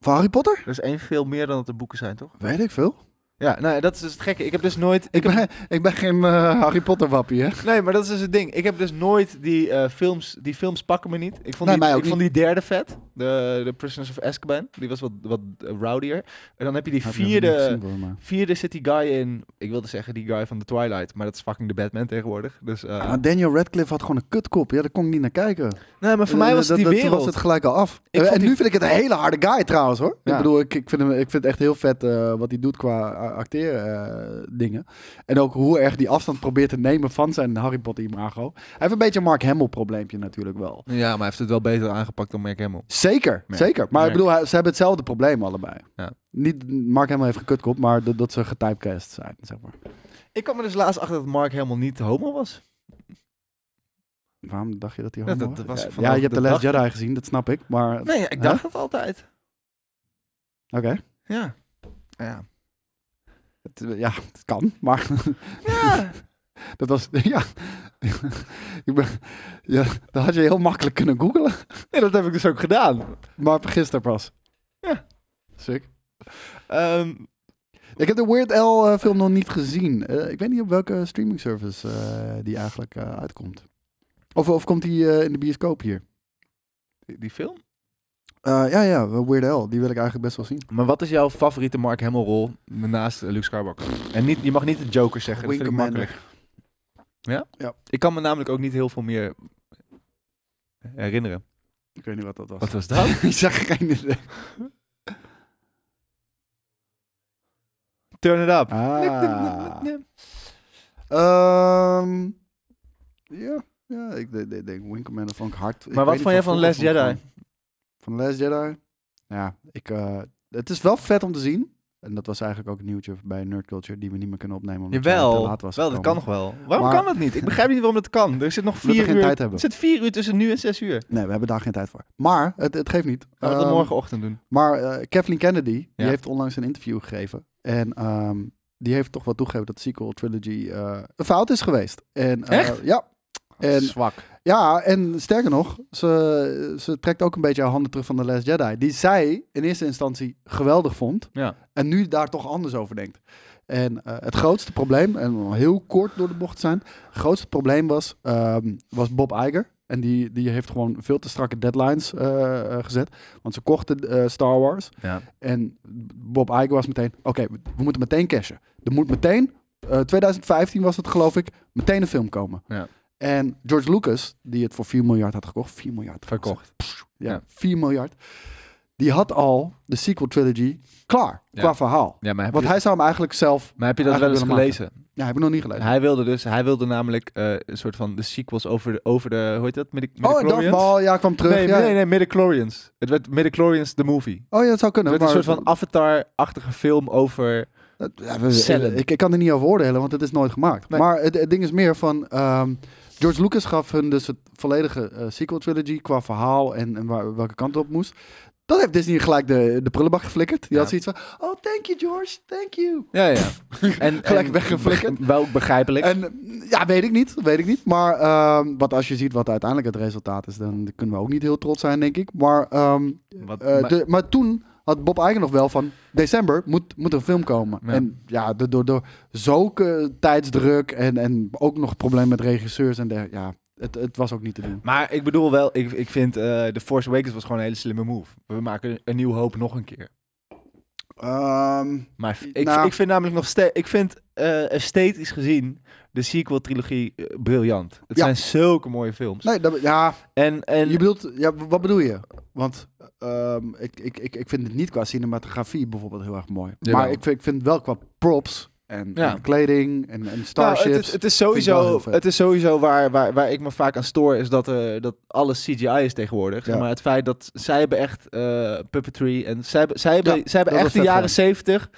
Speaker 2: Van Harry Potter?
Speaker 1: Dat is één veel meer dan dat er boeken zijn, toch?
Speaker 2: Weet ik veel.
Speaker 1: Ja, nou, dat is dus het gekke. Ik heb dus nooit...
Speaker 2: Ik ben, ik ben geen eh, Harry Potter wappie, hè?
Speaker 1: Nee, maar dat is dus het ding. Ik heb dus nooit die eh, films... Die films pakken me niet. Ik vond,
Speaker 2: Nee,
Speaker 1: die,
Speaker 2: mij ook
Speaker 1: ik vond die derde vet. De, de Prisoners of Azkaban. Die was wat, wat eh, rowdier. En dan heb je die vierde... Vierde zit die guy in... Ik wilde zeggen die guy van The Twilight. Maar dat is fucking de Batman tegenwoordig. Dus, eh,
Speaker 2: Maar Ah, Daniel Radcliffe had gewoon een kutkop. Ja, daar kon ik niet naar kijken.
Speaker 1: nee, maar voor mij
Speaker 2: Eh,
Speaker 1: was
Speaker 2: dat-
Speaker 1: die
Speaker 2: dat- toen
Speaker 1: wereld...
Speaker 2: was het gelijk al af.
Speaker 1: Ik
Speaker 2: Eh,
Speaker 1: vond
Speaker 2: en
Speaker 1: die-
Speaker 2: nu vind ik het een hele harde guy trouwens hoor.
Speaker 1: Ja.
Speaker 2: Ik bedoel, ik, ik, vind hem, ik vind het echt heel vet eh, wat hij doet qua eh, acteren eh, dingen. En ook hoe erg die afstand probeert te nemen van zijn Harry Potter imago. Hij heeft een beetje een Mark Hamill probleempje natuurlijk wel.
Speaker 1: Ja, maar hij heeft het wel beter aangepakt dan Mark Hamill.
Speaker 2: Zeker,
Speaker 1: Merk.
Speaker 2: zeker. Maar ik
Speaker 1: Merk.
Speaker 2: bedoel, hij- ze hebben hetzelfde probleem allebei.
Speaker 1: Ja.
Speaker 2: Niet Mark Hamill heeft een kutkop, maar dat, dat ze getypecast zijn, zeg maar.
Speaker 1: Ik kwam er dus laatst achter dat Mark helemaal niet homo was.
Speaker 2: Waarom dacht je dat hij
Speaker 1: Ja,
Speaker 2: homo
Speaker 1: dat- dat was ik
Speaker 2: ja,
Speaker 1: vanaf-
Speaker 2: je hebt de
Speaker 1: dat
Speaker 2: Last
Speaker 1: dacht
Speaker 2: Jedi gezien, dat snap ik. Maar oké.
Speaker 1: Nee, ja, ik
Speaker 2: Huh?
Speaker 1: dacht het altijd. Ja. Ja.
Speaker 2: Het, eh, Ja, het kan, maar...
Speaker 1: Ja.
Speaker 2: Dat was, ja. ik ben, ja. Dat had je heel makkelijk kunnen googlen.
Speaker 1: Nee, dat heb ik dus ook gedaan.
Speaker 2: Maar gisteren pas.
Speaker 1: Ja.
Speaker 2: Sick.
Speaker 1: Ehm,
Speaker 2: Ik heb de Weird L eh, film nog niet gezien. Eh, ik weet niet op welke streaming service eh, die eigenlijk eh, uitkomt. Of, of komt die eh, in de bioscoop hier?
Speaker 1: die, die film?
Speaker 2: Eh, ja, ja, Weird L. Die wil ik eigenlijk best wel zien.
Speaker 1: Maar wat is jouw favoriete Mark Hamill rol naast eh, Luke Skywalker? En niet, je mag niet de Joker zeggen, dat
Speaker 2: Wing
Speaker 1: vind ik
Speaker 2: Commander.
Speaker 1: makkelijk. Ja?
Speaker 2: Ja.
Speaker 1: Ik kan me namelijk ook niet heel veel meer herinneren.
Speaker 2: Ik weet niet wat dat was.
Speaker 1: Wat was dat?
Speaker 2: ik zag geen idee.
Speaker 1: Turn it up.
Speaker 2: Ah. Ehm, ja, ja, ik de- de- denk Wing Commander vond ik hard. Ik
Speaker 1: Maar
Speaker 2: weet
Speaker 1: wat
Speaker 2: niet,
Speaker 1: vond jij van
Speaker 2: vroeger
Speaker 1: Last
Speaker 2: vond ik
Speaker 1: Jedi?
Speaker 2: gewoon- Van Last Jedi? Ja, ik, eh, het is wel vet om te zien. En dat was eigenlijk ook een nieuwtje bij Nerd Culture die we niet meer kunnen opnemen. Omdat jij te
Speaker 1: Jawel,
Speaker 2: laat was
Speaker 1: wel, dat kan nog
Speaker 2: gekomen.
Speaker 1: wel. Waarom
Speaker 2: Maar-
Speaker 1: kan dat niet? Ik begrijp niet waarom dat kan. Er zit nog
Speaker 2: Omdat we
Speaker 1: vier
Speaker 2: geen
Speaker 1: uur,
Speaker 2: tijd hebben.
Speaker 1: er zit vier uur tussen nu en zes uur.
Speaker 2: Nee, we hebben daar geen tijd voor. Maar, het, het geeft niet.
Speaker 1: Gaan we dat
Speaker 2: Ehm,
Speaker 1: morgenochtend doen?
Speaker 2: Maar eh, Kathleen Kennedy,
Speaker 1: Ja.
Speaker 2: die heeft onlangs een interview gegeven. En ehm, die heeft toch wel toegegeven dat de sequel trilogy eh, een fout is geweest. En, eh,
Speaker 1: Echt?
Speaker 2: Ja. En
Speaker 1: Zwak.
Speaker 2: Ja, en sterker nog, ze, ze trekt ook een beetje haar handen terug van The Last Jedi. Die zij in eerste instantie geweldig vond.
Speaker 1: Ja.
Speaker 2: En nu daar toch anders over denkt. En eh, het grootste probleem, en om heel kort door de bocht te zijn. Het grootste probleem was, ehm, was Bob Iger. En die, die heeft gewoon veel te strakke deadlines eh, eh, gezet. Want ze kochten eh, Star Wars.
Speaker 1: Ja.
Speaker 2: En Bob Iger was meteen, oké, we- we moeten meteen cashen. Er moet meteen, eh, 2015 was het geloof ik, meteen een film komen.
Speaker 1: Ja.
Speaker 2: En George Lucas, die het voor 4 miljard had gekocht, 4 miljard.
Speaker 1: Verkocht.
Speaker 2: Ja,
Speaker 1: Ja.
Speaker 2: 4 miljard. Die had al de sequel trilogy klaar,
Speaker 1: Ja.
Speaker 2: qua verhaal.
Speaker 1: Ja, maar heb,
Speaker 2: Want
Speaker 1: je,
Speaker 2: hij zou hem eigenlijk zelf...
Speaker 1: maar heb je dat wel eens
Speaker 2: eigenlijk willen
Speaker 1: gelezen?
Speaker 2: Ja, heb ik nog niet gelezen.
Speaker 1: Hij wilde dus, hij wilde namelijk eh, een soort van de sequels over de, over de hoe heet dat? Midi
Speaker 2: oh, en Darth Maul, ja, kwam terug.
Speaker 1: Nee,
Speaker 2: ja.
Speaker 1: nee, nee, Midichlorians. Het werd Midichlorians the movie.
Speaker 2: Oh ja, dat zou kunnen.
Speaker 1: Het werd een
Speaker 2: maar-
Speaker 1: soort van Avatar-achtige film over...
Speaker 2: Dat- ja, we-
Speaker 1: Cellen.
Speaker 2: Ik, ik kan er niet over oordelen, want het is nooit gemaakt.
Speaker 1: Nee.
Speaker 2: Maar het, het ding is meer van... ehm, George Lucas gaf hun dus het volledige eh, sequel trilogy qua verhaal en, en waar, welke kant het op moest. Dat heeft Disney gelijk de, de prullenbak geflikkerd. Die
Speaker 1: Ja.
Speaker 2: had zoiets van, oh, thank you George, thank you.
Speaker 1: Ja, ja. en,
Speaker 2: Gelijk
Speaker 1: en-
Speaker 2: weggeflikkerd.
Speaker 1: be- Wel begrijpelijk.
Speaker 2: En mm, ja, weet ik niet, weet ik niet. Maar ehm, wat als je ziet wat uiteindelijk het resultaat is, dan kunnen we ook niet heel trots zijn, denk ik. Maar, ehm,
Speaker 1: Wat-
Speaker 2: eh,
Speaker 1: maar-
Speaker 2: de- maar toen had Bob Eigen nog wel van... December moet, moet een film komen.
Speaker 1: Ja.
Speaker 2: En ja, do- door, door zulke tijdsdruk en, en ook nog problemen met regisseurs en dergelijke. Ja, het, het was ook niet te doen.
Speaker 1: maar ik bedoel wel, ik, ik vind eh The Force Awakens was gewoon een hele slimme move. We maken een, nieuw hoop nog een keer. Maar v- ik,
Speaker 2: Nou.
Speaker 1: ik vind namelijk nog steeds... Ik vind eh, esthetisch gezien de sequel-trilogie eh, briljant. Het
Speaker 2: Ja.
Speaker 1: zijn zulke mooie films.
Speaker 2: nee, dat, ja,
Speaker 1: En, en
Speaker 2: je bedoelt, ja, w- wat bedoel je? Want ehm, ik, ik, ik, ik vind het niet qua cinematografie bijvoorbeeld heel erg mooi.
Speaker 1: Jawel.
Speaker 2: Maar ik, vind- ik vind het wel qua props en,
Speaker 1: Ja.
Speaker 2: en kleding en, en
Speaker 1: Nou,
Speaker 2: starships.
Speaker 1: het, is- het is
Speaker 2: Vind ik wel
Speaker 1: sowieso,
Speaker 2: heel vet.
Speaker 1: het is sowieso waar, waar, waar ik me vaak aan stoor, is dat, eh, dat alles CGI is tegenwoordig. Zeg
Speaker 2: Ja.
Speaker 1: maar het feit dat zij hebben echt eh, puppetry en zij hebben, zij hebben,
Speaker 2: Ja,
Speaker 1: zij hebben
Speaker 2: dat
Speaker 1: echt de
Speaker 2: was vet,
Speaker 1: jaren zeventig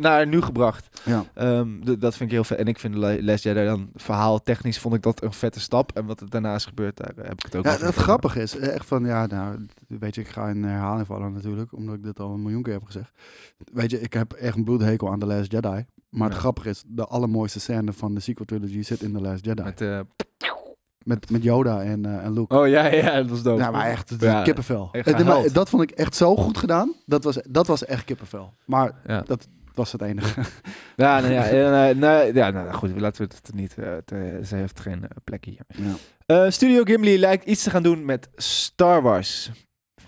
Speaker 1: naar nu gebracht.
Speaker 2: Ja.
Speaker 1: Ehm, d- dat vind ik heel vet. En ik vind Le- Les Jedi dan verhaal technisch vond ik dat een vette stap. En wat er daarna is gebeurd, daar eh, heb ik het ook
Speaker 2: Ja,
Speaker 1: wel van
Speaker 2: het
Speaker 1: gehoord.
Speaker 2: grappige is echt van, ja, nou, weet je, ik ga in herhaling vallen natuurlijk, omdat ik dit al een miljoen keer heb gezegd. Weet je, ik heb echt een bloedhekel aan The Last Jedi. Maar het
Speaker 1: Ja.
Speaker 2: grappige is, de allermooiste scène van de sequel trilogy zit in The Last Jedi.
Speaker 1: Met, eh,
Speaker 2: Met, met Yoda en, eh, en Luke.
Speaker 1: Oh ja, ja, dat was dope.
Speaker 2: nou, maar echt, het is
Speaker 1: Ja,
Speaker 2: kippenvel.
Speaker 1: echt
Speaker 2: Eh, maar
Speaker 1: gehuild.
Speaker 2: dat vond ik echt zo goed gedaan. Dat was, dat was echt kippenvel. Maar
Speaker 1: Ja.
Speaker 2: dat was het enige.
Speaker 1: Ja, nou ja, eh, nou, nou, ja, nou, goed, laten we het niet. eh, te- ze heeft geen eh, plek hier.
Speaker 2: Ja.
Speaker 1: Eh, Studio Gimli lijkt iets te gaan doen met Star Wars.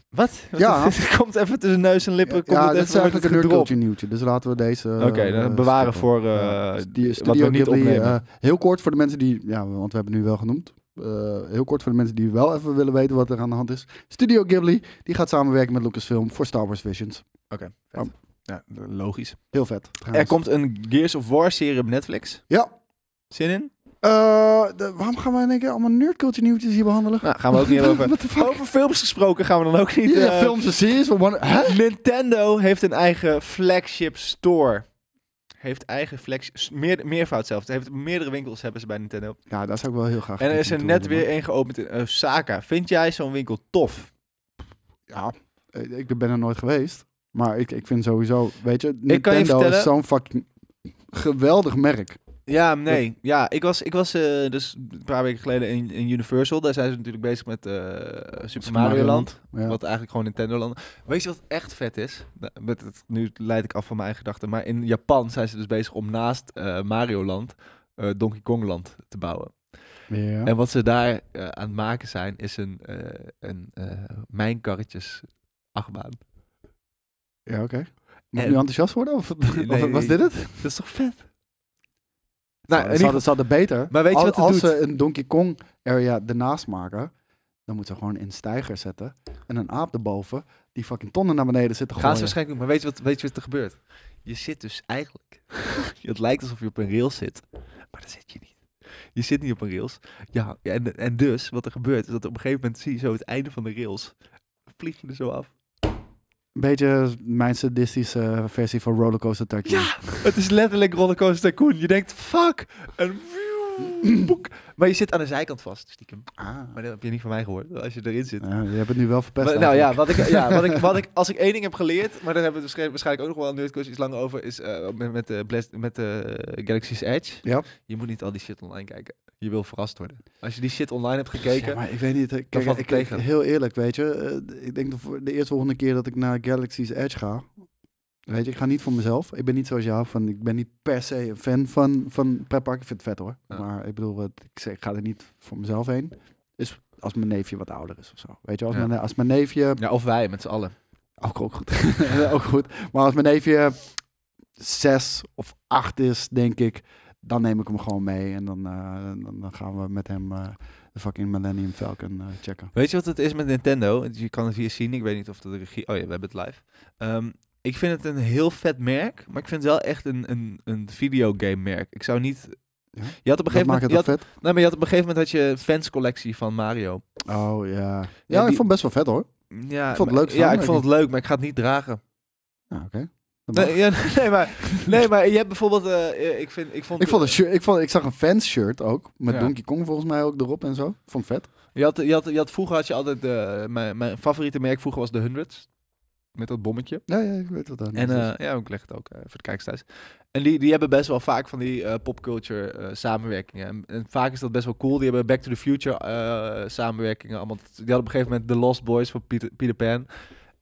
Speaker 1: Wat? Wat
Speaker 2: Ja.
Speaker 1: is- Het komt even tussen neus en lippen. komt
Speaker 2: ja,
Speaker 1: het
Speaker 2: dat
Speaker 1: even
Speaker 2: is
Speaker 1: wordt het
Speaker 2: eigenlijk een nerd
Speaker 1: gedropt.
Speaker 2: culture nieuwtje. Dus laten we deze...
Speaker 1: Oké, dan bewaren voor. eh,
Speaker 2: dus die
Speaker 1: wat we
Speaker 2: Studio
Speaker 1: niet
Speaker 2: Ghibli,
Speaker 1: opnemen.
Speaker 2: eh, heel kort voor de mensen die... Ja, want we hebben het nu wel genoemd. Eh, heel kort voor de mensen die wel even willen weten wat er aan de hand is. Studio Ghibli, die gaat samenwerken met Lucasfilm voor Star Wars Visions.
Speaker 1: Oké, vet.
Speaker 2: Oh.
Speaker 1: Ja, logisch.
Speaker 2: Heel vet.
Speaker 1: Er
Speaker 2: trouwens.
Speaker 1: komt een Gears of War serie op Netflix.
Speaker 2: Ja.
Speaker 1: Zin in?
Speaker 2: Eh, de- waarom gaan we in één keer allemaal nerd culture nieuwtjes hier behandelen?
Speaker 1: Nou, gaan we ook niet over.
Speaker 2: What the fuck?
Speaker 1: Over films gesproken gaan we dan ook niet.
Speaker 2: Iedere
Speaker 1: eh,
Speaker 2: film is een series. we worden- Hè?
Speaker 1: Nintendo heeft een eigen flagship store. Heeft eigen flagship... Meer, meervoud zelfs. Heeft, meerdere winkels hebben ze bij Nintendo.
Speaker 2: Ja, daar zou ik wel heel graag
Speaker 1: En er is
Speaker 2: naartoe
Speaker 1: er net
Speaker 2: willen,
Speaker 1: weer één geopend in Osaka. Vind jij zo'n winkel tof?
Speaker 2: maar- Ja, eh, ik ben er nooit geweest. Maar ik, ik vind sowieso... Weet je,
Speaker 1: je
Speaker 2: Nintendo
Speaker 1: vertellen-
Speaker 2: is zo'n fucking geweldig merk.
Speaker 1: Ja, nee. Ja, ik was, ik was eh, dus een paar weken geleden in, in Universal. Daar zijn ze natuurlijk bezig met eh, Super Mario
Speaker 2: Mario
Speaker 1: Land.
Speaker 2: Ja.
Speaker 1: Wat eigenlijk gewoon Nintendo Land. Weet je wat echt vet is? Nou, Met het, nu leid ik af van mijn eigen gedachten. Maar in Japan zijn ze dus bezig om naast eh, Mario Land eh, Donkey Kong Land te bouwen.
Speaker 2: Ja.
Speaker 1: En wat ze daar eh, aan het maken zijn, is een, eh een eh, mijnkarretjes achtbaan.
Speaker 2: Ja, oké. Moet ik
Speaker 1: En-
Speaker 2: nu enthousiast worden? Of, of
Speaker 1: nee,
Speaker 2: was dit het?
Speaker 1: Dat is toch vet?
Speaker 2: Nou,
Speaker 1: Nou, in ieder
Speaker 2: ze, hadden, ze hadden beter.
Speaker 1: Maar weet je
Speaker 2: Al-
Speaker 1: wat het
Speaker 2: Als
Speaker 1: doet?
Speaker 2: ze een Donkey Kong area ernaast maken, dan moeten ze gewoon een stijger zetten en een aap erboven die fucking tonnen naar beneden zitten
Speaker 1: geval gaan
Speaker 2: gooien.
Speaker 1: ze waarschijnlijk doen. Maar weet je, wat, weet je wat er gebeurt? Je zit dus eigenlijk... het lijkt alsof je op een rails zit, maar dat zit je niet. Je zit niet op een rails. Ja, en, en dus, wat er gebeurt, is dat op een gegeven moment zie je zo het einde van de rails. Vlieg je er zo af.
Speaker 2: Een beetje mijn sadistische eh, versie van Rollercoaster Tycoon.
Speaker 1: Ja, het is letterlijk Rollercoaster Tycoon. Je denkt, fuck, en wieuw, boek. Maar je zit aan de zijkant vast, stiekem.
Speaker 2: Ah,
Speaker 1: Maar dat heb je niet van mij gehoord, als je erin zit.
Speaker 2: ja, je hebt het nu wel verpest.
Speaker 1: Maar- nou ja,
Speaker 2: eigenlijk.
Speaker 1: wat ik, ja wat, ik, wat ik, als ik één ding heb geleerd, maar daar hebben we het waarsch- waarschijnlijk ook nog wel een nerdcursus iets langer over, is eh, met, met, de Blast- met de Galaxy's Edge.
Speaker 2: Ja.
Speaker 1: Je moet niet al die shit online kijken. Je wil verrast worden. Als je die shit online hebt gekeken,
Speaker 2: Ja, maar ik weet niet. eh, Kijk,
Speaker 1: valt het
Speaker 2: ik, ik-
Speaker 1: tegen.
Speaker 2: heel eerlijk, weet je. eh, ik denk de, voor de eerste volgende keer dat ik naar Galaxy's Edge ga. Weet je, ik ga niet voor mezelf. Ik ben niet zoals jou. Van, ik ben niet per se een fan van, van pretpark. Ik vind het vet hoor.
Speaker 1: Ja.
Speaker 2: Maar ik bedoel, het- ik, zeg, ik ga er niet voor mezelf heen. Is als mijn neefje wat ouder is of zo. Weet je, als,
Speaker 1: Ja.
Speaker 2: mijn, als mijn neefje...
Speaker 1: ja, of wij met z'n allen.
Speaker 2: Ook, ook goed. ook goed. Maar als mijn neefje zes of acht is, denk ik... Dan neem ik hem gewoon mee. En dan, eh, dan, dan gaan we met hem eh, de fucking Millennium Falcon eh, checken.
Speaker 1: Weet je wat het is met Nintendo? Je kan het hier zien. Ik weet niet of de regie. Oh ja, we hebben het live. Ehm, ik vind het een heel vet merk, maar ik vind het wel echt een, een, een videogame merk. Ik zou niet.
Speaker 2: Ja?
Speaker 1: Je had op een gegeven moment. Je had,
Speaker 2: vet.
Speaker 1: nee, maar je had op een gegeven moment had je een fanscollectie van Mario.
Speaker 2: Oh ja.
Speaker 1: Ja,
Speaker 2: Ja, ik
Speaker 1: die-
Speaker 2: vond het best wel vet hoor.
Speaker 1: Ja,
Speaker 2: Ik vond het
Speaker 1: maar- Ja,
Speaker 2: leuk
Speaker 1: ik
Speaker 2: samenwerking.
Speaker 1: vond het leuk, maar ik ga het niet dragen.
Speaker 2: Ja, oké. Dat mag.
Speaker 1: Nee, ja, nee, maar, nee, maar je hebt bijvoorbeeld. eh, eh, ik, vind, ik vond.
Speaker 2: Ik, vond een shirt, ik, vond, ik zag een fans shirt ook. Met
Speaker 1: Ja.
Speaker 2: Donkey Kong volgens mij ook erop en zo. Vond ik vet.
Speaker 1: Je had, je had, je had, vroeger had je altijd. eh, mijn, mijn favoriete merk vroeger was de Hundreds. Met dat bommetje.
Speaker 2: Ja, ja ik weet wat dat
Speaker 1: En
Speaker 2: is.
Speaker 1: eh, ja, ik leg het ook eh, voor de kijkers thuis. En die, die hebben best wel vaak van die eh, popculture eh, samenwerkingen. En, en vaak is dat best wel cool. Die hebben Back to the Future eh, samenwerkingen. Allemaal, die hadden op een gegeven moment The Lost Boys van Peter, Peter Pan.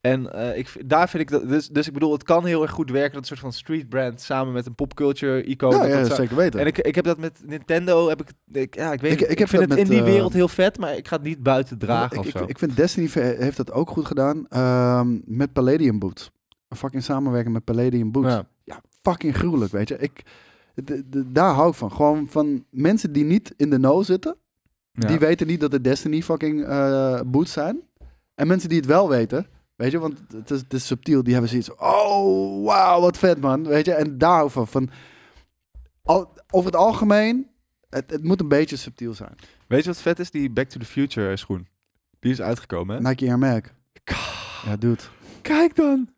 Speaker 1: En eh, ik, v- daar vind ik dat. Dus, dus ik bedoel, het kan heel erg goed werken. Dat een soort van street brand samen met een popculture icoon.
Speaker 2: ja,
Speaker 1: Oh, dat
Speaker 2: ja,
Speaker 1: dat
Speaker 2: zeker weten.
Speaker 1: En ik, ik heb dat met Nintendo. Heb ik, ik, ja, ik, weet,
Speaker 2: Ik-
Speaker 1: ik,
Speaker 2: ik
Speaker 1: ik,
Speaker 2: heb
Speaker 1: vind
Speaker 2: dat
Speaker 1: het in
Speaker 2: met,
Speaker 1: die
Speaker 2: eh,
Speaker 1: wereld heel vet, maar ik ga het niet buiten dragen
Speaker 2: ik,
Speaker 1: of
Speaker 2: ik,
Speaker 1: zo.
Speaker 2: ik vind Destiny ve- heeft dat ook goed gedaan. ehm, met Palladium Boots. Een fucking samenwerking met Palladium Boots.
Speaker 1: Ja.
Speaker 2: Fucking gruwelijk, weet je. Ik, d- d- daar hou ik van. Gewoon van mensen die niet in de know zitten.
Speaker 1: Ja.
Speaker 2: Die weten niet dat het Destiny fucking eh, boots zijn. En mensen die het wel weten, weet je, want het is, het is subtiel, die hebben zoiets. Oh, wauw, wat vet man. Weet je, en daarover van. al- over het algemeen, het, het moet een beetje subtiel zijn.
Speaker 1: Weet je wat vet is? Die Back to the Future schoen. Die is uitgekomen, hè?
Speaker 2: Nike Air Mac. Ja, dude.
Speaker 1: Kijk dan!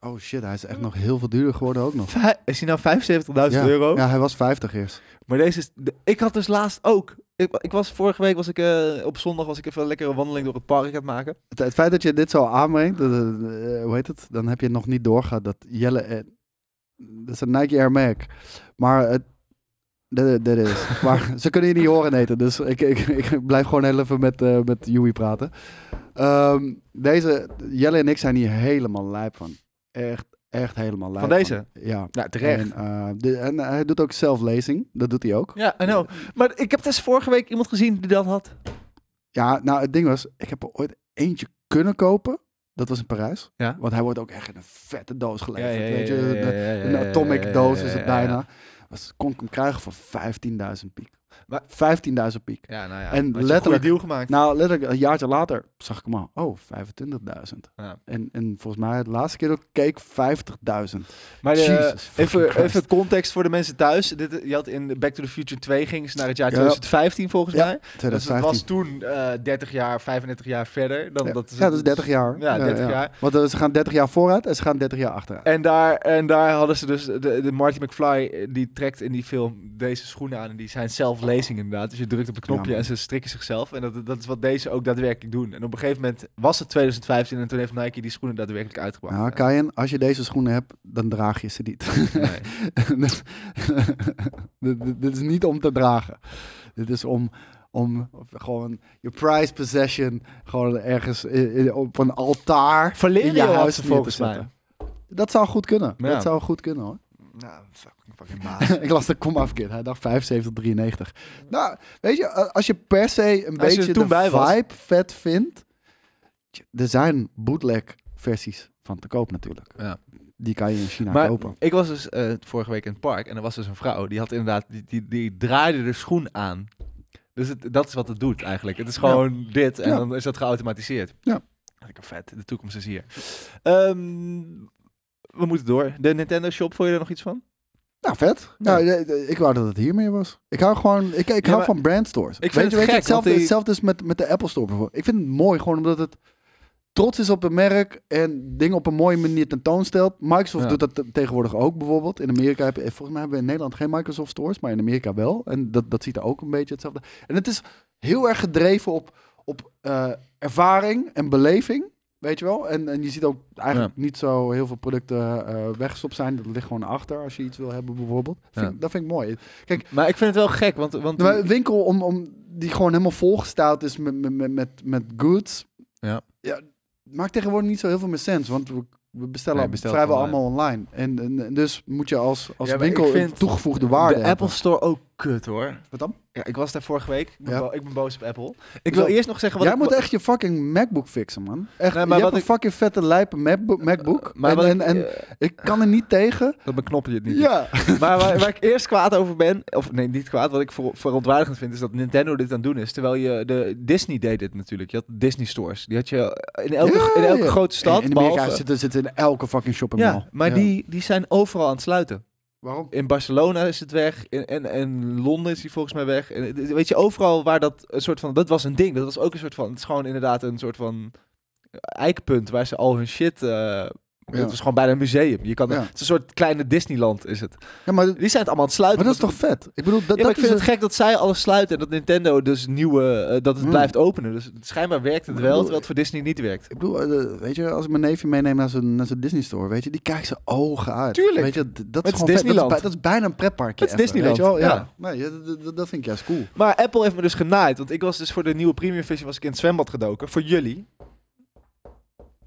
Speaker 2: Oh shit, hij is echt nog heel veel duurder geworden ook nog.
Speaker 1: Oh. Vij- Is hij nou 75.000
Speaker 2: ja.
Speaker 1: euro?
Speaker 2: Ja, hij was 50 eerst.
Speaker 1: Maar deze is... de- Ik had dus laatst ook... Ik, ik was vorige week, was ik, eh, op zondag was ik even een lekkere wandeling door het park aan het maken.
Speaker 2: Het, het feit dat je dit zo aanbrengt, dat- dat- eh, hoe heet het? Dan heb je nog niet doorgaat dat Jelle... eh, dat is een Nike Air Mac. Maar het, Dit dit is. Maar ze kunnen je niet horen eten, dus ik, ik, ik blijf gewoon heel even met, eh met Joey praten. Ehm, deze, Jelle en ik zijn hier helemaal lijp van. Echt, echt helemaal lijp
Speaker 1: Van deze?
Speaker 2: Ja.
Speaker 1: Nou, terecht.
Speaker 2: En, eh, de- en hij doet ook zelflezing, dat doet hij ook.
Speaker 1: Ja, I know. Maar ik heb dus vorige week iemand gezien die dat had.
Speaker 2: Ja, nou het ding was, ik heb er ooit eentje kunnen kopen. Dat was in Parijs.
Speaker 1: Ja.
Speaker 2: Want hij wordt ook echt in een vette doos geleverd.
Speaker 1: ja,
Speaker 2: weet
Speaker 1: ja,
Speaker 2: je,
Speaker 1: ja,
Speaker 2: een-
Speaker 1: ja, ja, ja,
Speaker 2: een
Speaker 1: ja, ja, ja,
Speaker 2: atomic doos is
Speaker 1: ja,
Speaker 2: het
Speaker 1: ja, ja.
Speaker 2: bijna. Was, kon ik hem krijgen voor 15.000 piek.
Speaker 1: Maar-
Speaker 2: 15.000 piek.
Speaker 1: Ja, nou ja. had
Speaker 2: En
Speaker 1: je een
Speaker 2: letterlijk-
Speaker 1: goede deal gemaakt.
Speaker 2: Nou, letterlijk een jaartje later zag ik hem al. Oh, 25.000.
Speaker 1: Ja.
Speaker 2: En, en volgens mij de laatste keer dat ik keek 50.000.
Speaker 1: maar de-
Speaker 2: Jesus fucking
Speaker 1: even,
Speaker 2: Christ.
Speaker 1: even context voor de mensen thuis. Dit, je had in Back to the Future 2 ging ze naar het jaar
Speaker 2: Ja.
Speaker 1: 2015 volgens
Speaker 2: Ja,
Speaker 1: mij. Dus dat
Speaker 2: 2015.
Speaker 1: was toen eh, 30 jaar, 35 jaar verder. Dan
Speaker 2: ja.
Speaker 1: dat,
Speaker 2: ja, dat is 30 jaar.
Speaker 1: Ja, 30 jaar.
Speaker 2: Want eh, ze gaan 30 jaar vooruit en ze gaan 30 jaar achteruit.
Speaker 1: En daar, en daar hadden ze dus, de, de Marty McFly, eh, die trekt in die film deze schoenen aan. En die zijn zelflezing inderdaad. Dus je drukt op een knopje
Speaker 2: Ja, man.
Speaker 1: en ze strikken zichzelf. En dat, dat is wat deze ook daadwerkelijk doen. En op een gegeven moment was het 2015 en toen heeft Nike die schoenen daadwerkelijk uitgebracht.
Speaker 2: Nou, Kajen, als je deze schoenen hebt, dan draag je ze niet.
Speaker 1: Nee.
Speaker 2: dit, dit- dit- dit is niet om te dragen. Dit is om, om gewoon je prized possession gewoon ergens in- in- op een altaar in je
Speaker 1: Valerio had
Speaker 2: huis
Speaker 1: ze
Speaker 2: neer te
Speaker 1: volgens
Speaker 2: zetten.
Speaker 1: mij.
Speaker 2: Dat zou goed kunnen.
Speaker 1: Ja.
Speaker 2: Dat zou goed kunnen hoor.
Speaker 1: Nou, fucking, fucking baas.
Speaker 2: ik las de kom af keer. Hij dacht 75, 93. Nou, weet je, a- als je per se een
Speaker 1: Als je
Speaker 2: beetje
Speaker 1: er toen
Speaker 2: de
Speaker 1: bij was.
Speaker 2: vibe vet vindt. tj, Er zijn bootleg versies van te koop natuurlijk.
Speaker 1: Ja.
Speaker 2: Die kan je in China
Speaker 1: maar
Speaker 2: kopen.
Speaker 1: ik was dus eh, vorige week in het park en er was dus een vrouw. Die had inderdaad, die, die, die draaide de schoen aan. Dus het, dat is wat het doet eigenlijk. Het is gewoon dit en
Speaker 2: Ja.
Speaker 1: dan is dat geautomatiseerd.
Speaker 2: Ja.
Speaker 1: Lekker vet, de toekomst is hier. Ehm, we moeten door. De Nintendo Shop, vond je er nog iets van?
Speaker 2: Nou, vet.
Speaker 1: Ja.
Speaker 2: Nou, de- de- ik wou dat het hiermee was. Ik hou gewoon, ik, ik
Speaker 1: Ja,
Speaker 2: hou
Speaker 1: maar-
Speaker 2: van brandstores.
Speaker 1: vind
Speaker 2: weet
Speaker 1: het
Speaker 2: je, weet je,
Speaker 1: gek,
Speaker 2: hetzelfde,
Speaker 1: want die-
Speaker 2: hetzelfde is met, met de Apple Store bijvoorbeeld. Ik vind het mooi gewoon omdat het trots is op een merk en dingen op een mooie manier tentoonstelt. Microsoft
Speaker 1: Ja.
Speaker 2: doet dat te- tegenwoordig ook bijvoorbeeld. In Amerika heb, eh, volgens mij hebben we in Nederland geen Microsoft stores, maar in Amerika wel. En dat, dat ziet er ook een beetje hetzelfde. En het is heel erg gedreven op, op eh, ervaring en beleving. Weet je wel? En, en je ziet ook eigenlijk niet zo heel veel producten eh, weggestopt zijn. Dat ligt gewoon achter als je iets wil hebben, bijvoorbeeld. Vind
Speaker 1: Ja.
Speaker 2: ik- dat vind ik mooi.
Speaker 1: Maar ik vind het wel gek, want... want
Speaker 2: Maar een winkel om, om, die gewoon helemaal volgestouwd is met, met- met, met, met goods.
Speaker 1: Ja.
Speaker 2: ja. Maakt tegenwoordig niet zo heel veel meer sens. Want we, we bestellen
Speaker 1: Nee, je bestelt
Speaker 2: vrijwel
Speaker 1: online.
Speaker 2: allemaal online. En, en, en dus moet je als, als
Speaker 1: Ja, maar
Speaker 2: winkel
Speaker 1: ik
Speaker 2: een
Speaker 1: vind
Speaker 2: toegevoegde waarde
Speaker 1: de
Speaker 2: hebben.
Speaker 1: Apple Store ook kut, hoor.
Speaker 2: Wat dan?
Speaker 1: Ja, ik was daar vorige week. Ik ben,
Speaker 2: Ja.
Speaker 1: bo- ik ben boos op Apple. Ik wil
Speaker 2: Zo.
Speaker 1: eerst nog zeggen wat
Speaker 2: Jij
Speaker 1: ik...
Speaker 2: moet echt je fucking MacBook fixen, man. Echt,
Speaker 1: Nee, maar
Speaker 2: maar je
Speaker 1: wat
Speaker 2: hebt een
Speaker 1: ik- Eh,
Speaker 2: fucking vette lijpe MacBook. MacBook.
Speaker 1: Maar
Speaker 2: en
Speaker 1: wat
Speaker 2: en,
Speaker 1: ik- eh,
Speaker 2: en ik kan er niet tegen.
Speaker 1: Dat mijn knopje het niet doet.
Speaker 2: Ja.
Speaker 1: maar waar, waar ik eerst kwaad over ben, of nee, niet kwaad, wat ik ver- verontwaardigend vind, is dat Nintendo dit aan het doen is. Terwijl je de Disney deed dit natuurlijk. Je had Disney stores. Die had je in elke,
Speaker 2: Ja,
Speaker 1: in elke
Speaker 2: ja.
Speaker 1: grote stad.
Speaker 2: in Amerika
Speaker 1: behalve-
Speaker 2: zitten, zitten in elke fucking shopping mall.
Speaker 1: ja, maar Die, die zijn overal aan het sluiten.
Speaker 2: Waarom?
Speaker 1: In Barcelona is het weg. In, en, en Londen is die volgens mij weg. En, eh, weet je, overal waar dat een soort van. Dat was een ding. Dat was ook een soort van. Het is gewoon inderdaad een soort van eikpunt waar ze al hun shit. eh, Het is gewoon bijna een museum. Je kan,
Speaker 2: Ja.
Speaker 1: Het is een soort kleine Disneyland is het.
Speaker 2: Ja, maar, maar
Speaker 1: Die zijn het allemaal aan het sluiten.
Speaker 2: dat is
Speaker 1: omdat-
Speaker 2: toch vet? Ik bedoel, dat,
Speaker 1: ja, maar
Speaker 2: dat
Speaker 1: ik vind
Speaker 2: is
Speaker 1: het gek dat zij alles sluiten en dat Nintendo dus nieuwe, eh, dat het
Speaker 2: Hmm.
Speaker 1: blijft openen. Dus schijnbaar werkt het
Speaker 2: Maar
Speaker 1: wel,
Speaker 2: ik bedoel-
Speaker 1: terwijl het voor Disney niet werkt.
Speaker 2: Ik bedoel, eh, weet je, als ik mijn neefje meeneem naar zijn, naar zijn Disney store, weet je, die kijkt zijn ogen uit.
Speaker 1: Tuurlijk.
Speaker 2: Weet je, d- dat
Speaker 1: is
Speaker 2: is gewoon vet. Dat is,
Speaker 1: Disneyland.
Speaker 2: bij- dat is bijna een pretparkje.
Speaker 1: Het is
Speaker 2: even,
Speaker 1: Disneyland,
Speaker 2: Weet je wel? Ja.
Speaker 1: ja.
Speaker 2: Nee, ja, dat, dat- dat vind ik juist cool.
Speaker 1: Maar Apple heeft me dus genaaid, want ik was dus voor de nieuwe Premium Vision was ik in het zwembad gedoken. Voor jullie.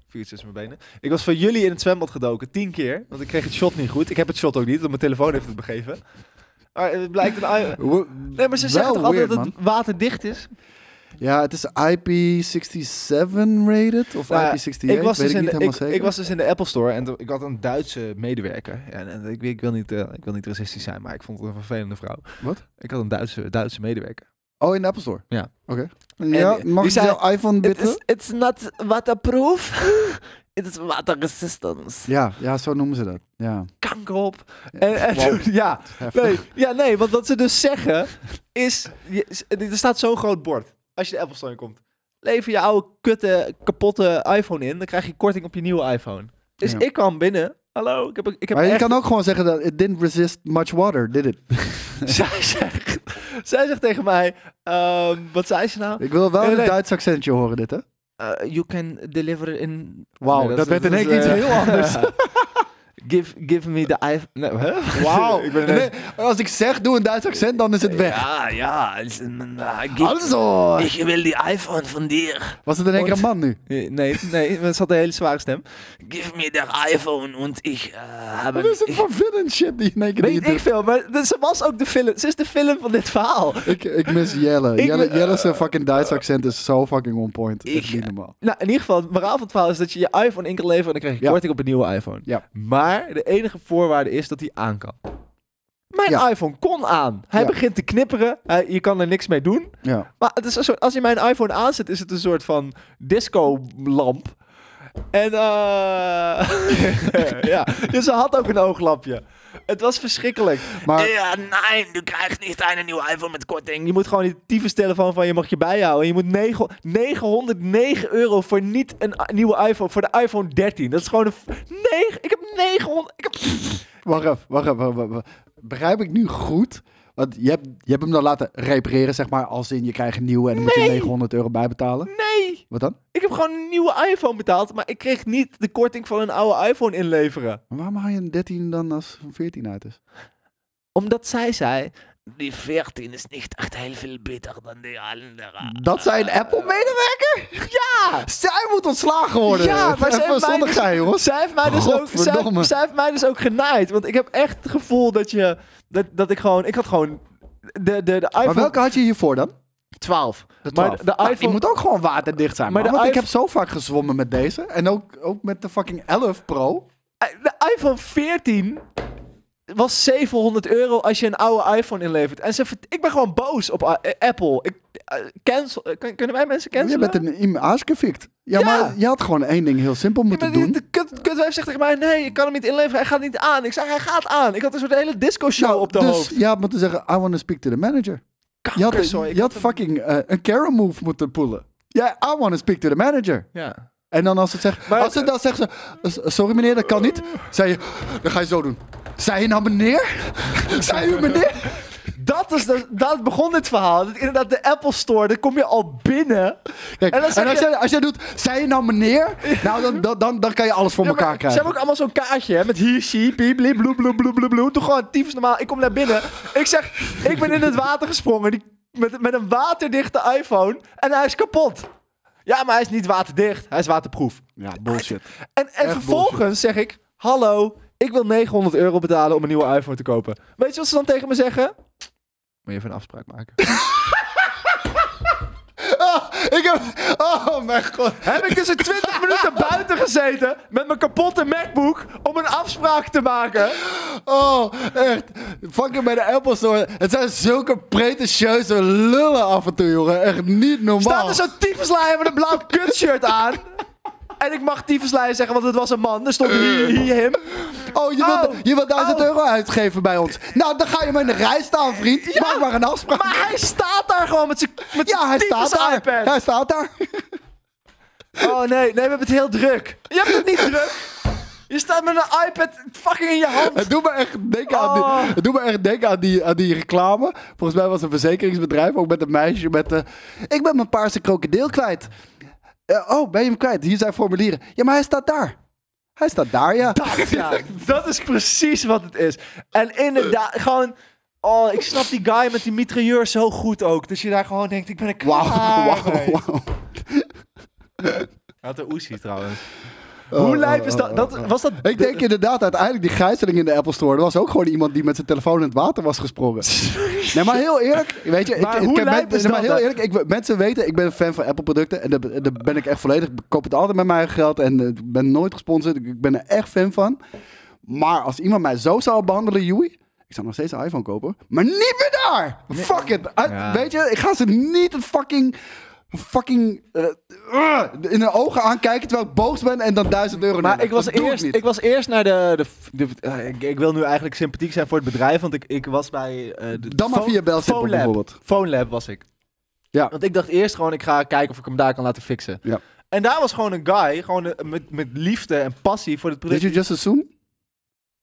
Speaker 1: Vier iets tussen mijn benen. Ik was voor jullie in het zwembad gedoken, tien keer. Want ik kreeg het shot niet goed. Ik heb het shot ook niet, want mijn telefoon heeft het begeven. Maar het blijkt een... i- Nee, maar ze zeggen toch altijd dat het waterdicht is?
Speaker 2: Ja, het is IP67 rated of
Speaker 1: Nou ja,
Speaker 2: IP68,
Speaker 1: Ik was,
Speaker 2: weet
Speaker 1: dus in de,
Speaker 2: ik niet helemaal
Speaker 1: ik,
Speaker 2: zeker.
Speaker 1: ik was dus in de Apple Store en toen- ik had een Duitse medewerker. En, en ik, ik, wil niet, eh, ik wil niet racistisch zijn, maar ik vond het een vervelende vrouw.
Speaker 2: Wat?
Speaker 1: Ik had een Duitse, Duitse medewerker.
Speaker 2: Oh, in de Apple Store?
Speaker 1: Ja.
Speaker 2: Oké. Ja,
Speaker 1: die
Speaker 2: mag ik
Speaker 1: zei-
Speaker 2: jouw iPhone bitten?
Speaker 1: it's not waterproof. It is water resistance.
Speaker 2: Ja, ja, zo noemen ze dat. Ja.
Speaker 1: Kanker op. En, en
Speaker 2: Wow.
Speaker 1: toen- ja,
Speaker 2: Heftig.
Speaker 1: nee, ja, nee, want wat ze dus zeggen is... je- er staat zo'n groot bord als je de Apple Store in komt. Lever je oude, kutte, kapotte iPhone in. Dan krijg je korting op je nieuwe iPhone. Dus
Speaker 2: Ja.
Speaker 1: ik kwam binnen. Hallo, ik heb, ik heb
Speaker 2: Maar je
Speaker 1: echt
Speaker 2: kan ook gewoon zeggen dat it didn't resist much water, did it?
Speaker 1: zij, zegt, zij zegt tegen mij, ehm, wat zei ze nou?
Speaker 2: Ik wil wel
Speaker 1: Nee,
Speaker 2: een
Speaker 1: nee.
Speaker 2: Duits accentje horen dit, hè?
Speaker 1: Eh, you can deliver in...
Speaker 2: Wauw,
Speaker 1: Nee, dat
Speaker 2: dat
Speaker 1: is-
Speaker 2: werd in
Speaker 1: dat
Speaker 2: één
Speaker 1: is,
Speaker 2: keer iets
Speaker 1: eh,
Speaker 2: heel anders.
Speaker 3: give, give me the iPhone. Nee, huh?
Speaker 2: Wauw.
Speaker 1: Ik ben ineens-
Speaker 2: Nee, als ik zeg, doe een Duits accent, dan is het weg.
Speaker 3: Ja, ja. het is een- eh, give-
Speaker 2: Also.
Speaker 3: Ik wil die iPhone van dir.
Speaker 2: Was het in één keer een man nu?
Speaker 1: Eh, Nee, nee, het had een hele zware stem.
Speaker 3: Give me the iPhone en ik eh, heb
Speaker 2: Wat is het
Speaker 3: ik-
Speaker 2: voor villain shit die in één keer... die
Speaker 1: Weet
Speaker 2: je
Speaker 1: ik veel, maar dat- ze was ook de film. Ze is de film van dit verhaal.
Speaker 2: doet? ik, ik mis Jelle.
Speaker 1: Ik-
Speaker 2: Jelle, Jelle zijn fucking Duits accent is zo fucking on point. Ik,
Speaker 3: Ik-
Speaker 2: niet normaal.
Speaker 1: Nou, in ieder geval, het moraal van het verhaal is dat je je iPhone in kan leveren en dan krijg je
Speaker 2: Ja.
Speaker 1: korting op een nieuwe iPhone.
Speaker 2: Ja.
Speaker 1: Maar de enige voorwaarde is dat hij aan kan. Mijn
Speaker 2: Ja.
Speaker 1: iPhone kon aan. Hij
Speaker 2: Ja.
Speaker 1: begint te knipperen. Hij- je kan er niks mee doen.
Speaker 2: Ja.
Speaker 1: Maar het is een soort, als je mijn iPhone aanzet, is het een soort van disco-lamp. En eh ja, dus ze had ook een ooglapje. Het was verschrikkelijk.
Speaker 2: Maar
Speaker 3: Ja, nee, du krijgt niet een nieuwe iPhone met korting.
Speaker 1: Je moet gewoon die tyfus telefoon van je mag je bijhouden. Je moet negen- 909 euro voor niet een i- nieuwe iPhone, voor de iPhone 13. Dat is gewoon een... f- negen- ik heb 900... Ik heb,
Speaker 2: wacht even, wacht even, wacht even. Begrijp ik nu goed? Want je hebt, je hebt hem dan laten repareren, zeg maar, als in je krijgt een nieuwe en dan moet
Speaker 1: Nee.
Speaker 2: je 900 euro bijbetalen.
Speaker 1: nee!
Speaker 2: Wat dan?
Speaker 1: Ik heb gewoon een nieuwe iPhone betaald, maar ik kreeg niet de korting van een oude iPhone inleveren.
Speaker 2: Maar waarom haal je een 13 dan als een 14 uit is?
Speaker 1: Omdat zij zei...
Speaker 3: Die 14 is niet echt heel veel beter dan die andere.
Speaker 2: Dat zijn Apple-medewerker?
Speaker 1: Ja!
Speaker 2: Zij moet ontslagen worden.
Speaker 1: Ja, maar zij
Speaker 2: Even
Speaker 1: heeft mij
Speaker 2: zonder
Speaker 1: dus-
Speaker 2: gein, jongens.
Speaker 1: Zij heeft, mij dus ook, zij,
Speaker 2: Godverdomme.
Speaker 1: zij heeft mij dus ook genaaid. Want ik heb echt het gevoel dat je... Dat, dat ik gewoon... Ik had gewoon... De, de, de iPhone
Speaker 2: Maar welke had je hiervoor dan?
Speaker 1: 12. Maar
Speaker 2: 12.
Speaker 1: de, de
Speaker 2: Nou, die
Speaker 1: iPhone...
Speaker 2: moet ook gewoon waterdicht zijn.
Speaker 1: Maar
Speaker 2: man,
Speaker 1: de
Speaker 2: want ik heb
Speaker 1: iPhone-
Speaker 2: zo vaak gezwommen met deze. En ook, ook met de fucking 11 Pro.
Speaker 1: eh, De iPhone 14 was 700 euro als je een oude iPhone inlevert. En ze vert- ik ben gewoon boos op A- eh, Apple. Ik, eh, cancel, eh, kun- kunnen wij mensen
Speaker 2: Je
Speaker 1: cancelen?
Speaker 2: bent een im aangefikt. Ja,
Speaker 1: Ja.
Speaker 2: maar je had gewoon één ding heel simpel
Speaker 1: Ja,
Speaker 2: moeten
Speaker 1: maar die-
Speaker 2: doen.
Speaker 1: de kut, kutwijf zegt tegen mij, nee, ik kan hem niet inleveren, hij gaat niet aan. Ik zeg, hij gaat aan. Ik had dus een soort hele disco-show
Speaker 2: Nou,
Speaker 1: op de
Speaker 2: dus
Speaker 1: hoofd.
Speaker 2: je had moeten zeggen, I want to speak to the manager. Je had,
Speaker 1: Kankerzooi, ik
Speaker 2: je had
Speaker 1: had
Speaker 2: fucking eh, een Karen move moeten poelen. Ja, I want to speak to the manager.
Speaker 1: Ja.
Speaker 2: En dan als ze zegt,
Speaker 1: Maar-
Speaker 2: als ze dan zegt ze, "S- sorry meneer, dat kan niet. Zei je, dan ga je zo doen. Zei je nou meneer? Zei u meneer?
Speaker 1: Dat, is de, dat begon dit verhaal. Dat, inderdaad, de Apple Store, daar kom je al binnen.
Speaker 2: Kijk,
Speaker 1: En
Speaker 2: en
Speaker 1: dan zeg
Speaker 2: als,
Speaker 1: je-
Speaker 2: jij, als jij doet, zei je nou meneer? Nou, dan, dan, dan, dan kan je alles voor
Speaker 1: Ja, maar
Speaker 2: elkaar
Speaker 1: Ze
Speaker 2: krijgen.
Speaker 1: hebben ook allemaal zo'n kaartje, hè, met hier, she, piep, bliep, bloep, bloep, bloep, bloep, bloep. Doe gewoon tyfus normaal. Ik kom naar binnen. Ik zeg, ik ben in het water gesprongen. Die, met, met een waterdichte iPhone. En hij is kapot. Ja, maar hij is niet waterdicht. Hij is waterproef.
Speaker 2: Ja, bullshit.
Speaker 1: En, en
Speaker 2: Echt
Speaker 1: vervolgens zeg ik, hallo, ik wil 900 euro betalen om een nieuwe iPhone te kopen. Weet je wat ze dan tegen me zeggen? Moet je even een afspraak maken.
Speaker 2: Ik heb, oh mijn god.
Speaker 1: Heb ik dus een 20 minuten buiten gezeten met mijn kapotte MacBook om een afspraak te maken.
Speaker 2: Oh, echt. Fucking bij de Apple Store. Het zijn zulke pretentieuze lullen af en toe, jongen. Echt niet
Speaker 1: Staat
Speaker 2: normaal.
Speaker 1: er zo'n tyfuslijn met een blauw kutshirt aan. En ik mag tyfuslijn zeggen, want het was een man. Er stond hier,
Speaker 2: Eh.
Speaker 1: hier hem.
Speaker 2: Oh, je wilt,
Speaker 1: Oh.
Speaker 2: je wilt 1000
Speaker 1: Oh.
Speaker 2: euro uitgeven bij ons. Nou, dan ga je maar in de rij staan, vriend. Maak maar een afspraak.
Speaker 1: Maar hij staat daar gewoon met zijn met
Speaker 2: Ja, hij staat daar.
Speaker 1: iPad.
Speaker 2: Hij staat daar.
Speaker 1: Oh nee, nee, we hebben het heel druk. Je hebt het niet druk. Je staat met een iPad fucking in je hand.
Speaker 2: Het doet me echt denken, aan
Speaker 1: Oh.
Speaker 2: die, het doet me echt denken aan, die, aan die reclame. Volgens mij was het een verzekeringsbedrijf, ook met een meisje met... de. ik ben mijn paarse krokodil kwijt. Eh, oh, ben je hem kwijt? Hier zijn formulieren. Ja, maar hij staat daar. Hij staat daar, ja.
Speaker 1: Ja, dat is precies wat het is. En inderdaad,
Speaker 2: Eh.
Speaker 1: gewoon... Oh, ik snap die guy met die mitrailleur zo goed ook. Dat je daar gewoon denkt, ik ben een
Speaker 2: Wauw,
Speaker 1: klaar
Speaker 2: wauw,
Speaker 1: mee.
Speaker 2: wauw.
Speaker 1: Hij had een oesie trouwens.
Speaker 2: Oh,
Speaker 1: Hoe
Speaker 2: oh,
Speaker 1: lijp is
Speaker 2: oh,
Speaker 1: dat?
Speaker 2: oh,
Speaker 1: dat
Speaker 2: oh.
Speaker 1: was dat
Speaker 2: Ik denk inderdaad, uiteindelijk die gijzeling in de Apple Store... dat was ook gewoon iemand die met zijn telefoon in het water was gesprongen. Nee, maar heel eerlijk, weet je...
Speaker 1: Maar
Speaker 2: ik,
Speaker 1: hoe
Speaker 2: ik,
Speaker 1: lijp
Speaker 2: ben-
Speaker 1: is
Speaker 2: nee, maar
Speaker 1: dat
Speaker 2: heel
Speaker 1: dan?
Speaker 2: eerlijk, ik, mensen weten, ik ben een fan van Apple producten... en daar ben- daar ben ik echt volledig... Ik koop het altijd met mijn eigen geld en eh, ik ben nooit gesponsord. Ik- Ik ben er echt fan van. Maar als iemand mij zo zou behandelen, Joey... Ik zou nog steeds een iPhone kopen, maar niet meer daar! Fuck it! Uit-
Speaker 1: Ja.
Speaker 2: Weet je, ik ga ze niet een fucking... Fucking eh, eh, in hun ogen aankijken terwijl ik boos ben en dan 1000 euro
Speaker 1: Maar
Speaker 2: nemen.
Speaker 1: ik was,
Speaker 2: Dat doe
Speaker 1: eerst, ik,
Speaker 2: niet.
Speaker 1: was eerst naar de... de, f- de- eh, ik, ik wil nu eigenlijk sympathiek zijn voor het bedrijf, want ik, ik was bij... eh de
Speaker 2: Dan maar
Speaker 1: Fo-
Speaker 2: via Belsimple
Speaker 1: Phonelab.
Speaker 2: bijvoorbeeld.
Speaker 1: Phonelab was ik.
Speaker 2: Ja.
Speaker 1: Want ik dacht eerst gewoon, ik ga kijken of ik hem daar kan laten fixen.
Speaker 2: Ja.
Speaker 1: En daar was gewoon een guy, gewoon eh, met, met liefde en passie voor het
Speaker 2: Did
Speaker 1: product.
Speaker 2: you just assume?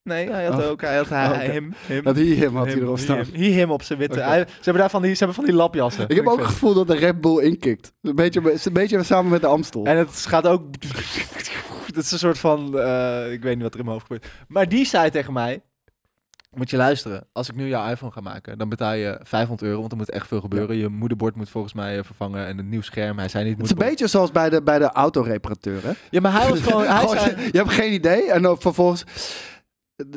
Speaker 1: Nee, hij had
Speaker 2: Oh.
Speaker 1: ook, hij had hij,
Speaker 2: Oh, oké.
Speaker 1: hem, hem.
Speaker 2: Dat hij hem had
Speaker 1: hem,
Speaker 2: hier erop staan.
Speaker 1: hem, Hier hem op zijn witte.
Speaker 2: Oké.
Speaker 1: Hij- ze, hebben daar van die, ze hebben van die lapjassen.
Speaker 2: Ik heb ook
Speaker 1: Vind
Speaker 2: het
Speaker 1: vet.
Speaker 2: gevoel dat de Red Bull inkikt. Een beetje, een beetje samen met de Amstel.
Speaker 1: En het gaat ook... ook, dat is een soort van, eh, ik weet niet wat er in mijn hoofd gebeurt. Maar die zei tegen mij, moet je luisteren, als ik nu jouw iPhone ga maken, dan betaal je 500 euro, want er moet echt veel gebeuren. Je moederbord moet volgens mij eh, vervangen en een nieuw scherm. Hij zei niet,
Speaker 2: Het is een
Speaker 1: moederbord.
Speaker 2: beetje zoals bij de, bij de autoreparateur, hè?
Speaker 1: Ja, maar hij was gewoon, hij
Speaker 2: Gewoon,
Speaker 1: zei,
Speaker 2: je, je hebt geen idee en dan vervolgens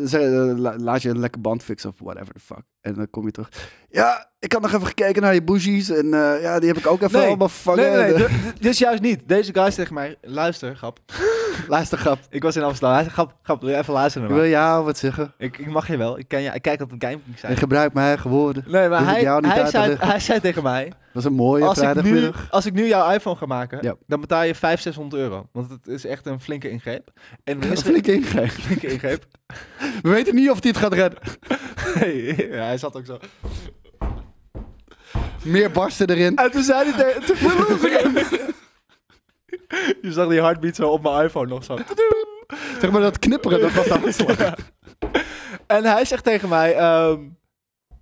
Speaker 2: ze- eh, la- laat je een lekker band fixen of whatever the fuck. En dan kom je terug. Ja, ik had nog even gekeken naar je bougies en eh, ja, die heb ik ook even
Speaker 1: Nee,
Speaker 2: allemaal vervangen.
Speaker 1: Nee, nee, nee, d- d- dit is juist niet. Deze guy zei tegen mij, luister, grap.
Speaker 2: Luister, grap.
Speaker 1: Ik was in Amsterdam. Hij zei, grap, grap, wil je even luisteren?
Speaker 2: Wil
Speaker 1: man?
Speaker 2: jou wat zeggen?
Speaker 1: Ik, ik mag je wel. Ik, ken je, ik kijk altijd een gaming
Speaker 2: En
Speaker 1: zijn.
Speaker 2: gebruik mijn eigen woorden.
Speaker 1: Nee, maar
Speaker 2: Dus ik
Speaker 1: hij,
Speaker 2: jou niet
Speaker 1: hij,
Speaker 2: uit te
Speaker 1: zei,
Speaker 2: leggen.
Speaker 1: hij zei tegen mij,
Speaker 2: Dat was een mooie
Speaker 1: als ik, nu,
Speaker 2: vrijdagmiddag.
Speaker 1: als ik nu jouw iPhone ga maken,
Speaker 2: Ja.
Speaker 1: dan betaal je 500, 600 euro. Want het is echt een flinke ingreep. En dan is er-
Speaker 2: Flink ingreep.
Speaker 1: flinke ingreep.
Speaker 2: We weten niet of die het gaat redden.
Speaker 1: Nee, ja, hij zat ook zo.
Speaker 2: Meer barsten erin.
Speaker 1: En toen zei hij tegen... Je zag die heartbeat zo op mijn iPhone nog zo.
Speaker 2: Zeg maar dat knipperen, dat was de hartslag.
Speaker 1: En hij zegt tegen mij: ehm,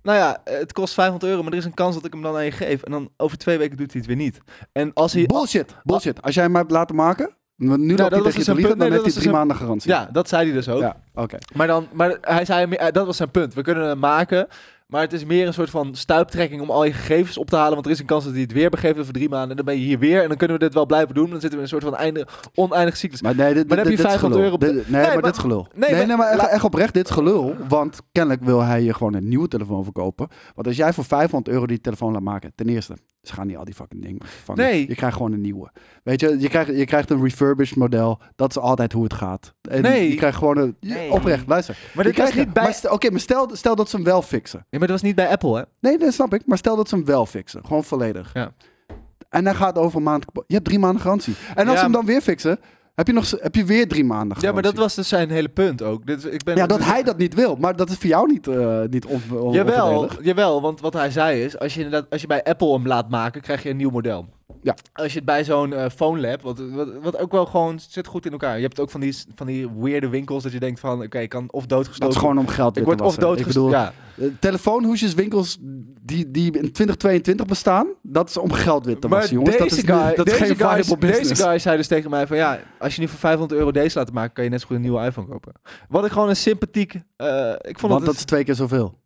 Speaker 1: Nou ja, het kost 500 euro, maar er is een kans dat ik hem dan aan je geef. En dan over twee weken doet hij het weer niet. En als hij.
Speaker 2: Bullshit, bullshit. Als jij hem hebt laten maken, want nu
Speaker 1: dat
Speaker 2: loopt hij
Speaker 1: was
Speaker 2: tegen je
Speaker 1: dus
Speaker 2: te
Speaker 1: een
Speaker 2: liegen,
Speaker 1: punt. Nee,
Speaker 2: dan
Speaker 1: dat was
Speaker 2: heeft hij drie
Speaker 1: dus een-
Speaker 2: maanden garantie.
Speaker 1: ja, dat zei hij dus ook.
Speaker 2: Ja, oké.
Speaker 1: Maar, dan, maar hij zei: meer- eh, Dat was zijn punt. We kunnen hem maken. Maar het is meer een soort van stuiptrekking om al je gegevens op te halen. Want er is een kans dat hij het weer begeeft over drie maanden. En dan ben je hier weer. En dan kunnen we dit wel blijven doen. Dan zitten we in een soort van einde, oneindige cyclus.
Speaker 2: Maar nee, dit,
Speaker 1: Maar dan heb
Speaker 2: dit-
Speaker 1: je
Speaker 2: dit is
Speaker 1: 500
Speaker 2: gelul.
Speaker 1: euro op de-
Speaker 2: Dit- nee, maar,
Speaker 1: maar-
Speaker 2: dit is gelul. Nee,
Speaker 1: Nee,
Speaker 2: nee,
Speaker 1: maar-
Speaker 2: maar echt,
Speaker 1: laat-
Speaker 2: echt oprecht, dit is gelul. Want kennelijk wil hij je gewoon een nieuwe telefoon verkopen. Want als jij voor 500 euro die telefoon laat maken, ten eerste, ze gaan niet al die fucking dingen vervangen.
Speaker 1: Nee.
Speaker 2: Je krijgt gewoon een nieuwe. Weet je, je krijgt, je krijgt een refurbished model. Dat is altijd hoe het gaat. En
Speaker 1: Nee.
Speaker 2: Je krijgt gewoon een... je-
Speaker 1: Nee.
Speaker 2: Oprecht, luister.
Speaker 1: Maar
Speaker 2: Je
Speaker 1: dit was
Speaker 2: krijgt-
Speaker 1: niet bij,
Speaker 2: maar stel- Oké, maar stel, stel dat ze hem wel fixen.
Speaker 1: ja, maar dit was niet bij Apple, hè?
Speaker 2: Nee, dat snap ik. Maar stel dat ze hem wel fixen. Gewoon volledig.
Speaker 1: Ja.
Speaker 2: En hij gaat over een maand... kapot. Je hebt drie maanden garantie. En als
Speaker 1: Ja,
Speaker 2: ze hem dan weer fixen... Heb je, nog, heb je weer drie maanden garantie.
Speaker 1: Ja, maar dat was dus zijn hele punt ook. Dit, ik ben dus-
Speaker 2: Ja, dat hij dat niet wil. Maar dat is voor jou niet, eh niet on, on-
Speaker 1: Jawel,
Speaker 2: onvoordelig.
Speaker 1: jawel, want wat hij zei is, als je, inderdaad, als je bij Apple hem laat maken, krijg je een nieuw model.
Speaker 2: Ja.
Speaker 1: Als je het bij zo'n eh phone lab, wat, wat, wat ook wel gewoon zit goed in elkaar. Je hebt ook van die, van die weirde winkels dat je denkt van, oké, ik kan of
Speaker 2: Dat
Speaker 1: doodgestoken.
Speaker 2: is gewoon om geld
Speaker 1: ik
Speaker 2: weer te
Speaker 1: word of
Speaker 2: wassen. Ik bedoel,
Speaker 1: doodgestoken. Ja.
Speaker 2: eh, telefoonhoesjeswinkels die, die in 2022 bestaan, dat is om geld weer te wassen, jongens. Dat is, niet- dat is geen viable
Speaker 1: guy,
Speaker 2: business.
Speaker 1: deze guy zei dus tegen mij van, ja, als je nu voor 500 euro deze laat maken, kan je net zo goed een nieuwe iPhone kopen. Wat ik gewoon een sympathiek, eh, ik vond
Speaker 2: Want
Speaker 1: het-
Speaker 2: dat is twee keer zoveel.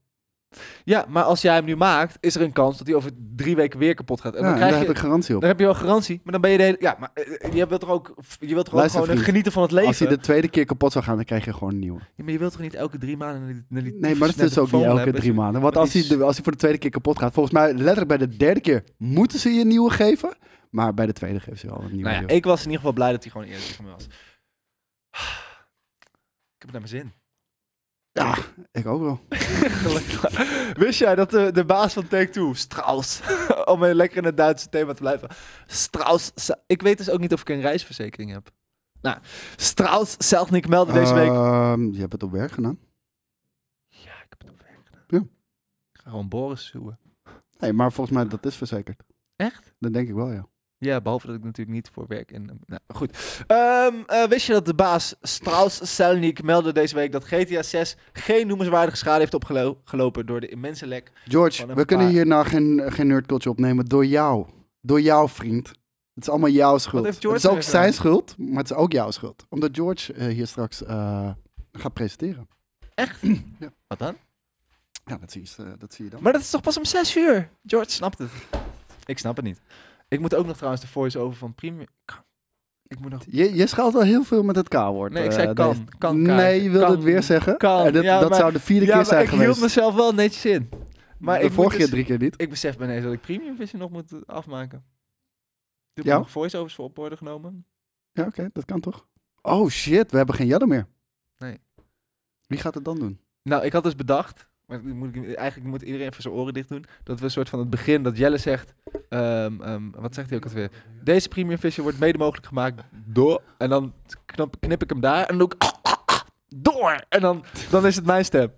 Speaker 1: ja, maar als jij hem nu maakt, is er een kans dat hij over drie weken weer kapot gaat. En
Speaker 2: Ja,
Speaker 1: dan
Speaker 2: en
Speaker 1: krijg
Speaker 2: daar
Speaker 1: je,
Speaker 2: heb ik garantie op.
Speaker 1: Dan heb je wel garantie, maar dan ben je de hele... Ja, maar eh, je wilt toch ook, je wilt toch ook
Speaker 2: Luister,
Speaker 1: gewoon
Speaker 2: vriend.
Speaker 1: genieten van het leven?
Speaker 2: Als hij de tweede keer kapot zou gaan, dan krijg je gewoon een nieuwe.
Speaker 1: Ja, maar je wilt toch niet elke drie maanden naar die, naar die
Speaker 2: Nee, maar dat is dus ook niet elke drie maanden. Want
Speaker 1: maar
Speaker 2: als hij,
Speaker 1: die
Speaker 2: de- als hij voor de tweede keer kapot gaat, volgens mij letterlijk bij de derde keer moeten ze je een nieuwe geven. Maar bij de tweede geven ze je al een nieuwe.
Speaker 1: Nou ja,
Speaker 2: joh.
Speaker 1: ik was in ieder geval blij dat hij gewoon eerlijk van me was. Ik heb het naar mijn zin.
Speaker 2: ik ook wel.
Speaker 1: Wist jij dat de, de baas van Take-Two, Strauss, om even lekker in het Duitse thema te blijven. Strauss, ze- ik weet dus ook niet of ik een reisverzekering heb. Nou, Strauss Seltnick meldde deze week...
Speaker 2: Ehm, je hebt het op werk gedaan.
Speaker 1: Eh. Ja, ik heb het op werk gedaan.
Speaker 2: Ja.
Speaker 1: Ik ga gewoon Boris zoeken.
Speaker 2: Nee, maar volgens mij dat is verzekerd.
Speaker 1: Echt?
Speaker 2: Dat denk ik wel, ja.
Speaker 1: Ja, behalve dat ik natuurlijk niet voor werk en... Nou, goed. Ehm, eh, wist je dat de baas Strauss Selnik meldde deze week dat GTA 6 geen noemenswaardige schade heeft opgelopen door de immense lek?
Speaker 2: George,
Speaker 1: Van
Speaker 2: we
Speaker 1: een
Speaker 2: kunnen
Speaker 1: paar-
Speaker 2: hier nou geen, geen nerdculture opnemen door jou. Door jou, vriend. Het is allemaal jouw schuld.
Speaker 1: heeft
Speaker 2: Het
Speaker 1: George
Speaker 2: is ook
Speaker 1: weer
Speaker 2: zijn
Speaker 1: gedaan?
Speaker 2: schuld, maar het is ook jouw schuld. Omdat George eh, hier straks eh, gaat presenteren.
Speaker 1: Wat dan?
Speaker 2: Ja, dat zie je, eh, dat zie je dan.
Speaker 1: Maar dat is toch pas om 6 uur? George snapt het. Ik snap het niet. Ik moet ook nog trouwens de voice-over van Premium... Ik moet nog...
Speaker 2: Je, je schuilt wel heel veel met het K-woord.
Speaker 1: Nee, ik
Speaker 2: eh,
Speaker 1: zei kan.
Speaker 2: deze-
Speaker 1: Kan,
Speaker 2: Nee, je wilde
Speaker 1: kan,
Speaker 2: het weer zeggen.
Speaker 1: kan.
Speaker 2: En dat
Speaker 1: Ja,
Speaker 2: dat
Speaker 1: maar-
Speaker 2: zou de vierde
Speaker 1: ja,
Speaker 2: keer
Speaker 1: maar
Speaker 2: zijn
Speaker 1: ik
Speaker 2: geweest.
Speaker 1: hield mezelf wel netjes in. Maar
Speaker 2: de
Speaker 1: ik
Speaker 2: vorige
Speaker 1: moet
Speaker 2: keer
Speaker 1: dus-
Speaker 2: drie keer niet.
Speaker 1: Ik besef bij ineens dat ik Premium Vision nog moet eh, afmaken. Ik heb
Speaker 2: Ja?
Speaker 1: nog voice-overs voor op worden genomen.
Speaker 2: Ja, oké, dat kan toch? Oh shit, we hebben geen Jaddo meer.
Speaker 1: Nee.
Speaker 2: Wie gaat het dan doen?
Speaker 1: Nou, ik had dus bedacht, maar dat moet ik, eigenlijk moet iedereen even zijn oren dicht doen, dat we een soort van het begin, dat Jelle zegt, ehm, ehm, wat zegt hij ook alweer? Deze premium vision wordt mede mogelijk gemaakt door, en dan knap, knip ik hem daar en doe ik ah, door, en dan, dan is het mijn stem.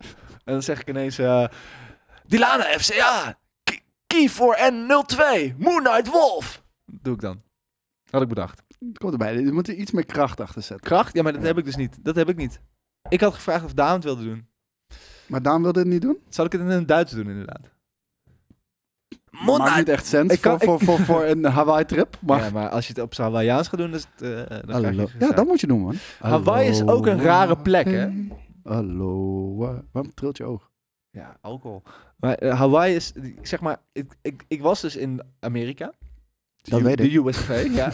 Speaker 1: En dan zeg ik ineens, eh Dilana FCA, K- Key for N02, Moon Knight Wolf. Doe ik dan. Had ik bedacht.
Speaker 2: Komt erbij, je moet er iets meer kracht achter zetten.
Speaker 1: Kracht? Ja, maar dat heb ik dus niet. Dat heb ik niet. Ik had gevraagd of Daan het wilde doen.
Speaker 2: Maar Daan wilde het niet doen?
Speaker 1: Zal ik het in het Duits doen, inderdaad?
Speaker 2: Maakt niet
Speaker 3: Monat.
Speaker 2: echt sens
Speaker 1: Ik kan-
Speaker 2: voor, voor, voor, voor een Hawaii-trip. Maar
Speaker 1: Ja, maar als je het op zijn Hawaiiaans gaat doen, dus het, eh, dan krijg je
Speaker 2: Hallo.
Speaker 1: het
Speaker 2: Ja, dat moet je doen, man.
Speaker 1: Hawaii is ook een rare plek, hè?
Speaker 2: Hallo. Waarom trilt je oog?
Speaker 1: Ja, alcohol. Maar eh, Hawaii is, zeg maar, ik, ik, ik was dus in Amerika.
Speaker 2: Dat
Speaker 1: De-
Speaker 2: weet ik.
Speaker 1: De USA, ja.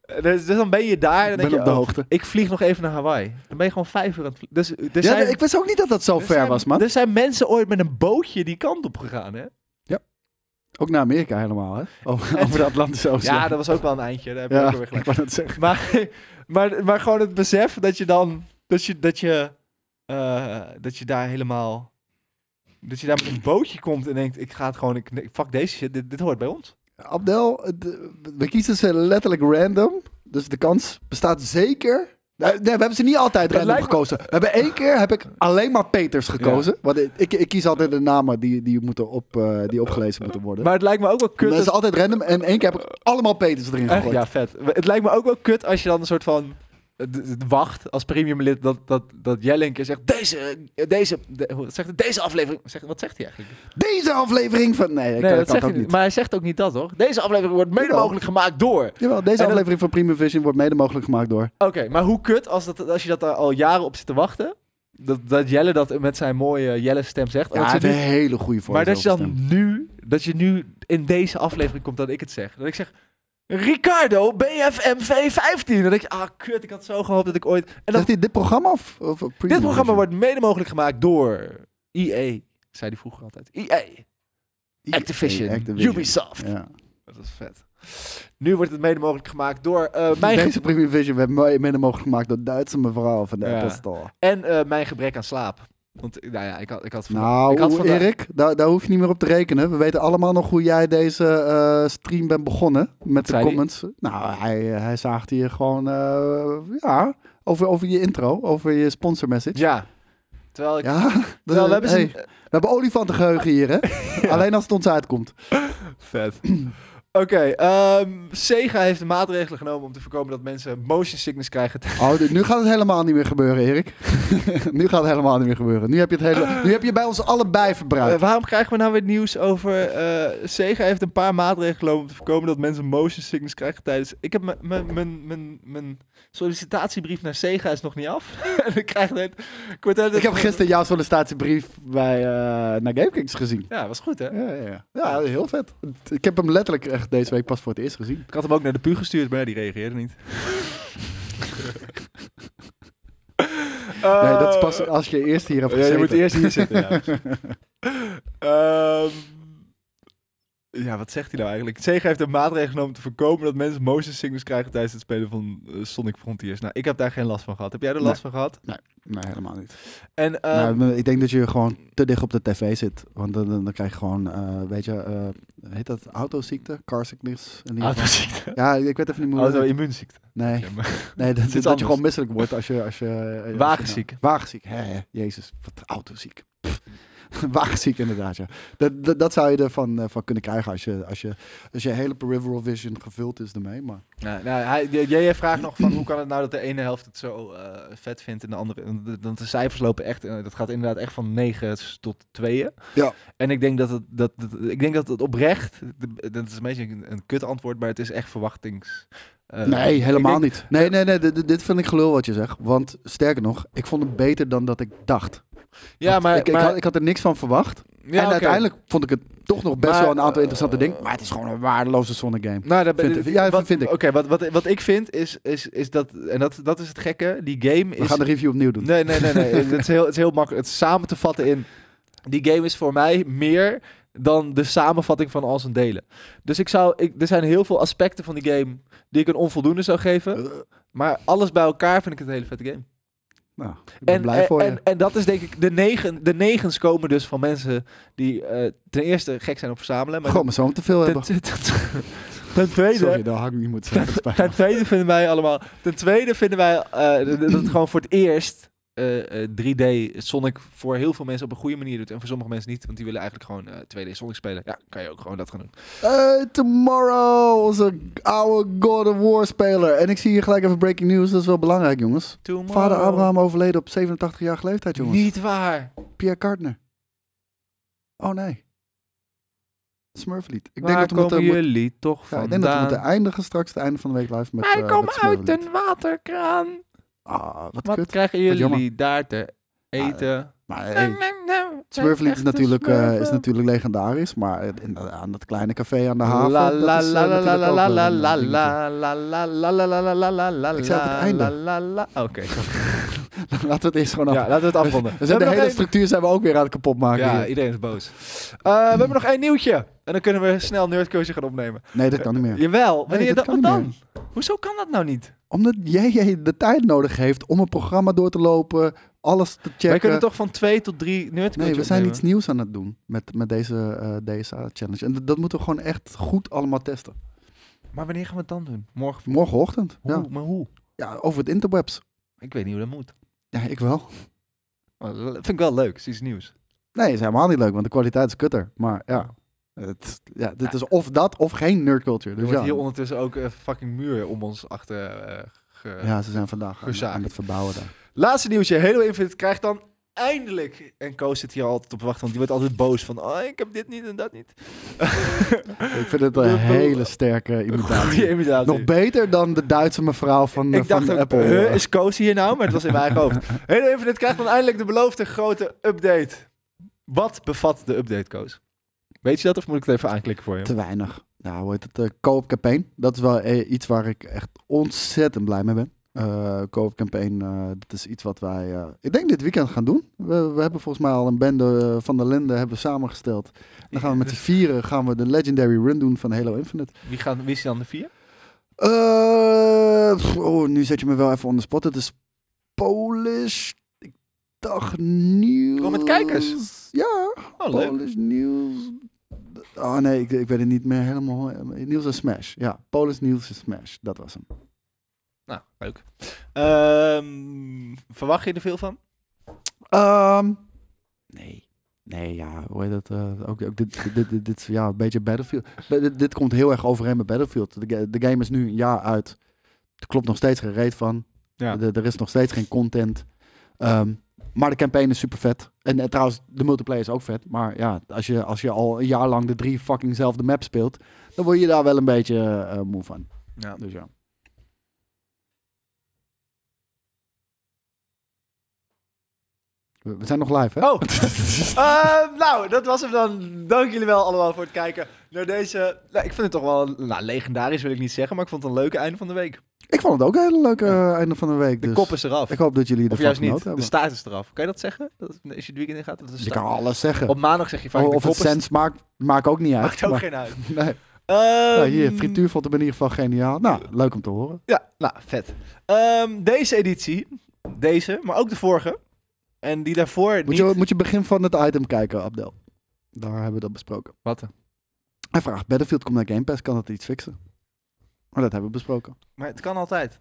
Speaker 1: Eh, Dus, dus dan ben je daar en dan
Speaker 2: Ik ben
Speaker 1: denk je,
Speaker 2: op de
Speaker 1: oh,
Speaker 2: hoogte.
Speaker 1: ik vlieg nog even naar Hawaii. Dan ben je gewoon vijf uur aan het vliegen. Dus, eh, er
Speaker 2: Ja,
Speaker 1: zijn,
Speaker 2: ik wist ook niet dat dat zo
Speaker 1: er
Speaker 2: ver
Speaker 1: zijn-
Speaker 2: was, man.
Speaker 1: Er zijn mensen ooit met een bootje die kant op gegaan, hè?
Speaker 2: Ook naar Amerika helemaal, hè? Over, over de Atlantische Oceaan.
Speaker 1: Ja, dat was ook wel een eindje. Daar heb ik
Speaker 2: Ja,
Speaker 1: ook weer gelijk.
Speaker 2: ik wou net zeggen.
Speaker 1: Maar, maar, maar gewoon het besef dat je dan. Dat je, dat, je, eh, dat je daar helemaal. Dat je daar met een bootje komt en denkt: ik ga het gewoon. Ik, nee, fuck deze shit, dit, dit hoort bij ons.
Speaker 2: Abdel, de- we kiezen ze letterlijk random. Dus de kans bestaat zeker. Nee, nee, we hebben ze niet altijd random
Speaker 1: lijkt me-
Speaker 2: gekozen. We hebben één keer heb ik alleen maar Peters gekozen. Want ik, ik, ik kies altijd de namen die, die, moeten op, eh, die opgelezen moeten worden.
Speaker 1: Maar het lijkt me ook wel kut.
Speaker 2: dat is
Speaker 1: als-
Speaker 2: altijd random. En één keer heb ik allemaal Peters erin
Speaker 1: echt,
Speaker 2: gegooid.
Speaker 1: ja, vet. Het lijkt me ook wel kut als je dan een soort van. eh, d- d- Wacht als premium lid dat, dat, dat jij een keer zegt: Deze, eh, deze, de- hoe- wat zegt, het? deze aflevering. Zegt, wat zegt hij eigenlijk?
Speaker 2: Deze aflevering van... Nee, ik
Speaker 1: nee,
Speaker 2: kan,
Speaker 1: dat
Speaker 2: kan
Speaker 1: zegt
Speaker 2: het
Speaker 1: hij
Speaker 2: ook niet.
Speaker 1: niet. Maar hij zegt ook niet dat, hoor. Deze aflevering wordt mede
Speaker 2: Jawel.
Speaker 1: mogelijk gemaakt door.
Speaker 2: Jawel, deze
Speaker 1: En dat-
Speaker 2: aflevering van Premium Vision wordt mede mogelijk gemaakt door...
Speaker 1: Oké, maar hoe kut als, dat, als je dat daar al jaren op zit te wachten? Dat, dat Jelle dat met zijn mooie Jelle-stem zegt.
Speaker 2: Ja,
Speaker 1: dat
Speaker 2: hij
Speaker 1: ze
Speaker 2: heeft een
Speaker 1: nu-
Speaker 2: hele goede voor
Speaker 1: maar dat je dan
Speaker 2: jezelf gestemd.
Speaker 1: nu, dat je nu in deze aflevering komt dat ik het zeg. Dat ik zeg, Ricardo, BFMV 15. Dan denk je, ah kut, ik had zo gehoopt dat ik ooit... En dan,
Speaker 2: Zegt hij dit programma of, of Premium
Speaker 1: dit programma
Speaker 2: Vision?
Speaker 1: wordt mede mogelijk gemaakt door EA, zei hij vroeger altijd. EA, Activision,
Speaker 2: E Activision.
Speaker 1: Ubisoft.
Speaker 2: Ja.
Speaker 1: Dat is vet. Nu wordt het mede mogelijk gemaakt door eh, mijn... ge-
Speaker 2: Deze Premium Vision werd mooi mede mogelijk gemaakt door Duitse mevrouw van de
Speaker 1: Ja.
Speaker 2: Apple Store.
Speaker 1: en eh, mijn gebrek aan slaap. Want, nou ja, ik had, ik had van-
Speaker 2: Nou,
Speaker 1: ik had vandaag-
Speaker 2: Erik, daar, daar hoef je niet meer op te rekenen. We weten allemaal nog hoe jij deze eh, stream bent begonnen met de
Speaker 1: zei die?
Speaker 2: comments. Nou, hij, hij zaagt hier gewoon, eh, ja, over, over je intro, over je sponsor message.
Speaker 1: Ja. Terwijl ik...
Speaker 2: Ja,
Speaker 1: Terwijl Nou, we hebben eh, ze-
Speaker 2: hey, we hebben olifantengeheugen hier, hè? Alleen als het ons uitkomt.
Speaker 1: Vet. Oké, ehm, Sega heeft de maatregelen genomen om te voorkomen dat mensen motion sickness krijgen.
Speaker 2: Oh, dit- nu gaat het helemaal niet meer gebeuren, Erik. nu gaat het helemaal niet meer gebeuren. Nu heb je het hele, nu heb je bij ons allebei verbruikt.
Speaker 1: Eh, waarom krijgen we nou weer nieuws over... eh, Sega heeft een paar maatregelen genomen om te voorkomen dat mensen motion sickness krijgen tijdens... Ik heb mijn- mijn- mijn- mijn- mijn sollicitatiebrief naar Sega is nog niet af. En ik krijg net... Ik, word de hele
Speaker 2: Ik heb
Speaker 1: tijd-
Speaker 2: gisteren jouw sollicitatiebrief bij, eh naar GameKings gezien.
Speaker 1: Ja, was goed hè?
Speaker 2: Ja, ja, ja. ja, heel vet. Ik heb hem letterlijk echt deze week pas voor het eerst gezien.
Speaker 1: Ik had hem ook naar de pu gestuurd, maar die reageerde niet.
Speaker 2: Nee, dat is
Speaker 1: Eh,
Speaker 2: pas als je eerst hier hebt
Speaker 1: Ja,
Speaker 2: gezeten.
Speaker 1: je moet eerst hier zitten. Ja. Ehm, ja, wat zegt hij nou eigenlijk? Sega heeft een maatregel genomen om te voorkomen dat mensen motion sickness krijgen tijdens het spelen van eh, Sonic Frontiers. Nou, ik heb daar geen last van gehad. Heb jij er last van gehad?
Speaker 2: Nee, helemaal niet.
Speaker 1: En ehm,
Speaker 2: Nou, ik denk dat je gewoon te dicht op de tv zit. Want dan, dan dan krijg je gewoon, eh, weet je, eh, heet dat autoziekte? Car sickness? In ieder geval.
Speaker 1: autoziekte.
Speaker 2: Ja, ik weet even niet hoe het heet.
Speaker 1: Auto-immuunziekte.
Speaker 2: Nee,
Speaker 1: Ja, maar-
Speaker 2: nee dat,
Speaker 1: iets
Speaker 2: dat, je
Speaker 1: anders.
Speaker 2: gewoon misselijk wordt als je... Als je eh, als je-
Speaker 1: Wagenziek.
Speaker 2: Wagenziek, hè, hè. jezus, wat autoziek. Pff. Wagenziek inderdaad, ja. Dat, dat, dat zou je ervan eh, van kunnen krijgen als je, als, je, als je hele peripheral vision gevuld is ermee. Maar
Speaker 1: Nou, nou, hij, j- jij vraagt nog van hoe kan het nou dat de ene helft het zo eh, vet vindt en de andere... en de- Want de cijfers lopen echt... eh, dat gaat inderdaad echt van 9 tot 2.
Speaker 2: Ja.
Speaker 1: En ik denk dat het, dat, dat- ik denk dat het oprecht... de- Dat is een beetje een, een kut antwoord, maar het is echt verwachtings... eh,
Speaker 2: nee,
Speaker 1: ik
Speaker 2: helemaal
Speaker 1: denk-
Speaker 2: niet. Nee, nee, nee, dit, dit vind ik gelul wat je zegt. Want sterker nog, ik vond het beter dan dat ik dacht.
Speaker 1: Ja,
Speaker 2: Want
Speaker 1: maar...
Speaker 2: ik, ik
Speaker 1: maar
Speaker 2: had, ik had er niks van verwacht.
Speaker 1: ja,
Speaker 2: en
Speaker 1: oké.
Speaker 2: uiteindelijk vond ik het toch nog best
Speaker 1: Maar,
Speaker 2: wel een aantal interessante
Speaker 1: eh,
Speaker 2: dingen. Maar het is gewoon een waardeloze Sonic game.
Speaker 1: Nou, dat
Speaker 2: Vind- ja,
Speaker 1: wat,
Speaker 2: vind ik.
Speaker 1: Oké, wat, wat, wat ik vind is, is, is dat... En dat, dat is het gekke. Die game
Speaker 2: We
Speaker 1: is...
Speaker 2: gaan de review opnieuw doen.
Speaker 1: Nee, nee, nee. nee. het, is heel, het is heel makkelijk. Het is samen te vatten in. Die game is voor mij meer dan de samenvatting van al zijn delen. Dus ik zou, ik, er zijn heel veel aspecten van die game die ik een onvoldoende zou geven.
Speaker 2: Eh,
Speaker 1: Maar alles bij elkaar vind ik het een hele vette game.
Speaker 2: nou, ik ben
Speaker 1: en,
Speaker 2: blij
Speaker 1: en,
Speaker 2: voor je.
Speaker 1: En, en dat is denk ik, de, negen, de negens komen dus van mensen die eh, ten eerste gek zijn op verzamelen. Maar
Speaker 2: Gewoon maar zo te veel
Speaker 1: ten,
Speaker 2: hebben.
Speaker 1: ten, ten, ten tweede...
Speaker 2: Sorry, dat had ik niet moeten zeggen. spijt me.
Speaker 1: Ten tweede vinden wij allemaal. Ten tweede vinden wij eh, d- d- dat het gewoon voor het eerst eh, eh, 3D Sonic voor heel veel mensen op een goede manier doet. En voor sommige mensen niet, want die willen eigenlijk gewoon eh 2D Sonic spelen. Ja, kan je ook gewoon dat gaan doen.
Speaker 2: Eh, tomorrow, onze oude God of War speler. En ik zie hier gelijk even breaking news, dat is wel belangrijk, jongens. Vader Abraham overleden op 87-jarige leeftijd, jongens.
Speaker 1: Niet waar.
Speaker 2: Pierre Gardner. Oh nee. Smurflied. Ik
Speaker 1: Waar
Speaker 2: denk dat we moeten,
Speaker 1: komen
Speaker 2: moet-
Speaker 1: jullie toch
Speaker 2: ja,
Speaker 1: vandaan?
Speaker 2: ik denk dat we moeten eindigen straks, het einde van de week live met,
Speaker 1: Wij
Speaker 2: eh,
Speaker 1: komen
Speaker 2: met
Speaker 1: uit
Speaker 2: Smurflied.
Speaker 1: een waterkraan.
Speaker 2: Ah, wat,
Speaker 1: Wat
Speaker 2: kut.
Speaker 1: krijgen
Speaker 2: Wat
Speaker 1: jullie
Speaker 2: jammer.
Speaker 1: daar te eten?
Speaker 2: Maar
Speaker 1: Ah,
Speaker 2: hey, Smurflied is natuurlijk, eh, is natuurlijk legendarisch, maar in, aan dat kleine café aan de haven...
Speaker 1: La
Speaker 2: dat
Speaker 1: la
Speaker 2: is, eh,
Speaker 1: la la la
Speaker 2: natuurlijk ook
Speaker 1: la
Speaker 2: wel
Speaker 1: la
Speaker 2: een, eh,
Speaker 1: la
Speaker 2: dingetje.
Speaker 1: la la la la la la la la la la
Speaker 2: Ik zei op het
Speaker 1: la
Speaker 2: einde.
Speaker 1: la la la. Oké,
Speaker 2: Laten we het eerst gewoon
Speaker 1: ja,
Speaker 2: af.
Speaker 1: laten we het afronden.
Speaker 2: We zijn de
Speaker 1: hebben
Speaker 2: hele
Speaker 1: nog één-
Speaker 2: structuur zijn we ook weer aan het kapotmaken.
Speaker 1: Ja,
Speaker 2: hier.
Speaker 1: iedereen is boos. Eh, we hebben nog één nieuwtje. En dan kunnen we snel Nerdcoaching gaan opnemen.
Speaker 2: Nee, dat kan niet meer.
Speaker 1: Jawel, wanneer
Speaker 2: dat
Speaker 1: dat
Speaker 2: kan
Speaker 1: wat
Speaker 2: niet
Speaker 1: dan? Hoezo kan dat nou niet?
Speaker 2: Omdat jij de tijd nodig heeft om een programma door te lopen, alles te checken.
Speaker 1: Wij kunnen toch van twee tot drie Nerdcoaching
Speaker 2: eh, Nee, we zijn
Speaker 1: opnemen?
Speaker 2: iets nieuws aan het doen met, met deze eh DSA-challenge. En dat- dat moeten we gewoon echt goed allemaal testen.
Speaker 1: Maar wanneer gaan we het dan doen? Morgen?
Speaker 2: Morgenochtend.
Speaker 1: Hoe?
Speaker 2: Ja.
Speaker 1: Maar hoe?
Speaker 2: ja, over het interwebs.
Speaker 1: Ik weet niet hoe dat moet.
Speaker 2: Ja, ik wel.
Speaker 1: Maar dat vind ik wel leuk, is iets nieuws.
Speaker 2: Nee, is helemaal niet leuk, want de kwaliteit is kutter. Maar ja, het, ja dit is of dat of geen nerdculture.
Speaker 1: Er
Speaker 2: Dus
Speaker 1: wordt
Speaker 2: ja.
Speaker 1: hier ondertussen ook een fucking muur om ons achter eh, ge-
Speaker 2: ja, ze zijn vandaag aan,
Speaker 1: Gezaagd.
Speaker 2: aan het verbouwen daar.
Speaker 1: Laatste nieuwtje. Halo Infinite krijgt dan eindelijk... En Koos zit hier altijd op te wachten, want die wordt altijd boos van... Oh, ik heb dit niet en dat niet.
Speaker 2: Ik vind het een hele sterke
Speaker 1: Goeie
Speaker 2: imitatie.
Speaker 1: imitatie.
Speaker 2: Nog beter dan de Duitse mevrouw van, eh,
Speaker 1: ik dacht
Speaker 2: van
Speaker 1: ook,
Speaker 2: Apple.
Speaker 1: huh, is Koos hier nou? Maar het was in mijn eigen hoofd. Halo Infinite krijgt dan eindelijk de beloofde grote update. Wat bevat de update, Koos? Weet je dat of moet ik het even aanklikken voor je?
Speaker 2: Te weinig. Nou, hoe heet het? eh, co-op campaign. Dat is wel eh, iets waar ik echt ontzettend blij mee ben. Eh co-op campaign, eh, dat is iets wat wij, eh, ik denk dit weekend gaan doen. We, we hebben volgens mij al een bende eh, van de Linde hebben we samengesteld. Dan gaan we met z'n vieren gaan we de Legendary Run doen van Halo Infinite.
Speaker 1: Wie, gaan, wie is dan de vier?
Speaker 2: Eh, pff, oh, nu zet je me wel even on the spot. Het is Polish, ik dacht nieuws.
Speaker 1: Kom met kijkers.
Speaker 2: Ja.
Speaker 1: Oh, leuk.
Speaker 2: Polish News. Oh nee, ik, ik weet het niet meer helemaal. Nieuws en Smash. Ja, Polish Nieuws en Smash. Dat was hem.
Speaker 1: Nou, leuk. Ehm, verwacht je er veel van?
Speaker 2: Ehm, nee. Nee, ja, hoe heet dat? eh, ook, ook dit, dit, dit, dit, is, ja, een beetje Battlefield. Ba- dit, dit komt heel erg overeen met Battlefield. De, ga- de game is nu een jaar uit. Er klopt nog steeds geen reet van.
Speaker 1: Ja.
Speaker 2: De- er is nog steeds geen content. Ehm, maar de campaign is super vet. En, eh, trouwens, de multiplayer is ook vet. Maar ja, als je, als je al een jaar lang de drie fuckingzelfde map speelt, dan word je daar wel een beetje eh, moe van.
Speaker 1: Ja.
Speaker 2: Dus ja. We we zijn nog live, hè?
Speaker 1: Oh! Ehm, nou, dat was hem dan. Dank jullie wel allemaal voor het kijken naar deze... Nou, ik vind het toch wel nou, legendarisch, wil ik niet zeggen, maar ik vond het een leuke einde van de week.
Speaker 2: Ik vond het ook een hele leuke eh, einde van de week.
Speaker 1: De
Speaker 2: dus
Speaker 1: kop is eraf.
Speaker 2: Ik hoop dat jullie
Speaker 1: Of
Speaker 2: ervan
Speaker 1: juist
Speaker 2: genoten
Speaker 1: niet. De
Speaker 2: hebben.
Speaker 1: staart is eraf. Kan je dat zeggen? Dat, als je het weekend in gaat? Dat de
Speaker 2: je
Speaker 1: staart-
Speaker 2: kan alles zeggen.
Speaker 1: Op maandag zeg je vaak...
Speaker 2: of
Speaker 1: de
Speaker 2: het
Speaker 1: kop is...
Speaker 2: sens maakt, maakt ook niet uit.
Speaker 1: Maakt ook
Speaker 2: maar-
Speaker 1: geen uit.
Speaker 2: nee.
Speaker 1: Ehm,
Speaker 2: Nou, hier, frituur vond ik in ieder geval geniaal. Nou, leuk om te horen.
Speaker 1: Ja, nou, vet. Ehm, deze editie, deze, maar ook de vorige. En die daarvoor
Speaker 2: Moet
Speaker 1: niet...
Speaker 2: je, moet je begin van het item kijken, Abdel. Daar hebben we dat besproken.
Speaker 1: Wat?
Speaker 2: Hij vraagt, Battlefield komt naar Game Pass, kan dat iets fixen? Maar dat hebben we besproken.
Speaker 1: Maar het kan altijd.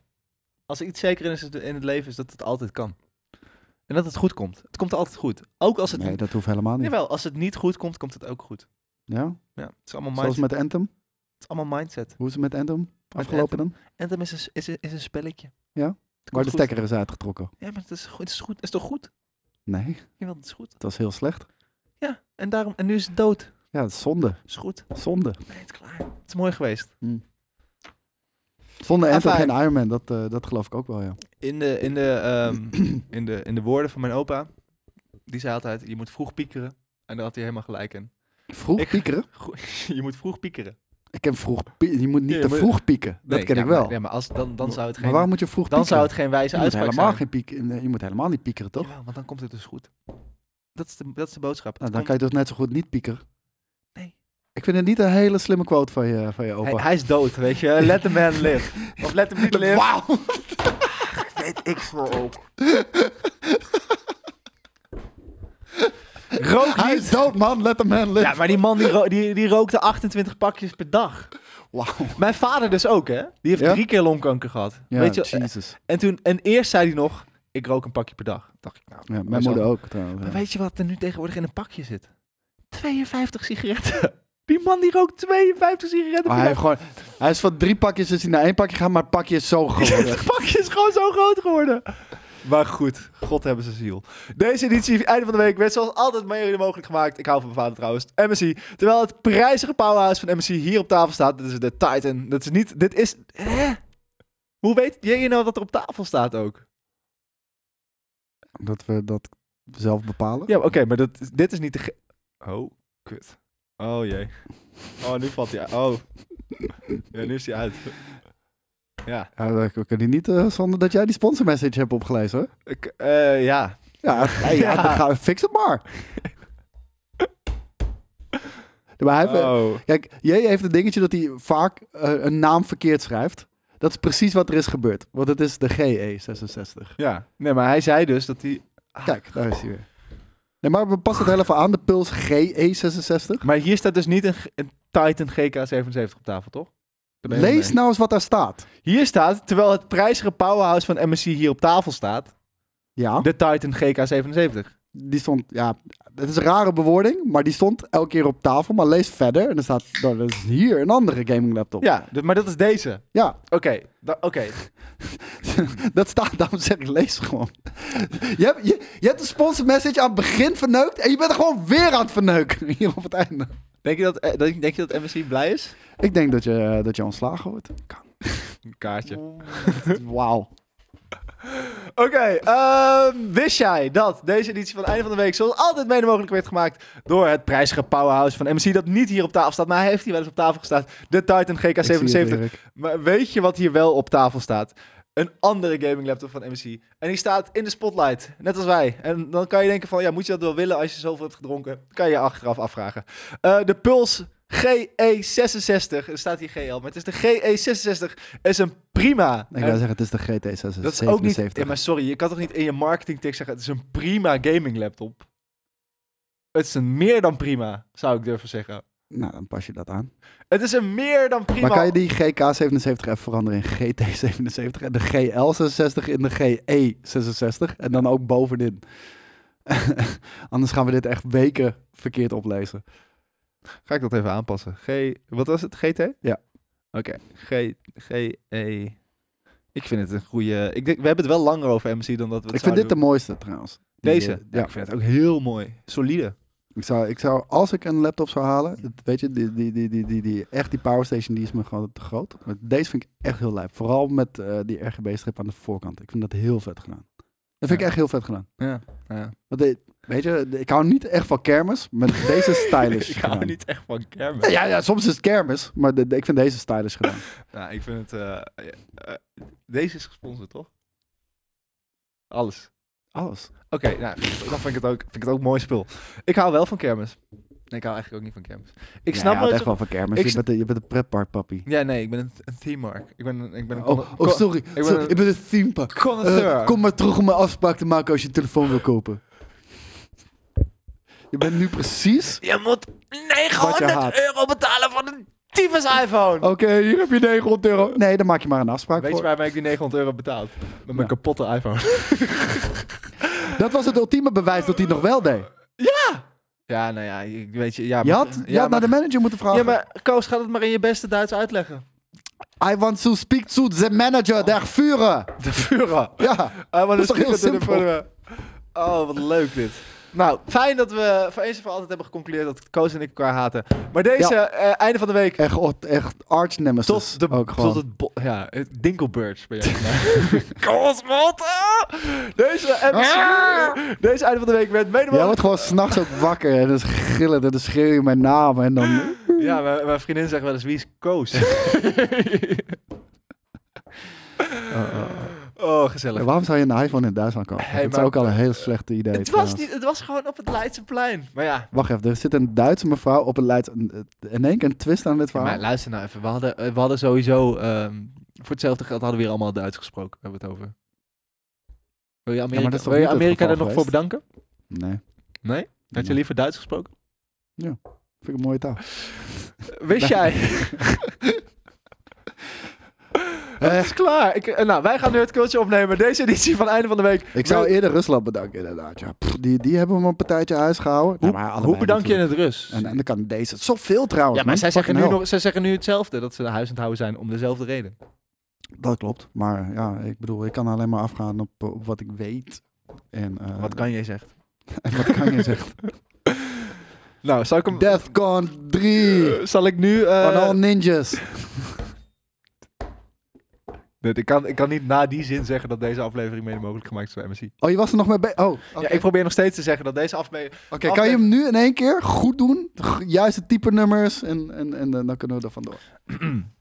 Speaker 1: Als er iets zeker is in het leven, is dat het altijd kan. En dat het goed komt. Het komt altijd goed. Ook als het,
Speaker 2: Nee, dat hoeft helemaal niet.
Speaker 1: jawel, als het niet goed komt, komt het ook goed.
Speaker 2: Ja?
Speaker 1: Ja, het is allemaal
Speaker 2: Zoals
Speaker 1: mindset.
Speaker 2: met Anthem.
Speaker 1: Het is allemaal mindset.
Speaker 2: Hoe is het met Anthem? Afgelopen dan?
Speaker 1: Anthem is een, is een, is een spelletje. Het
Speaker 2: Ja, Maar
Speaker 1: komt
Speaker 2: de
Speaker 1: goed.
Speaker 2: stekker is uitgetrokken.
Speaker 1: Ja, maar het is, goed, het is goed. Het is toch goed?
Speaker 2: Nee,
Speaker 1: Jawel, het is goed.
Speaker 2: het was heel slecht.
Speaker 1: Ja, en, daarom, en nu is het dood.
Speaker 2: Ja, dat is zonde.
Speaker 1: Het is goed.
Speaker 2: Zonde.
Speaker 1: Nee, het is klaar. Het is mooi geweest.
Speaker 2: Zonder Anthem
Speaker 1: Enfin.
Speaker 2: geen Iron Man, dat, eh, dat geloof ik ook wel, ja.
Speaker 1: In de, in, de, ehm, in, de, in de woorden van mijn opa, die zei altijd, je moet vroeg piekeren. En daar had hij helemaal gelijk in.
Speaker 2: Vroeg
Speaker 1: Ik-
Speaker 2: piekeren?
Speaker 1: Goe- je moet vroeg piekeren.
Speaker 2: Ik heb vroeg pie- Je moet niet
Speaker 1: Ja,
Speaker 2: te
Speaker 1: maar-
Speaker 2: vroeg pieken. Dat
Speaker 1: Nee,
Speaker 2: ken
Speaker 1: ja,
Speaker 2: ik wel.
Speaker 1: Maar, ja, maar als, dan, dan zou het
Speaker 2: Maar
Speaker 1: geen,
Speaker 2: waarom moet je vroeg
Speaker 1: dan
Speaker 2: piekeren?
Speaker 1: zou het geen wijze
Speaker 2: je moet
Speaker 1: uitspraak
Speaker 2: helemaal
Speaker 1: zijn.
Speaker 2: geen piek, nee, je moet helemaal niet piekeren, toch?
Speaker 1: Jawel, want dan komt het dus goed. Dat is de, dat is de boodschap.
Speaker 2: Nou,
Speaker 1: Het
Speaker 2: dan kan
Speaker 1: komt-
Speaker 2: je toch net zo goed niet piekeren?
Speaker 1: Nee.
Speaker 2: Ik vind het niet een hele slimme quote van je, van je opa.
Speaker 1: hij, hij is dood, weet je. Let the man live. Of let hem niet live.
Speaker 2: Wauw!
Speaker 1: Rook
Speaker 2: Hij
Speaker 1: niet.
Speaker 2: is dood, man. Let the man live.
Speaker 1: Ja, maar die man die, ro- die, die rookte 28 pakjes per dag.
Speaker 2: Wauw.
Speaker 1: Mijn vader dus ook, hè. Die heeft
Speaker 2: Ja?
Speaker 1: drie keer longkanker gehad.
Speaker 2: Ja,
Speaker 1: weet je, eh,
Speaker 2: Jesus.
Speaker 1: En, toen, en eerst zei hij nog, ik rook een pakje per dag. Dacht ik, nou,
Speaker 2: Ja,
Speaker 1: maar
Speaker 2: mijn
Speaker 1: zo-
Speaker 2: moeder ook, trouwens.
Speaker 1: Maar
Speaker 2: ja.
Speaker 1: weet je wat er nu tegenwoordig in een pakje zit? 52 sigaretten. Die man die rookt 52 sigaretten
Speaker 2: Maar
Speaker 1: per dag.
Speaker 2: Oh, hij, heeft gewoon, dus hij is van drie pakjes is hij naar één pakje gegaan, maar het pakje is zo geworden.
Speaker 1: Het pakje is gewoon zo groot geworden. Maar goed, God hebben ze ziel. Deze editie, einde van de week, werd zoals altijd maar jullie mogelijk gemaakt. Ik hou van mijn vader trouwens. MSI. Terwijl het prijzige powerhouse van MSI hier op tafel staat. Dit is de Titan. Dat is niet... Dit is... Hè? Hoe weet jij nou dat er op tafel staat ook?
Speaker 2: Dat we dat zelf bepalen.
Speaker 1: Ja, oké, maar dat, dit is niet de... ge- Oh, kut. Oh jee. Oh, nu valt hij uit. Oh. Ja, nu is hij uit. Ja.
Speaker 2: Ja, dat we kunnen niet eh zonder dat jij die sponsor message hebt opgelezen hoor.
Speaker 1: Ik, eh, ja.
Speaker 2: Ja, hey, ja,
Speaker 1: Ja.
Speaker 2: dan gaan we- fix het maar. Ja, maar hij heeft-
Speaker 1: Oh.
Speaker 2: Kijk, jij heeft een dingetje dat hij vaak eh, een naam verkeerd schrijft. Dat is precies wat er is gebeurd. Want het is de E GE66.
Speaker 1: Ja. Nee, maar hij zei dus dat hij...
Speaker 2: Kijk, daar is hij weer. Nee, maar we passen het heel even aan. De Puls E GE66.
Speaker 1: Maar hier staat dus niet een, g- een Titan GK77 op tafel, toch?
Speaker 2: Lees nou eens wat daar staat.
Speaker 1: Hier staat, terwijl het prijzige powerhouse van MSC hier op tafel staat,
Speaker 2: Ja,
Speaker 1: de Titan GK77.
Speaker 2: die stond... Ja, het is een rare bewoording, maar die stond elke keer op tafel. Maar lees verder en er staat... nou, dat is hier een andere gaming laptop.
Speaker 1: Ja, d- maar dat is deze.
Speaker 2: ja.
Speaker 1: Oké, da- oké.
Speaker 2: dat staat, daarom zeg ik, lees gewoon. Je hebt, je, je hebt een sponsor message aan het begin verneukt en je bent er gewoon weer aan het verneuken hier op het einde.
Speaker 1: Denk, je dat, eh, denk- denk je dat MSC blij is?
Speaker 2: Ik denk dat je, eh, dat je ontslagen wordt.
Speaker 1: Een kaartje.
Speaker 2: Wauw.
Speaker 1: Oké, ehm, wist jij dat deze editie van het einde van de week zoals altijd mede mogelijk werd gemaakt door het prijzige powerhouse van MC dat niet hier op tafel staat, maar hij heeft hier wel eens op tafel gestaan, de Titan
Speaker 2: Ik zie het,
Speaker 1: GK77.
Speaker 2: Erik.
Speaker 1: Maar weet je wat hier wel op tafel staat? Een andere gaming laptop van MC. En die staat in de spotlight, net als wij. En dan kan je denken van, ja, moet je dat wel willen als je zoveel hebt gedronken? Kan je je achteraf afvragen. Eh, de Pulse GE66, er staat hier GL, maar het is de GE66, is een prima.
Speaker 2: Ik
Speaker 1: En-
Speaker 2: wil zeggen, het Eh, is de GT677.
Speaker 1: dat is ook niet. Ja, maar sorry, je kan toch niet in je marketingtekst zeggen: het is een prima gaming laptop. Het is een meer dan prima, zou ik durven zeggen.
Speaker 2: Nou, dan pas je dat aan.
Speaker 1: Het is een meer dan prima.
Speaker 2: Maar kan je die GK77 even veranderen in GT77 en de GL66 in de GE66 en dan ook bovenin? Anders gaan we dit echt weken verkeerd oplezen.
Speaker 1: Ga ik dat even aanpassen? G. Wat was het? GT?
Speaker 2: Ja.
Speaker 1: Oké. G. G. E. Ik vind het een goede. Ik denk, we hebben het wel langer over MC dan dat we. Het
Speaker 2: Ik vind dit de
Speaker 1: zouden
Speaker 2: mooiste trouwens.
Speaker 1: doen.
Speaker 2: Die,
Speaker 1: Deze.
Speaker 2: eh,
Speaker 1: ja,
Speaker 2: Ja.
Speaker 1: ik vind het ook heel mooi. Solide.
Speaker 2: Ik zou, ik zou, als ik een laptop zou halen, dat- weet je, die, die, die, die, die, die, echt die powerstation die is me gewoon te groot. Maar deze vind ik echt heel lijp. Vooral met eh, die RGB-strip aan de voorkant. Ik vind dat heel vet gedaan. Dat vind ik
Speaker 1: Ja.
Speaker 2: echt heel vet gedaan.
Speaker 1: Ja. ja.
Speaker 2: Want de- weet je, de- ik hou niet echt van kermis, maar deze is stylish
Speaker 1: ik hou
Speaker 2: gedaan.
Speaker 1: niet echt van kermis.
Speaker 2: Ja, ja, soms is het kermis, maar de- de- ik vind deze stylish gedaan.
Speaker 1: Nou, ik vind het. eh, eh, eh, deze is gesponsord, toch? Alles.
Speaker 2: Alles.
Speaker 1: Oké, nou, dan vind ik, het ook, vind ik het ook mooi spul. Ik hou wel van kermis. Nee, ik hou eigenlijk ook niet van kermis. Ik
Speaker 2: Ja,
Speaker 1: snap nooit
Speaker 2: je houdt
Speaker 1: zo-
Speaker 2: echt wel van kermis.
Speaker 1: ik
Speaker 2: Je
Speaker 1: sn-
Speaker 2: bent, een- je bent een pretpark, papi.
Speaker 1: Ja, nee, ik ben een, een theme mark. Ik ben, een- ik ben een
Speaker 2: Oh, oh, sorry. Ik ben,
Speaker 1: ben
Speaker 2: sorry,
Speaker 1: een-
Speaker 2: ik ben een theme park.
Speaker 1: connoisseur.
Speaker 2: Eh, kom maar terug om een afspraak te maken als je een telefoon wil kopen. Je bent nu precies.
Speaker 3: Je moet
Speaker 2: haat.
Speaker 3: 900 euro betalen voor een tyfus iPhone.
Speaker 1: Oh,
Speaker 2: Oké, hier heb je 900 euro. Nee, dan maak je maar een afspraak
Speaker 1: Weet je
Speaker 2: voor.
Speaker 1: waarmee ik die 900 euro betaald? Met mijn
Speaker 2: Ja.
Speaker 1: kapotte iPhone.
Speaker 2: Dat was het ultieme bewijs dat hij het nog wel deed.
Speaker 1: Ja, nou ja, ik- weet je... Ja,
Speaker 2: Je
Speaker 1: maar-
Speaker 2: had, je
Speaker 1: ja,
Speaker 2: had
Speaker 1: maar,
Speaker 2: naar de manager moeten vragen.
Speaker 1: Ja, maar Koos, gaat het maar in je beste Duits uitleggen.
Speaker 2: I want to speak to the manager, der Führer.
Speaker 1: De Führer.
Speaker 2: Ja.
Speaker 1: Ah, maar
Speaker 2: Dat
Speaker 1: dat
Speaker 2: is toch
Speaker 1: is
Speaker 2: heel
Speaker 1: heel
Speaker 2: simpel?
Speaker 1: simpel. Oh, wat leuk dit. Nou, fijn dat we voor eens en voor altijd hebben geconcludeerd dat Koos en ik elkaar haten. Maar deze, eh, einde van de week,
Speaker 2: Echt, echt arch nemesis.
Speaker 1: Tot, de,
Speaker 2: Dus ook gewoon.
Speaker 1: tot het... bo- Ja, het Dinkelbirds bij jou.
Speaker 3: Koos Walter!
Speaker 1: deze, MC, deze einde van de week werd mede
Speaker 2: Jij
Speaker 1: mogelijk...
Speaker 2: wordt gewoon s'nachts ook wakker en dan is gillen en dan schreeuw je mijn naam en dan...
Speaker 1: Ja, mijn, mijn vriendin zegt wel eens, wie is Koos? oh, gezellig.
Speaker 2: Ja, waarom zou je een iPhone in Duitsland kopen?
Speaker 1: Hey,
Speaker 2: dat
Speaker 1: maar-
Speaker 2: is ook al een heel slecht idee.
Speaker 1: Het was,
Speaker 2: trouwens.
Speaker 1: niet, het was gewoon op het Leidseplein. Maar ja,
Speaker 2: Wacht even, er zit een Duitse mevrouw op een Leids... In één keer een twist aan dit verhaal.
Speaker 1: maar luister nou even. We hadden, eh, we hadden sowieso... ehm, voor hetzelfde geld hadden we hier allemaal Duits gesproken. We hebben het over. Wil je Amerika,
Speaker 2: dat is toch
Speaker 1: wil je
Speaker 2: niet het
Speaker 1: Amerika
Speaker 2: geval
Speaker 1: er nog voor
Speaker 2: geweest?
Speaker 1: bedanken?
Speaker 2: Nee,
Speaker 1: Nee? Had je
Speaker 2: Nee.
Speaker 1: liever Duits gesproken?
Speaker 2: vind ik een mooie taal.
Speaker 1: Wist jij... Het is klaar. Ik, eh, nou, wij gaan nu het cultje opnemen. Deze editie van einde van de week.
Speaker 2: Ik zou
Speaker 1: Wel-
Speaker 2: eerder Rusland bedanken, inderdaad. Ja, Pff, die, die hebben me een partijtje huis gehouden.
Speaker 1: Hoe,
Speaker 2: Ja, maar allebei
Speaker 1: hoe bedank je in
Speaker 2: natuurlijk.
Speaker 1: het Rus?
Speaker 2: En, en de Canadezen. Zoveel trouwens,
Speaker 1: ja, maar
Speaker 2: man.
Speaker 1: zij zeggen, nu
Speaker 2: Fucking
Speaker 1: nog, zij zeggen nu hetzelfde. Dat ze huis aan het houden zijn om dezelfde reden.
Speaker 2: Dat klopt. Maar ja, ik bedoel, ik kan alleen maar afgaan op, eh, op wat ik weet. En, eh,
Speaker 1: Wat kan jij zegt.
Speaker 2: en wat kan je zeggen?
Speaker 1: Nou, zal ik hem...
Speaker 2: Defcon 3!
Speaker 1: Eh, zal ik nu... eh,
Speaker 2: Van al ninjas.
Speaker 1: nee, ik, kan, ik kan niet na die zin zeggen dat deze aflevering mede mogelijk gemaakt is door MSC.
Speaker 2: Oh, je was er nog mee bij. Oh, oké.
Speaker 1: Ja, ik probeer nog steeds te zeggen dat deze aflevering...
Speaker 2: Oké, kan je hem nu in één keer goed doen? De g- Juiste type nummers en, en, en eh, dan kunnen we er vandoor.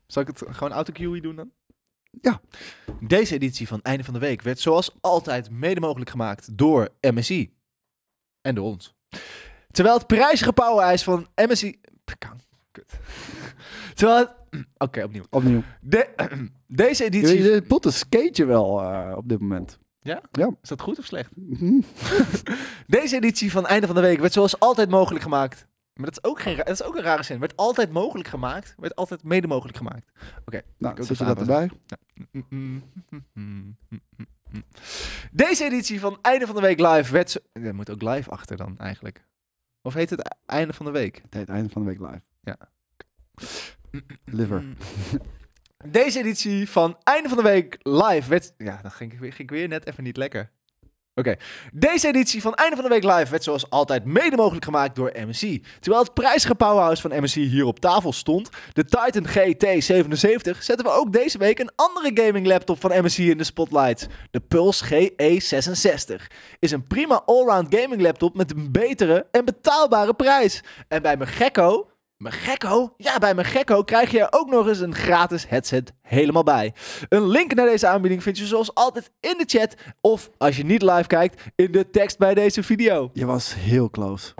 Speaker 1: Zal ik het gewoon autocue doen dan?
Speaker 2: Ja.
Speaker 1: Deze editie van Einde van de Week werd zoals altijd mede mogelijk gemaakt door MSI. En door ons. Terwijl het prijzige powerijs van MSI... Pekang, Kut. Terwijl het... Oké, opnieuw.
Speaker 2: Opnieuw.
Speaker 1: De- Deze
Speaker 2: Je,
Speaker 1: editie...
Speaker 2: je pot een skateje wel eh, op dit moment.
Speaker 1: Is dat goed of slecht?
Speaker 2: Mhm.
Speaker 1: Deze editie van Einde van de Week werd zoals altijd mogelijk gemaakt. Maar dat is ook, geen ra- dat is ook een rare zin. Werd altijd mogelijk gemaakt. Werd altijd mede mogelijk gemaakt.
Speaker 2: Nou,
Speaker 1: ook
Speaker 2: zet je
Speaker 1: even
Speaker 2: dat erbij?
Speaker 1: Deze editie van Einde van de Week live werd... zo- Er moet ook live achter dan eigenlijk. Of heet het E-, Einde van de Week?
Speaker 2: Het heet einde van de week live.
Speaker 1: Ja. Mm.
Speaker 2: Liver.
Speaker 1: Deze editie van Einde van de Week live werd... Ja, dan ging ik weer, ging ik weer net even niet lekker. Oké. Deze editie van Einde van de Week live werd zoals altijd mede mogelijk gemaakt door MSI. Terwijl het prijzige powerhouse van MSI hier op tafel stond, de Titan GT77, zetten we ook deze week een andere gaming laptop van MSI in de spotlight. De Pulse GE66 is een prima allround gaming laptop met een betere en betaalbare prijs. En bij mijn gekko mijn gekko? Ja, bij mijn gekko krijg je er ook nog eens een gratis headset helemaal bij. Een link naar deze aanbieding vind je zoals altijd in de chat of als je niet live kijkt in de tekst bij deze video.
Speaker 2: Je was heel close.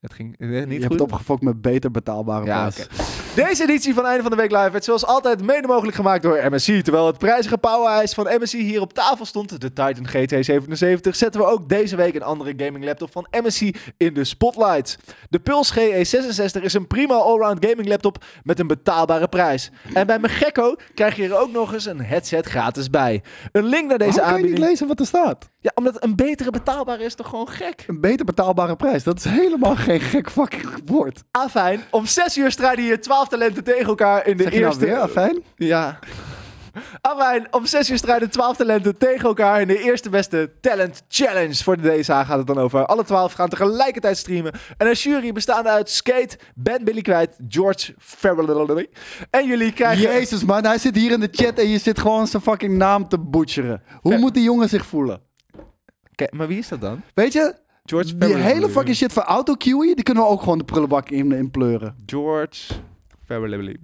Speaker 1: Het ging eh, niet
Speaker 2: je hebt het opgefokt met beter betaalbare
Speaker 1: Ja,
Speaker 2: prijs.
Speaker 1: Deze editie van Einde van de Week Live werd zoals altijd mede mogelijk gemaakt door MSC. Terwijl het prijzige powerhuis van MSC hier op tafel stond, de Titan GT77, zetten we ook deze week een andere gaming laptop van MSC in de spotlight. De Pulse GE66 is een prima allround gaming laptop met een betaalbare prijs. En bij mijn gekko krijg je er ook nog eens een headset gratis bij. Een link naar
Speaker 2: Waarom
Speaker 1: deze
Speaker 2: kan je niet
Speaker 1: aanbieding...
Speaker 2: lezen wat er staat?
Speaker 1: Ja, omdat het een betere betaalbare is toch gewoon gek?
Speaker 2: Een beter betaalbare prijs. Dat is helemaal geen gek fucking woord.
Speaker 1: Afijn, om 6 uur strijden hier 12 talenten tegen elkaar in de
Speaker 2: Zeg je nou
Speaker 1: eerste...
Speaker 2: weer, afijn?
Speaker 1: Ja. Afijn, om 6 uur strijden 12 talenten tegen elkaar in de eerste beste Talent Challenge. Voor de DSA gaat het dan over. Alle 12 gaan tegelijkertijd streamen. En een jury bestaande uit Skate, Ben Billy Kwijt, George Farrell. En jullie krijgen.
Speaker 2: Jezus man, hij zit hier in de chat en je zit gewoon zijn fucking naam te butcheren. Hoe
Speaker 1: Ver-
Speaker 2: moet die jongen zich voelen?
Speaker 1: Ke- Maar wie is dat dan?
Speaker 2: Weet je,
Speaker 1: George
Speaker 2: die hele fucking shit van autocueing, die kunnen we ook gewoon de prullenbak in, in pleuren.
Speaker 1: George Farrell.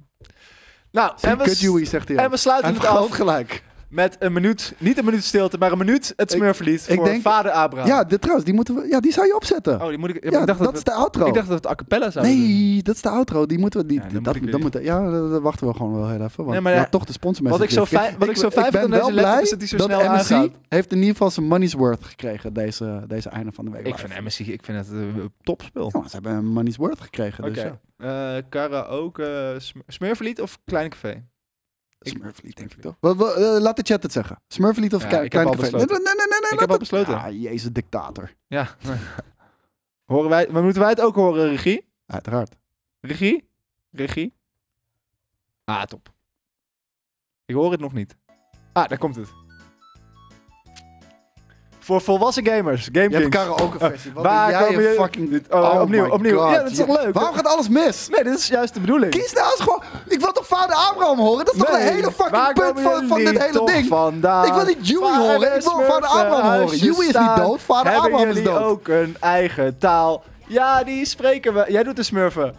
Speaker 1: Nou, en we,
Speaker 2: Kut
Speaker 1: s-
Speaker 2: Joey, zegt hij
Speaker 1: en
Speaker 2: ook.
Speaker 1: we
Speaker 2: Hij
Speaker 1: sluiten
Speaker 2: heeft
Speaker 1: het af
Speaker 2: groot gelijk.
Speaker 1: met een minuut. Niet een minuut stilte, maar een minuut het
Speaker 2: Ik-
Speaker 1: smurflied
Speaker 2: ik
Speaker 1: voor
Speaker 2: denk-
Speaker 1: vader Abraham.
Speaker 2: Ja, dit, trouwens, die, moeten we, ja, die zou je opzetten.
Speaker 1: Oh, die moet ik. ja,
Speaker 2: ja,
Speaker 1: maar ik dacht dat,
Speaker 2: dat, is de outro.
Speaker 1: we- ik dacht dat we het a cappella zouden doen.
Speaker 2: nee, dat is de outro. Die moeten we. Die,
Speaker 1: Ja, dan moet
Speaker 2: dat,
Speaker 1: ik weer-
Speaker 2: dat moet, ja, daar wachten we gewoon wel heel even. Want
Speaker 1: Nee, maar
Speaker 2: ja,
Speaker 1: ja,
Speaker 2: toch de sponsor
Speaker 1: wat ik zo fijn- wat ik zo fijn vind aan deze laptop is dat die zo snel
Speaker 2: MSC
Speaker 1: aangaat.
Speaker 2: heeft in ieder geval zijn money's worth gekregen deze, deze einde van de week.
Speaker 1: Ik
Speaker 2: live.
Speaker 1: vind MSI, ik vind het een topspel.
Speaker 2: Ja, maar ze hebben een money's worth gekregen. Dus ja.
Speaker 1: Eh, karaoke, sm Smurflied of Klein Café? Ik-
Speaker 2: Smurflied, denk ik toch? Wel, wel, eh, laat de chat het zeggen. Smurflied of
Speaker 1: Ja,
Speaker 2: Klein
Speaker 1: ik heb al
Speaker 2: Café? Nee, nee,
Speaker 1: besloten.
Speaker 2: nee, nee, nee,
Speaker 1: Ik
Speaker 2: laat
Speaker 1: heb al
Speaker 2: het-
Speaker 1: besloten.
Speaker 2: Ah, jezus, dictator.
Speaker 1: Ja. horen wij, maar moeten wij het ook horen, regie?
Speaker 2: Uiteraard.
Speaker 1: Regie? Regie? Ah, top. Ik hoor het nog niet. Ah, daar komt het. Voor volwassen gamers, Game
Speaker 2: Je hebt
Speaker 1: Kings.
Speaker 2: karaoke versie. Wat
Speaker 1: Eh, Waar
Speaker 2: ben jij
Speaker 1: komen
Speaker 2: een
Speaker 1: je-
Speaker 2: fucking...
Speaker 1: Oh, opnieuw,
Speaker 2: my
Speaker 1: opnieuw.
Speaker 2: God.
Speaker 1: Ja, dat is toch leuk?
Speaker 2: Waarom gaat alles mis?
Speaker 1: Nee, dit is juist de bedoeling.
Speaker 2: Kies nou eens gewoon... Ik wil toch vader Abraham horen? Dat is toch
Speaker 1: Nee,
Speaker 2: de hele fucking
Speaker 1: waar
Speaker 2: punt
Speaker 1: komen
Speaker 2: van, van dit
Speaker 1: jullie
Speaker 2: hele
Speaker 1: toch
Speaker 2: ding?
Speaker 1: Vandaan?
Speaker 2: Ik wil niet Joey
Speaker 1: Waar
Speaker 2: horen,
Speaker 1: de
Speaker 2: ik wil vader
Speaker 1: smurfen
Speaker 2: Abraham horen.
Speaker 1: huisjes
Speaker 2: Joey is niet
Speaker 1: staan?
Speaker 2: dood, vader
Speaker 1: Hebben
Speaker 2: Abraham is
Speaker 1: jullie
Speaker 2: dood.
Speaker 1: ook een eigen taal? Ja, die spreken we. Jij doet de smurfen.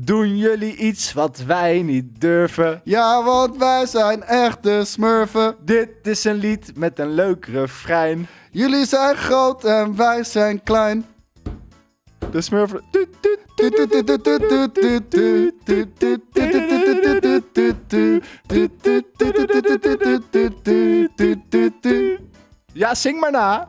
Speaker 1: Doen jullie iets wat wij niet durven?
Speaker 2: Ja, want wij zijn echte smurfen.
Speaker 1: Dit is een lied met een leuk refrein.
Speaker 2: Jullie zijn groot en wij zijn klein.
Speaker 1: De smurfen... Tuut, tuut, tuut, tuut, tuut, tuut, tuut, tuut, tuut, tuut, tuut, tuut, tuut, tuut, tuut, tuut, tuut, tuut,
Speaker 2: La
Speaker 1: tuut. Ja, zing maar na.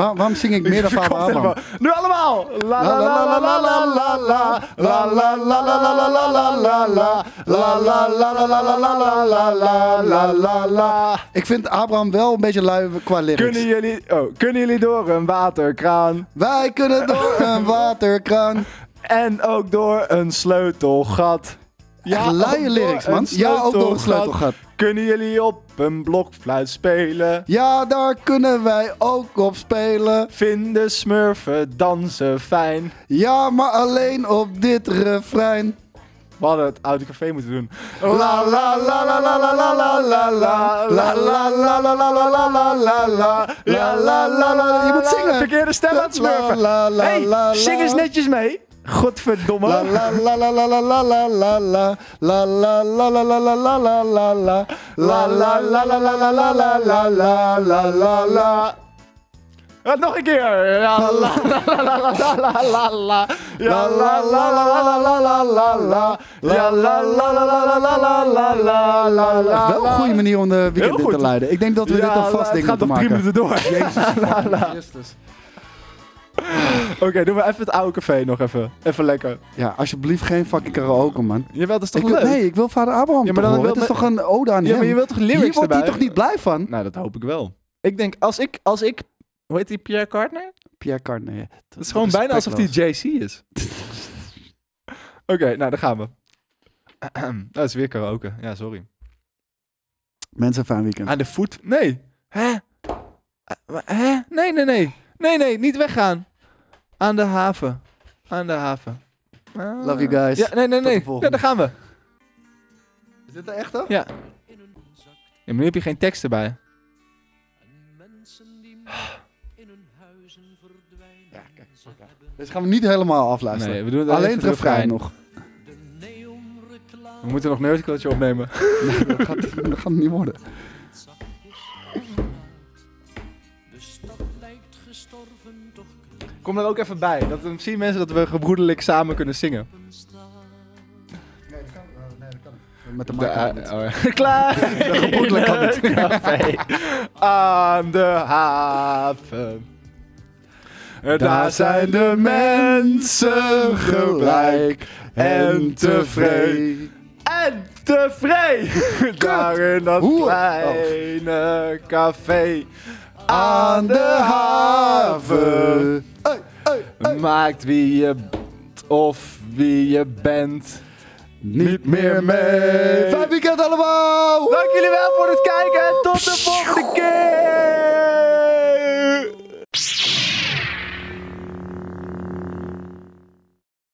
Speaker 2: Waar- waarom zing ik meer dan Vader Abraham?
Speaker 1: Nu allemaal! La la la la la la la la la la la la la la la la la la la la la la la la la la la la la
Speaker 2: Ik vind Abraham wel een beetje lui qua lyrics.
Speaker 1: Kunnen jullie, oh, kunnen jullie door een waterkraan
Speaker 2: Wij kunnen door een waterkraan.
Speaker 1: en ook door een sleutelgat?
Speaker 2: Echt luie
Speaker 1: ook door
Speaker 2: lyrics,
Speaker 1: een
Speaker 2: man. Ja, ook door een sleutelgat.
Speaker 1: Kunnen jullie op een blokfluit spelen?
Speaker 2: Ja, daar kunnen wij ook op spelen.
Speaker 1: Vinden smurfen dansen fijn?
Speaker 2: Ja, maar alleen op dit refrein.
Speaker 1: We hadden het oude café moeten doen. La la la la la la la la la la la la la la la la la la la la la la la Je moet zingen. Verkeerde stem aan het smurfen.
Speaker 2: La, la, la, la,
Speaker 1: Hey, zing
Speaker 2: la.
Speaker 1: eens netjes mee.
Speaker 2: La
Speaker 1: Godverdomme.
Speaker 2: la la la la la la la la la la la la la la la la la la la
Speaker 1: La la la la la la la la la la la la la. Eh, Nog een keer. La la la la la la la la la. Ja, la la la la la la la la la. Ja, la la la la la la la la la la la.
Speaker 2: Wel een goede manier om de
Speaker 1: Heel
Speaker 2: weekend in te
Speaker 1: goed.
Speaker 2: leiden. Ik denk dat we dit
Speaker 1: Ja,
Speaker 2: al vast
Speaker 1: het
Speaker 2: ding
Speaker 1: gaat
Speaker 2: moeten
Speaker 1: nog drie
Speaker 2: maken.
Speaker 1: minuten door.
Speaker 2: Christus.
Speaker 1: Oké, doen we even het oude café nog even. Even lekker.
Speaker 2: Ja, alsjeblieft geen fucking karaoke, man.
Speaker 1: Jawel, dat is toch
Speaker 2: Ik wil-
Speaker 1: leuk?
Speaker 2: nee, ik wil vader Abraham
Speaker 1: Ja,
Speaker 2: ja,
Speaker 1: maar dan
Speaker 2: maar toch horen.
Speaker 1: wil-
Speaker 2: Het is toch een ode aan
Speaker 1: ja, maar
Speaker 2: hem?
Speaker 1: je wilt toch lyrics
Speaker 2: Hier wordt hij
Speaker 1: erbij?
Speaker 2: toch niet blij van?
Speaker 1: Nou, dat hoop ik wel. Ik denk, als ik... Als ik hoe heet die Pierre Cardner?
Speaker 2: Pierre Carnet.
Speaker 1: Het is gewoon bijna alsof die JC is. Oké, nou, daar gaan we. dat is weer karaoke. Ja, sorry.
Speaker 2: Mensen, fijn weekend.
Speaker 1: Aan de voet? Nee. Hè? Eh, maar- Hè? Nee, nee, nee. Nee, nee, niet weggaan. Aan de haven. Aan de haven. Ah.
Speaker 2: Love you guys.
Speaker 1: Ja, nee, nee,
Speaker 2: de
Speaker 1: nee. Ja,
Speaker 2: volgende.
Speaker 1: daar gaan we.
Speaker 2: Is dit de echte?
Speaker 1: Ja. Ja, maar nu heb je geen tekst erbij.
Speaker 2: Ja, kijk. Dus gaan we niet helemaal afluisteren.
Speaker 1: Nee, we doen het
Speaker 2: Alleen
Speaker 1: even
Speaker 2: het refrein
Speaker 1: refrein.
Speaker 2: nog.
Speaker 1: We moeten nog Nerdcultje opnemen.
Speaker 2: Nee, dat, gaat, dat gaat niet worden.
Speaker 1: Kom er ook even bij. Dat dan zien mensen dat we gebroedelijk samen kunnen zingen.
Speaker 2: Nee, dat kan, eh, nee, dat kan Met de
Speaker 1: De,
Speaker 2: mic
Speaker 1: eh, oh ja. Klaar!
Speaker 2: gebroedelijk kan het.
Speaker 1: Café. Aan de haven. Eh, Daar zijn de mensen gelijk
Speaker 2: eh,
Speaker 1: en tevreden. En tevreden. Daar in dat
Speaker 2: Hoe-
Speaker 1: kleine café.
Speaker 2: Aan de haven.
Speaker 1: Maakt wie je b- of wie je bent.
Speaker 2: Niet meer mee. Fijn weekend allemaal.
Speaker 1: Dank jullie wel voor het kijken en tot de volgende keer.